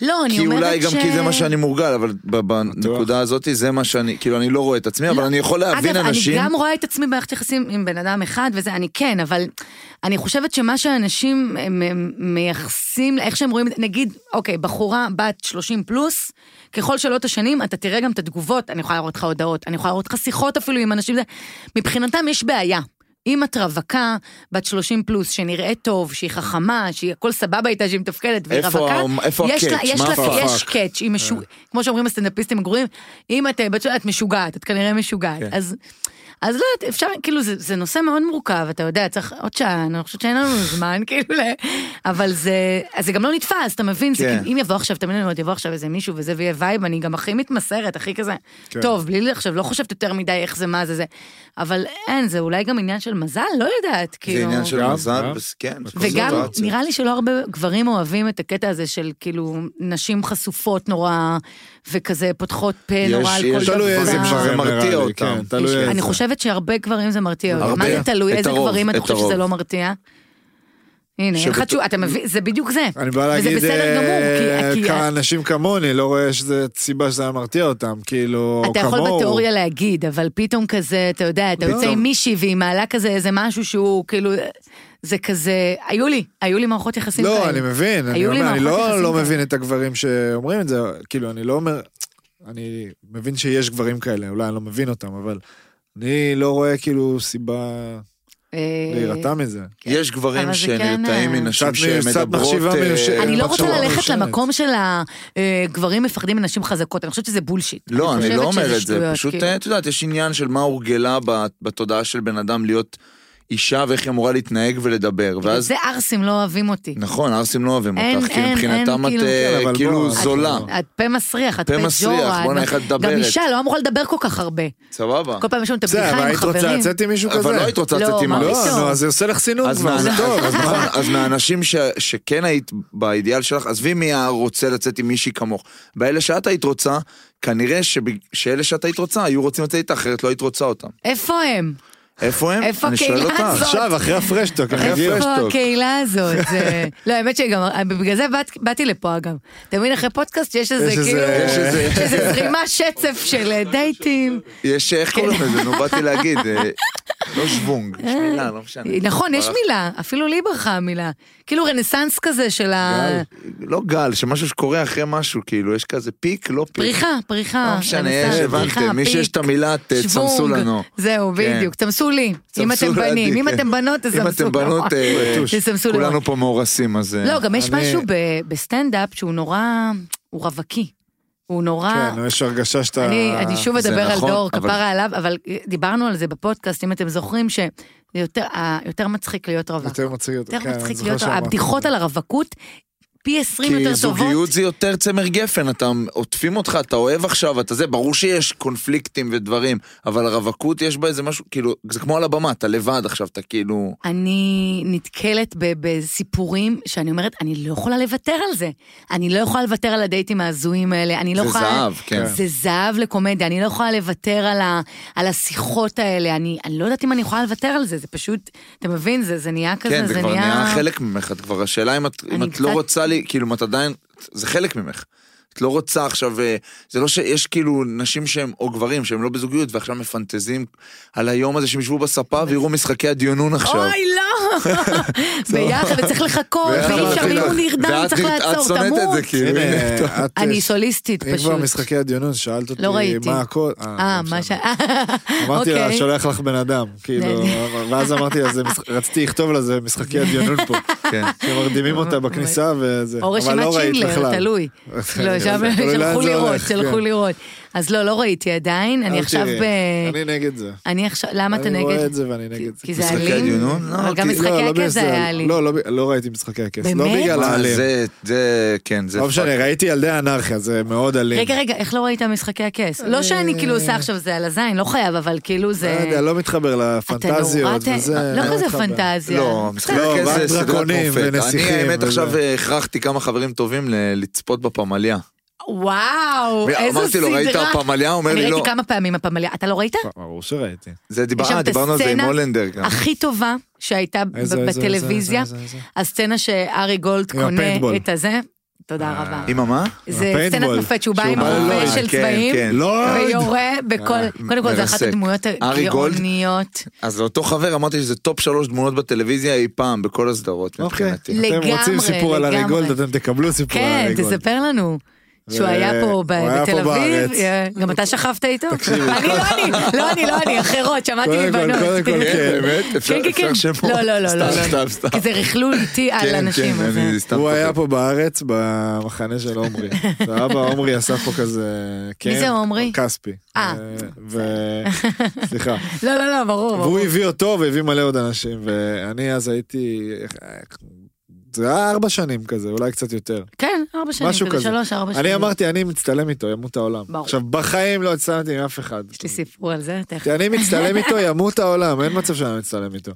לא, אני כי אומרת אולי ש... גם כי זה מה שאני מורגל, אבל ב- בנקודה הזאת זה מה שאני, כאילו, אני לא רואה את עצמי, אבל אני יכול להבין אנשים. אגב, אני גם רואה את עצמי במערכת יחסים עם בן אדם אחד, וזה, אני כן, אבל אני חושבת שמה שאנשים הם, הם מייחסים, איך שהם רואים, את- נגיד, אוקיי, בחורה בת 30 פלוס, ככל שלא תשנים, אתה תראה גם את התגובות, אני יכולה להראות לך הודעות, אני יכולה להראות לך שיחות אפילו עם אנשים, זה- מבחינתם יש בעיה. אם את רווקה, בת 30 פלוס, שנראית טוב, שהיא חכמה, שהיא הכל סבבה איתה, שהיא מתפקדת, והיא איפה רווקה, ה- איפה יש לה- הקאץ'? יש מה כן. לה- הפאק? יש קאץ', היא משו- כמו שאומרים הסטנדאפיסטים הגרועים, אם את אה, בת שלה, את משוגעת, את כנראה משוגעת. כן. אז אז לא יודעת, אפשר, כאילו, זה, זה נושא מאוד מורכב, אתה יודע, צריך עוד שעה, אני חושבת שאין לנו זמן, כאילו, ל... אבל זה, אז זה גם לא נתפס, אתה מבין? זה כן. כאילו, אם יבוא עכשיו, תמיד אני אומרת, יבוא עכשיו איזה מישהו וזה ויהיה וייב, אני גם הכי מתמסרת, הכי כזה, כן. טוב, בלי עכשיו, לא חושבת יותר מדי איך זה, מה זה, זה. אבל אין, זה אולי גם עניין של מזל, לא יודעת, כאילו. זה עניין של גם, מזל, גם. וס- כן. וגם סיטואציה. נראה לי שלא הרבה גברים אוהבים את הקטע הזה של כאילו נשים חשופות נורא וכזה פותחות פה נורא על כל דבר. יש- תלוי איזה זה גברים מרתיע נראה לי, אותם. כן, תלוי איזה. אני חושבת שהרבה גברים זה מרתיע אותם. הרבה. מה זה תלוי? את איזה הרוב, גברים אתה את חושב הרוב. שזה לא מרתיע? הנה, אין לך שבת- תשובה, אתה מבין, זה בדיוק זה. אני בא להגיד, וזה בסדר אה, גמור, כי- כי כ- אנשים כמוני, לא רואה שזה סיבה שזה היה מרתיע אותם, כאילו, אתה יכול כמוהו. בתיאוריה להגיד, אבל פתאום כזה, אתה יודע, אתה יוצא עם מישהי והיא מעלה כזה איזה משהו שהוא כאילו, זה כזה, היו לי, היו לי מערכות יחסים כאלה. לא, אני מבין, אני היו לי אומר, אני מערכות לא- יחסים לא כאלה. מבין את הגברים שאומרים את זה, כאילו, אני לא אומר, אני מבין שיש גברים כאלה, אולי אני לא מבין אותם, אבל אני לא רואה כאילו סיבה אה, להירתע מזה. יש גברים אבל זה כן, שנרתעים אה, מנשים קצת מ- קצת שמדברות... מחשיבה אה, מיושבת. אני לא רוצה מחשבה ללכת מיושנת. למקום של הגברים מפחדים מנשים חזקות, אני חושבת שזה בולשיט. לא, אני לא חושבת שזה אומר את זה, שטויות, פשוט, כאילו. אה, את יודעת, יש עניין של מה הורגלה ב- בתודעה של בן אדם להיות אישה ואיך היא אמורה להתנהג ולדבר, בגלל ואז... זה ערסים לא אוהבים אותי. נכון, ערסים לא אוהבים אין, אותך, כי אין, מבחינתם אין, את אה, כן, אבל כאילו בוא, זולה. את פה מסריח, את פה פה מסריח, ג'ורה. בואנה, איך את גם מדברת. אישה לא אמורה לדבר כל כך הרבה. סבבה. כל פעם יש לנו את בסדר, אבל הבדיחה עם היית רוצה חברים. לצאת עם מישהו כזה? אבל לא היית רוצה לא, לצאת עם מה ערס. לא, פתאום? נו, אז זה עושה לך סינון אז כבר, זה מה- טוב. אז נכון, מה? אז מהאנשים ש- שכן היית באידיאל שלך, עזבי מי הרוצה לצאת עם מישהי כמוך. באלה שאת היית רוצה, כנראה שבג- שאלה שאת היית רוצה היו רוצים לצאת איתך, אחרת לא היית רוצה אותם. איפה הם? איפה הם? איפה אני שואל הקהילה אותך. הזאת? עכשיו, אחרי הפרשטוק, אני אגיד. איפה פרשטוק. הקהילה הזאת? זה- לא, האמת שגם, בגלל זה באת- באתי לפה אגב. אתה מבין, אחרי פודקאסט יש איזה יש איזה- כאילו, יש איזה- יש איזה זרימה שצף של אה, דייטים. יש, איך כן. קוראים לזה? נו, באתי להגיד, אה, לא שוונג, יש מילה, לא משנה. אה, נכון, יש ברח- מילה, אפילו לי ברחה המילה. כאילו רנסאנס כזה של ה... לא גל, שמשהו שקורה אחרי משהו, כאילו, יש כזה פיק, לא פיק. פריחה, פריחה. לא משנה, רנסאנס, יש, פריחה, הבנתם, מי פיק, שיש את המילה, ת- שוונג. צמסו לנו. זהו, כן. בדיוק, צמסו לי. אם צמסו אתם לעדי, בנים, אם כן. אתם בנות, תצמסו. אם אתם בנות, אה, בטוש. תצמסו לנו. כולנו פה מאורסים, אז... אה, לא, גם יש אני- משהו ב- בסטנדאפ שהוא נורא, הוא רווקי. הוא נורא... כן, יש הרגשה שאתה... אני, אני שוב זה אדבר על נכון, דור, אבל- כפרה עליו, אבל דיברנו על זה בפודקאסט, אם אתם זוכרים, שיותר מצחיק להיות רווק. יותר מצחיק יותר כן, אני מצחיק זוכר להיות, שאמרת את הבדיחות זה. על הרווקות, פי 20 כי יותר טובות. זוגיות זה יותר צמר גפן, אתה עוטפים אותך, אתה אוהב עכשיו, אתה זה, ברור שיש קונפליקטים ודברים, אבל הרווקות יש בה איזה משהו, כאילו, זה כמו על הבמה, אתה לבד עכשיו, אתה כאילו... אני נתקלת ב- בסיפורים שאני אומרת, אני לא יכולה לוותר על זה. אני לא יכולה לוותר על הדייטים ההזויים האלה, אני לא זה יכולה... זהב, כן. זה זהב לקומדיה, אני לא יכולה לוותר על, ה, על השיחות האלה, אני, אני לא יודעת אם אני יכולה לוותר על זה, זה פשוט, אתה מבין, זה, זה נהיה כזה, כן, זה זה כבר נהיה... נהיה חלק ממך, את כבר, השאלה אם את, אם אני את לא קצת- רוצה לי, כאילו, אם את עדיין, זה חלק ממך. את לא רוצה עכשיו, אה, זה לא שיש כאילו נשים שהם, או גברים שהם לא בזוגיות, ועכשיו מפנטזים על היום הזה שהם ישבו בספה ויראו משחקי הדיונון עכשיו. אוי, לא! ביחד, וצריך לחכות, ואיך ואי אפשר, אמרתי אם לך, הוא נרדם, ואת צריך נראת- את לעצור, שונאת את תמות. זה, כאילו. הנה, את... אני סוליסטית אם כבר פשוט. משחקי הדיונון, שאלת אותי לא ראיתי. מה הכל... אה, לא מה ש... משנה. אמרתי לה, אוקיי. שולח לך בן אדם, כאילו, ואז אמרתי לה, "זה משחק- רציתי לכתוב לה, זה משחקי הדיונון פה. כן. שמרדימים אותה בכניסה וזה, אה, או אבל רשימת לא ראית שינדלר, בכלל. תלוי. לא, שם תלוי לאן שלחו זה לראות, הולך, שלחו כן. לראות. אז לא, לא ראיתי עדיין, אני אל עכשיו תראי, ב... אני נגד זה. אני עכשיו, למה אתה נגד? אני רואה את זה ואני נגד זה. כי זה משחקי אלים? הדיונון? לא, אבל גם כי- משחקי לא, לא הכס זה בהסדר. היה אלים. לא, לא ב- לא ראיתי משחקי הכס. לא באמת? בגלל מה, אה, האלים. זה, זה, כן, זה... לא משנה, ראיתי ילדי האנרכיה, זה מאוד אלים. אה. רגע, רגע, איך לא ראית משחקי הכס? לא שאני כאילו עושה עכשיו זה על הזין, לא חייב, אבל כאילו לא זה... יודע, לא מתחבר לפנטזיות אתה נורא... וזה. ת- לא כזה מתחבר. פנטזיה. לא, משחק לא, הכס רק זה סדרת דרקונים מופת. ונסיכים אני האמת וזה. עכשיו... עכשיו אה, הכרחתי כמה חברים טובים ל- לצפות בפמליה. וואו, איזו אמרתי לו, סדרה. ראית הפמליה? הוא אומר אני לי, לא. ראיתי כמה פעמים הפמליה. אתה לא ראית? ברור שראיתי. זה דיבר- יש שם אה, את דיברנו על זה עם הסצנה- הולנדר כן. גם. הכי טובה שהייתה איזה, ב- איזה, בטלוויזיה, איזה, איזה, איזה. הסצנה שארי גולד עם קונה הפיינטבול. את הזה. תודה רבה. עם המה? זה סצנת הפיינטבול. מופת שהוא בא שהוא עם בא הרבה ללורד, כן, של צבעים, כן. לא, ויורה בכל... אה, קודם כל, זו אחת מרסק. הדמויות ארי גולד? הגאוניות. כן, אז לאותו חבר אמרתי שזה טופ שלוש דמונות בטלוויזיה אי פעם, בכל הסדרות אוקיי. מבחינתי. אתם רוצים לגמרי, סיפור על הרי לגמרי. גולד, אתם תקבלו סיפור על כן, הרי גולד. תספר לנו. שהוא היה פה ב- הוא היה פה בתל אביב, בארץ. אה, גם אתה שכבת איתו? אני לא אני, לא אני, לא אני, אחרות, שמעתי קודם כל, מבנות. קודם כל, כן. באמת? אפשר כן, כן, אפשר כן. שמות? לא, לא, לא, לא. סתם, סתם, סתם. כי זה רכלול איתי על כן, אנשים. כן, אז זה- אני סתם הוא צוחק. היה פה בארץ במחנה של עומרי. ואבא עומרי עשה פה כזה... כן, זה עומרי? כספי. אה. ו... סליחה. לא, לא, לא, ברור, ברור. והוא הביא אותו והביא מלא עוד אנשים, ואני אז הייתי... זה היה ארבע שנים כזה, אולי קצת יותר. כן, ארבע שנים, משהו כזה כזה. שלוש, ארבע שנים. אני אמרתי, אני מצטלם איתו, ימות העולם. ברור. עכשיו, בחיים לא הצטלמתי עם אף אחד. יש לי סיפור על זה, תכף. כי אני מצטלם איתו, ימות העולם, אין מצב שאני מצטלם איתו.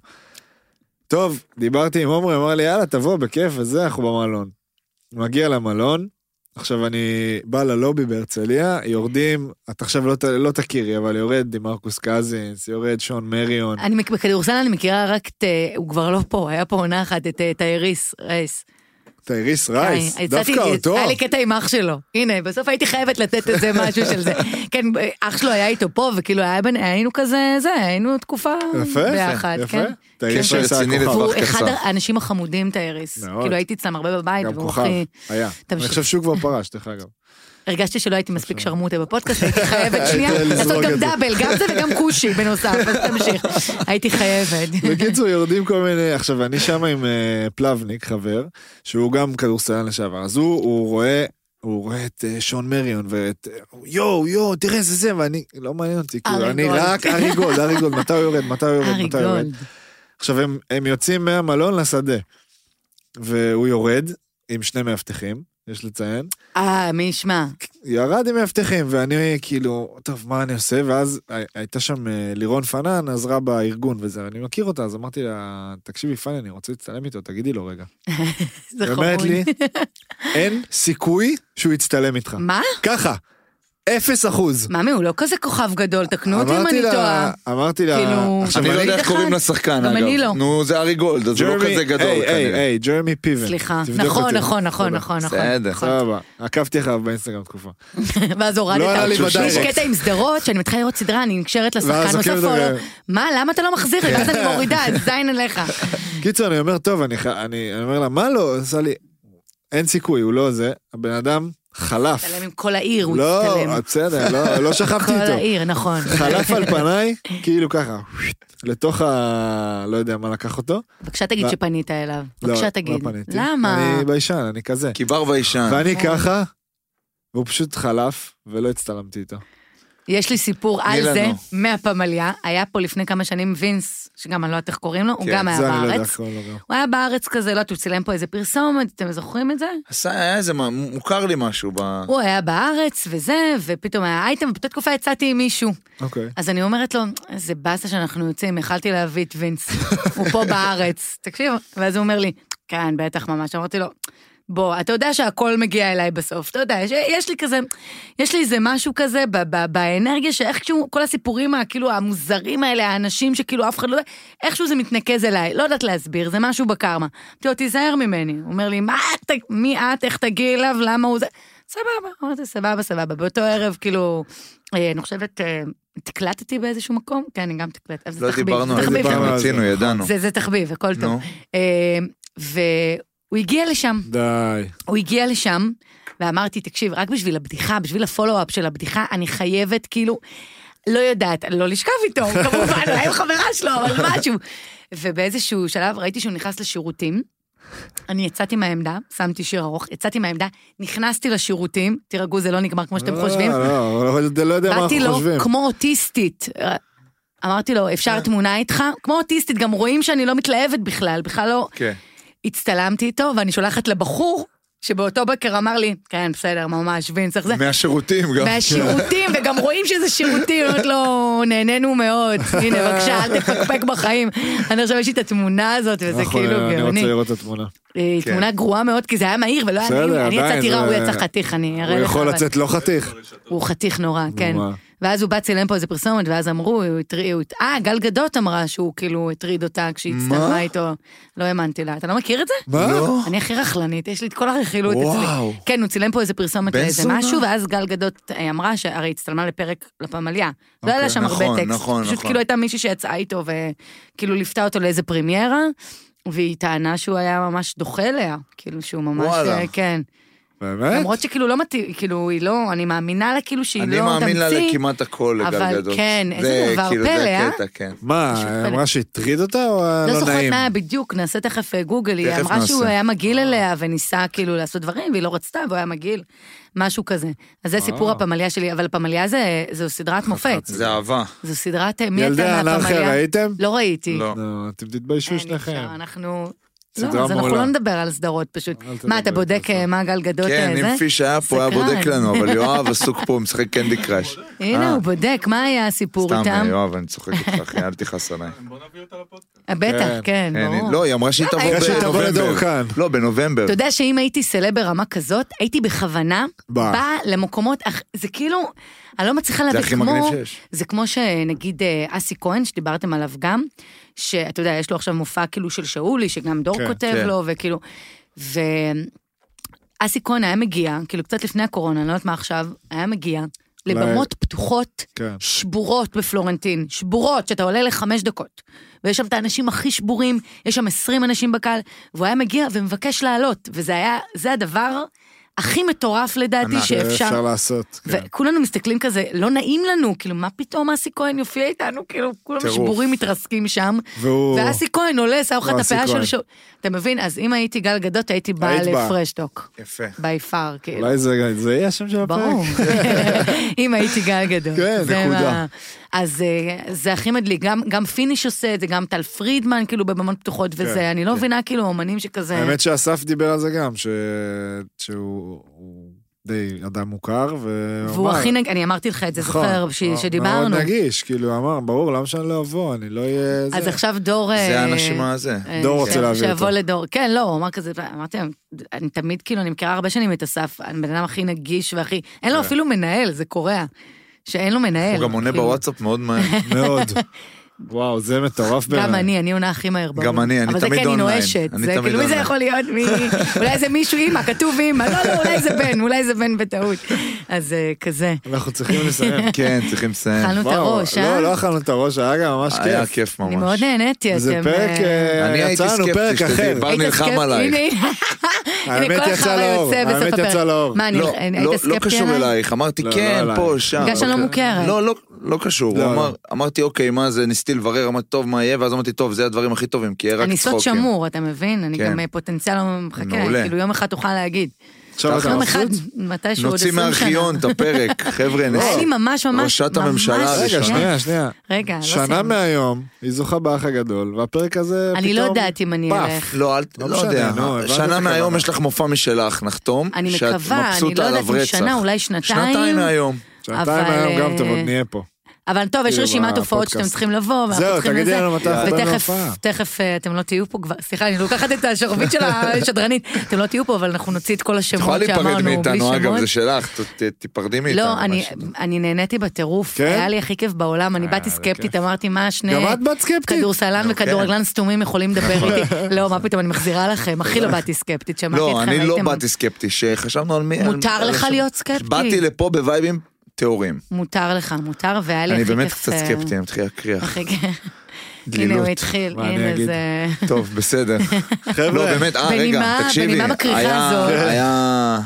טוב, דיברתי עם עומרי, אמר לי, יאללה, תבוא, בכיף, וזה, אנחנו במלון. מגיע למלון, עכשיו אני בא ללובי בהרצליה, יורדים, את עכשיו לא, ת- לא תכירי, אבל יורד דימרקוס קזינס, יורד שון מריון. אני מכ- בכדורסל אני מכירה רק את, אה, הוא כבר לא פה, היה פה עונה אחת, את אה, טייריס, רייס. טייריס רייס, כן, הצעתי- דווקא אותו. היה לי קטע עם אח שלו. הנה, בסוף הייתי חייבת לתת איזה משהו של זה. כן, אח שלו היה איתו פה, וכאילו היה בין- היינו כזה, זה, היינו תקופה יפה, ביחד. יפה. כן. טייריס קשר רייס רציני היה כוכב. והוא טווח אחד קצר. האנשים החמודים, טייריס. מאוד. כאילו הייתי אצלם הרבה בבית, גם והוא כוכב, הכי... היה. אני תמשיך. חושב שהוא כבר פרש, דרך אגב. הרגשתי שלא הייתי מספיק שרמוטה בפודקאסט, הייתי חייבת שנייה לזרוק לעשות גם את זה. דאבל, גם זה וגם כושי בנוסף, אז תמשיך. הייתי חייבת. בקיצור, יורדים כל מיני... עכשיו, אני שם עם אה, פלבניק, חבר, שהוא גם כדורסלן לשעבר, אז הוא, הוא רואה... הוא רואה את אה, שון מריון ואת אה, יואו יואו תראה איזה זה ואני לא מעניין אותי כאילו ארי אני גולד. רק ארי גולד ארי גולד מתי הוא יורד מתי הוא יורד ארי מתי הוא יורד גולד. עכשיו הם, הם יוצאים מהמלון לשדה והוא יורד עם שני מאבטחים יש לציין אה, מי ישמע? ירד עם מאבטחים, ואני כאילו, טוב, מה אני עושה? ואז הי- הייתה שם אה, לירון פנן, עזרה בארגון וזה, אני מכיר אותה, אז אמרתי לה, תקשיבי, פאני, אני רוצה להצטלם איתו, תגידי לו רגע. זה היא חמוד. אומרת לי, אין סיכוי שהוא יצטלם איתך. מה? ככה, אפס אחוז. מאמי, הוא לא כזה כוכב גדול, תקנו אותי אם אמרתי אני לה- טועה. אמרתי לה, כאילו- אני לא יודע אחד. איך קוראים לשחקן, גם אגב. אני לא. נו, זה ארי גולד, אז הוא לא ג'רמי- כזה גדול היי, היי, כנראה. היי, ג'רמי פיבן. סליחה. "כן, תבדוק נכון, אותי. נכון, נכון, תודה. נכון, נכון. בסדר. נכון. סבבה, עקבתי אחריו באינסטגרם תקופה. ואז הורדת. לא עלה לי יש בדיירקט. קטע עם סדרות, שאני מתחילה לראות סדרה, אני נקשרת לשחקן ואז נוסף, עוקבת או לא? אחרי- מה, למה אתה לא מחזיר לי? ואז אני מורידה, זין עליך. קיצור, אני אומר, טוב, אני, ח- אני, אני אומר לה, מה לא? עשה לי, אין סיכוי, הוא לא זה. הבן אדם חלף. הצטלם עם כל העיר, הוא לא, הצטלם. בסדר, לא, לא שכבתי כל איתו. העיר, נכון. חלף על פניי, כאילו ככה, לתוך ה... לא יודע מה לקח אותו. בבקשה תגיד לא. שפנית אליו. לא, בבקשה לא תגיד. פניתי. למה? אני ביישן, אני כזה. כי בר ואישן. ואני נכון. ככה, והוא פשוט חלף, ולא הצטלמתי איתו. יש לי סיפור על תני זה לנו. מהפמליה. היה פה לפני כמה שנים וינס, שגם אני לא יודעת איך קוראים לו, הוא כן, גם היה זה אני לא יודע בארץ. איך קוראים לו גם. הוא היה בארץ כזה, לא יודעת, הוא צילם פה איזה פרסומת, אתם זוכרים את זה? עשה, היה איזה, מה, מוכר לי משהו ב... לא הוא היה בארץ וזה, ופתאום היה אייטם, ובאותה תקופה יצאתי עם מישהו. אוקיי. אז אני אומרת לו, איזה באסה שאנחנו יוצאים, יכלתי להביא את וינס, הוא פה בארץ, תקשיב. ואז הוא אומר לי, כן, בטח ממש. אמרתי לו, בוא, אתה יודע שהכל מגיע אליי בסוף, אתה יודע, יש, יש לי כזה, יש לי איזה משהו כזה ב- ב- באנרגיה, שאיכשהו כל הסיפורים, ה- כאילו, המוזרים האלה, האנשים שכאילו אף אחד לא יודע, איכשהו זה מתנקז אליי, לא יודעת להסביר, זה משהו בקרמה. אמרתי לו, תיזהר ממני. הוא אומר לי, מה את, מי את, איך תגיעי אליו, למה הוא זה? סבבה, אמרתי, סבבה, סבבה. באותו ערב, כאילו, אה, אני חושבת, אה, תקלטתי באיזשהו מקום? כן, אני גם תקלטתי. אבל זה לא תחביב, דיברנו זה על זה, תחביב. דיברנו על זה. רצינו, ידענו. זה, זה תחביב, הכל נו. טוב. אה, והוא הגיע לשם, די. הוא הגיע לשם, ואמרתי, תקשיב, רק בשביל הבדיחה, בשביל הפולו-אפ של הבדיחה, אני חייבת, כאילו, לא יודעת, אני לא לשכב איתו, כמובן, אולי עם חברה שלו, אבל משהו. ובאיזשהו שלב ראיתי שהוא נכנס לשירותים. אני יצאתי מהעמדה, שמתי שיר ארוך, יצאתי מהעמדה, נכנסתי לשירותים, תירגעו, זה לא נגמר כמו שאתם לא, חושבים. לא, אבל זה לא יודע מה באתי אנחנו לו חושבים. אה. כמו אוטיסטית. אמרתי לו, אפשר תמונה איתך? כמו אוטיסטית, גם רואים שאני לא מתלהבת בכלל, בכלל לא... כן. הצטלמתי איתו, ואני שולחת לבחור, שבאותו בוקר אמר לי, כן, בסדר, ממש, וינס, איך זה? מהשירותים גם. מהשירותים, וגם רואים שזה שירותים, אומרת לו, נהנינו מאוד, הנה, בבקשה, אל תפקפק בחיים. אני עכשיו יש לי את התמונה הזאת, וזה אנחנו- כאילו נכון, אני רוצה גאוני. לראות את התמונה. אה, כן. תמונה גרועה מאוד, כי זה היה מהיר ולא היה בסדר, נעים. אני עדיין, יצאתי רע, זה- הוא יצא חתיך, אני אראה הוא לך. יכול אבל- לצאת לא חתיך. הוא חתיך נורא, כן. נורא. ואז הוא בא צילם פה איזה פרסומת, ואז אמרו, הוא הטריד, הוא- אה, גל גדות אמרה שהוא כאילו הטריד אותה כשהיא הצטלמה איתו. לא האמנתי לה. אתה לא מכיר את זה? מה? אני הכי רכלנית, יש לי את כל הרכילות אצלי. וואו. כן, הוא צילם פה איזה פרסומת בן לאיזה זונה. משהו, ואז גל גדות אה, אמרה, שהרי הצטלמה לפרק לפמליה. לא היה לה שם הרבה נכון, טקסט. נכון, פשוט נכון. כאילו הייתה מישהי שיצאה איתו וכאילו ליוותה אותו לאיזה פרימיירה, והיא טענה שהוא היה ממש דוחה אליה. כאילו שהוא ממש... וואלה. אה, כן. באמת? למרות שכאילו לא מתאים, כאילו היא לא, אני מאמינה לה כאילו שהיא לא אני תמציא. מאמין לה לכמעט הכל לגל אבל גדות. כן, איזה זה דבר כאילו, פלא, זה אה? קטע, כן. מה, פשוט היא פלא. אמרה שהטריד אותה או היה לא לא זוכרת נעים? מה היה בדיוק, נעשה תכף אה, גוגל, היא תכף אמרה נעשה. שהוא היה מגעיל אליה וניסה כאילו לעשות דברים והיא לא רצתה והוא היה מגעיל, משהו כזה. אז זה סיפור הפמליה שלי, אבל הפמליה זה- זו סדרת מופת, אה. זה אהבה. זו סדרת, אה, מי ילדי אתה האנרכיה מהפמליה? ראיתם? לא ראיתי. לא. לא, אתם אין, תתביישו אי אפשר, שניכם. אנחנו... לא, סדרה אז אנחנו מעולה. לא נדבר על סדרות פשוט. אל תדבר מה, אתה על בודק זה. אה, מה גל גדות כן, אה, זה? אם פיש היה פה, היה סקרן. בודק לנו, אבל יואב עסוק פה, הוא משחק קנדי קראש. הנה, אה. הוא בודק, מה היה הסיפור סתם, אה, איתם? יואב, אני צוחק איתך, אחי, אל תכעס עליי. אה, בטח, כן, אין, ברור. לא, היא אמרה שהיא תבוא אחרי שהיא תבוא בנובמבר. לדורקן. לא, בנובמבר. אתה יודע שאם הייתי סלב ברמה כזאת, הייתי בכוונה באה. באה למקומות, אח- זה כאילו, אני לא מצליחה להבין, הכי כמו- מגניב שיש. זה כמו שנגיד אה, אסי כהן, שדיברתם עליו גם, שאתה יודע, יש לו עכשיו מופע כאילו של שאולי, שגם דור כן, כותב כן. לו, וכאילו, ו... אסי כהן היה מגיע, כאילו קצת לפני הקורונה, אני לא יודעת מה עכשיו, היה מגיע לבמות פתוחות, כן. שבורות בפלורנטין, שבורות, שאתה עולה לחמש דקות. ויש שם את האנשים הכי שבורים, יש שם 20 אנשים בקהל, והוא היה מגיע ומבקש לעלות, וזה היה, זה הדבר הכי מטורף לדעתי ענק. שאפשר. אפשר לעשות. כן. וכולנו מסתכלים כזה, לא נעים לנו, כאילו, מה פתאום אסי כהן יופיע איתנו? כאילו, כולם טירוף. שבורים מתרסקים שם. והוא... ואסי כהן עולה, שם לך את לא, אסי הפאה של כהן. שו... אתה מבין? אז אם הייתי גל גדות, הייתי באה היית באה. לפרשטוק. יפה. בי פאר, כאילו. אולי זה- זה יהיה השם של הפרק. ברור. אם הייתי גל גדול. כן, זה נקודה. מה- אז אה, זה הכי מדליק, גם- גם פיניש עושה את זה, גם טל פרידמן, כאילו, בבמות פתוחות וזה, אני לא מבינה, כאילו, אומנים שכזה... כן, האמת שאסף דיבר על זה גם, ש- שהוא הוא די אדם מוכר, והוא והוא אמר- הכי נג... אני אמרתי לך את זה, נכון, זוכר, ש- מאוד- שדיברנו. מאוד נגיש, כאילו, אמר, ברור, למה שאני לא אבוא, אני לא אהיה... אז זה." עכשיו דור... זה אה, האנשים הזה. אה, דור רוצה ש- להעביר שיבוא אותו. לדור, כן, לא, הוא אמר כזה, אמרתי להם, אני תמיד, כאילו, אני מכירה הרבה שנים את אסף, אני בן אדם הכי נגיש והכי, אין לו כן. אפילו מנהל, זה קורע, שאין לו מנהל. הוא גם עונה כאילו. בוואטסאפ מאוד מהר. מאוד. וואו, זה מטורף באמת. גם אני, אני עונה הכי מהר ברור. גם אני, אני אבל תמיד זה כי אני אונליין. נואשת. אני זה תמיד כאילו, מי אונליין. זה יכול להיות? מי... אולי זה מישהו אימא, כתוב אימא. לא, לא, אולי זה בן, אולי זה בן בטעות. אז אה, כזה. אנחנו צריכים לסיים. כן, צריכים לסיים. אכלנו את וואו, הראש, אה? לא, לא אכלנו את הראש, היה גם ממש היה כיף. כיף ממש. אני מאוד נהניתי, אתם... זה פרק, אה, אה, אני הייתי יצאנו סקפטי, פרק שתדעי, אחר. בר היית נלחם סקפט- עליי. הנה, הנה. הנה, האמת כל יצא החרא לאור, יוצא בסוף האמת הפרק. יצא לאור. מה, אני- לא, היית לא, לא סקפטי קשור עליי? אלייך, אמרתי לא, כן, לא פה, עלייך. שם. בגלל שאני לא אוקיי. מוכרת. לא, לא- לא קשור, לא, הוא אמר, אמרתי אוקיי, מה זה, ניסיתי לברר, אמרתי טוב, מה יהיה, ואז אמרתי טוב, זה הדברים הכי טובים, כי יהיה רק אני צחוקים. סוד שמור, אתה מבין? אני כן. גם אה, פוטנציאל לא מחכה. מעולה. כאילו, יום אחד תוכל להגיד. עכשיו אתה יום מבסוט? אחד, מתישהו עוד נוציא 20 שנה. מהארכיון את הפרק, חבר'ה, היה לי נס- ממש ממש... ראשת ממש- הממשלה רגע, הראשונה. שנייה, שנייה. רגע, לא שנה סיימנו. מהיום, היא זוכה באח הגדול, והפרק הזה פתאום... אני לא יודעת אם אני פאף. אלך. לא, אל, לא לא, משנה, יודע, נו, הבנתי את שנה הכוונה. מהיום יש לך מופע משלך, נחתום, אני שאת מקווה, אני לא מבסוטה יודעת עליו אם רצח. שנה, אולי שנתיים. שנתיים מהיום. שנתיים אבל, מהיום גם אה, טוב, עוד נהיה פה. אבל טוב, יש כאילו, רשימת הופעות בפודקאסט. שאתם צריכים לבוא, ואנחנו זהו, צריכים תגידי לזה. לנו מתי את באה ותכף, להופעה. תכף אה, אתם לא תהיו פה כבר, סליחה, אני לוקחת את השרביט של השדרנית, אתם לא תהיו פה, אבל אנחנו נוציא את את כל יכולה השמות להיפרד שאמרנו, בלי מאיתנו, אגב, שמות. זה שלך, ת- ת- תיפרדי מאיתנו. לא, אני- משהו. אני נהניתי בטירוף, כן? היה לי הכי כיף בעולם, אני באתי זה סקפטית, אמרתי, מה שני... גם את בת סקפטית? כדורסלן וכדורגלן סתומים יכולים לדבר איתי. לא, מה פתאום, אני מחזירה לכם, הכי לא באתי סקפטית, שמעתי לא, אתכם, אני לא הייתם- באתי סקפטי, שחשבנו על מי... על- מותר על לך השם. להיות סקפטי. באתי לפה בווייבים טהורים. מותר לך, מותר, והיה לי הכי אני כיף... באמת קצת אה, סקפטי, אני מתחיל להקריח. הכי כיף. הנה הוא דלילות. התחיל, מה אני הנה אגיד? זה... טוב, בסדר. לא, חבר'ה, באמת, אה, רגע, בנימה- תקשיבי. בנימה מקריחה היה- זו. היה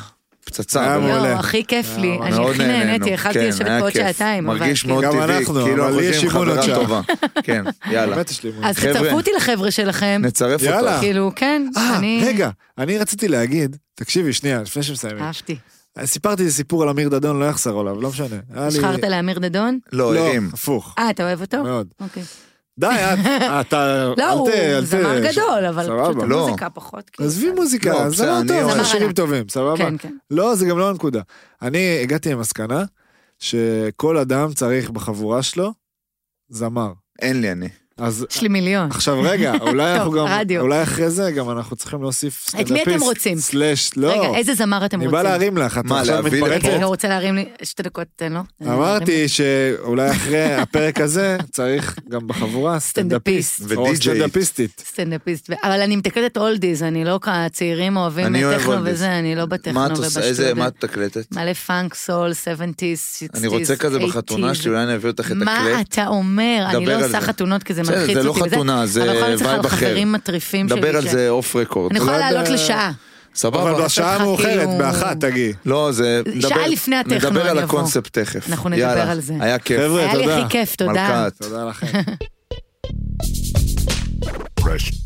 פצצה. היה באמת. מעולה. לא, הכי כיף לי, אני אה, מאוד הכי נהניתי, נהנינו. יכלתי כן, לשבת היה פה עוד כיף. שעתיים, אבל... מרגיש כאילו- מאוד גם טבעי, אנחנו, כאילו אבל אנחנו לי חושבים יש שימון עוד חברה שעה. טובה. כן, יאללה. באמת יש לי... אז חבר'ה. תצרפו אותי לחבר'ה שלכם, נצרף יאללה. אותך. לא, כאילו, כן, אה, אני... רגע, אני רציתי להגיד, תקשיבי, שנייה, לפני שמסיימים. אה, אהבתי. סיפרתי איזה סיפור על אמיר דדון, לא אחזור עליו, לא משנה. היה לי- נבחרת לאמיר דדון? לא, לא, הרים. הפוך. אה, אתה אוהב לא. אותו? מאוד. אוקיי. די, את- אתה... לא, אל ת- הוא אל ת- זמר גדול, אבל פשוט סבבה. לא. המוזיקה פחות. כאילו, כן, עזבי אבל- מוזיקה, לא, בסדר, זמר אני טוב, אוהב. יש שירים זמר טובים, סבבה? כן, כן. לא, זה גם לא הנקודה. אני הגעתי למסקנה שכל אדם צריך בחבורה שלו זמר. אין לי אני. אז יש לי מיליון. עכשיו רגע, אולי טוב, אנחנו גם, רדיו. אולי אחרי זה גם אנחנו צריכים להוסיף את מי אתם רוצים? סלאש, לא. רגע, איזה זמר אתם אני רוצים? אוקיי, בא להרים לך, את מה, עכשיו להביא מתפרצת? לפה? רגע, הוא רוצה להרים לי שתי דקות, תן לו. לא אמרתי שאולי אחרי הפרק הזה צריך גם בחבורה סטנדאפיסט. סטנדאפיסט. או ודי-ג'יי. סטנדאפיסט. סטנדאפיסט, אבל אני מתקלטת אולדיז, אני לא כצעירים אוהבים אני אוהב טכנו אולדיז. וזה, אני לא בטכנו מה את עושה? איזה, ובשטויות. מה את מתקלטת? מלא פאנק, סול, 70's, 60's, אני רוצה כזה 80's. בחתונה שלי, אולי אני אביא אותך את מה הקלט. אתה אומר? אני דבר לא על עושה זה. חתונות כי זה בסדר, מלחיץ אותי. זה לא וזה, חתונה, זה אבל אני יכולה לדבר וייב על אחר. חברים מטריפים שלי. דבר על ש- זה אוף רקורד. אני יכולה לא יודע- לעלות לשעה. אבל לא סבבה? בשעה לך המאוחרת, כאילו- באחת תגיעי. לא, זה... שעה נדבר- לפני הטכנו אני נדבר על אבוא. הקונספט תכף. אנחנו נדבר יאללה, על זה. היה כיף. חבר'ה, היה לי תודה. הכי כיף, תודה. מלכת. תודה לכם. fresh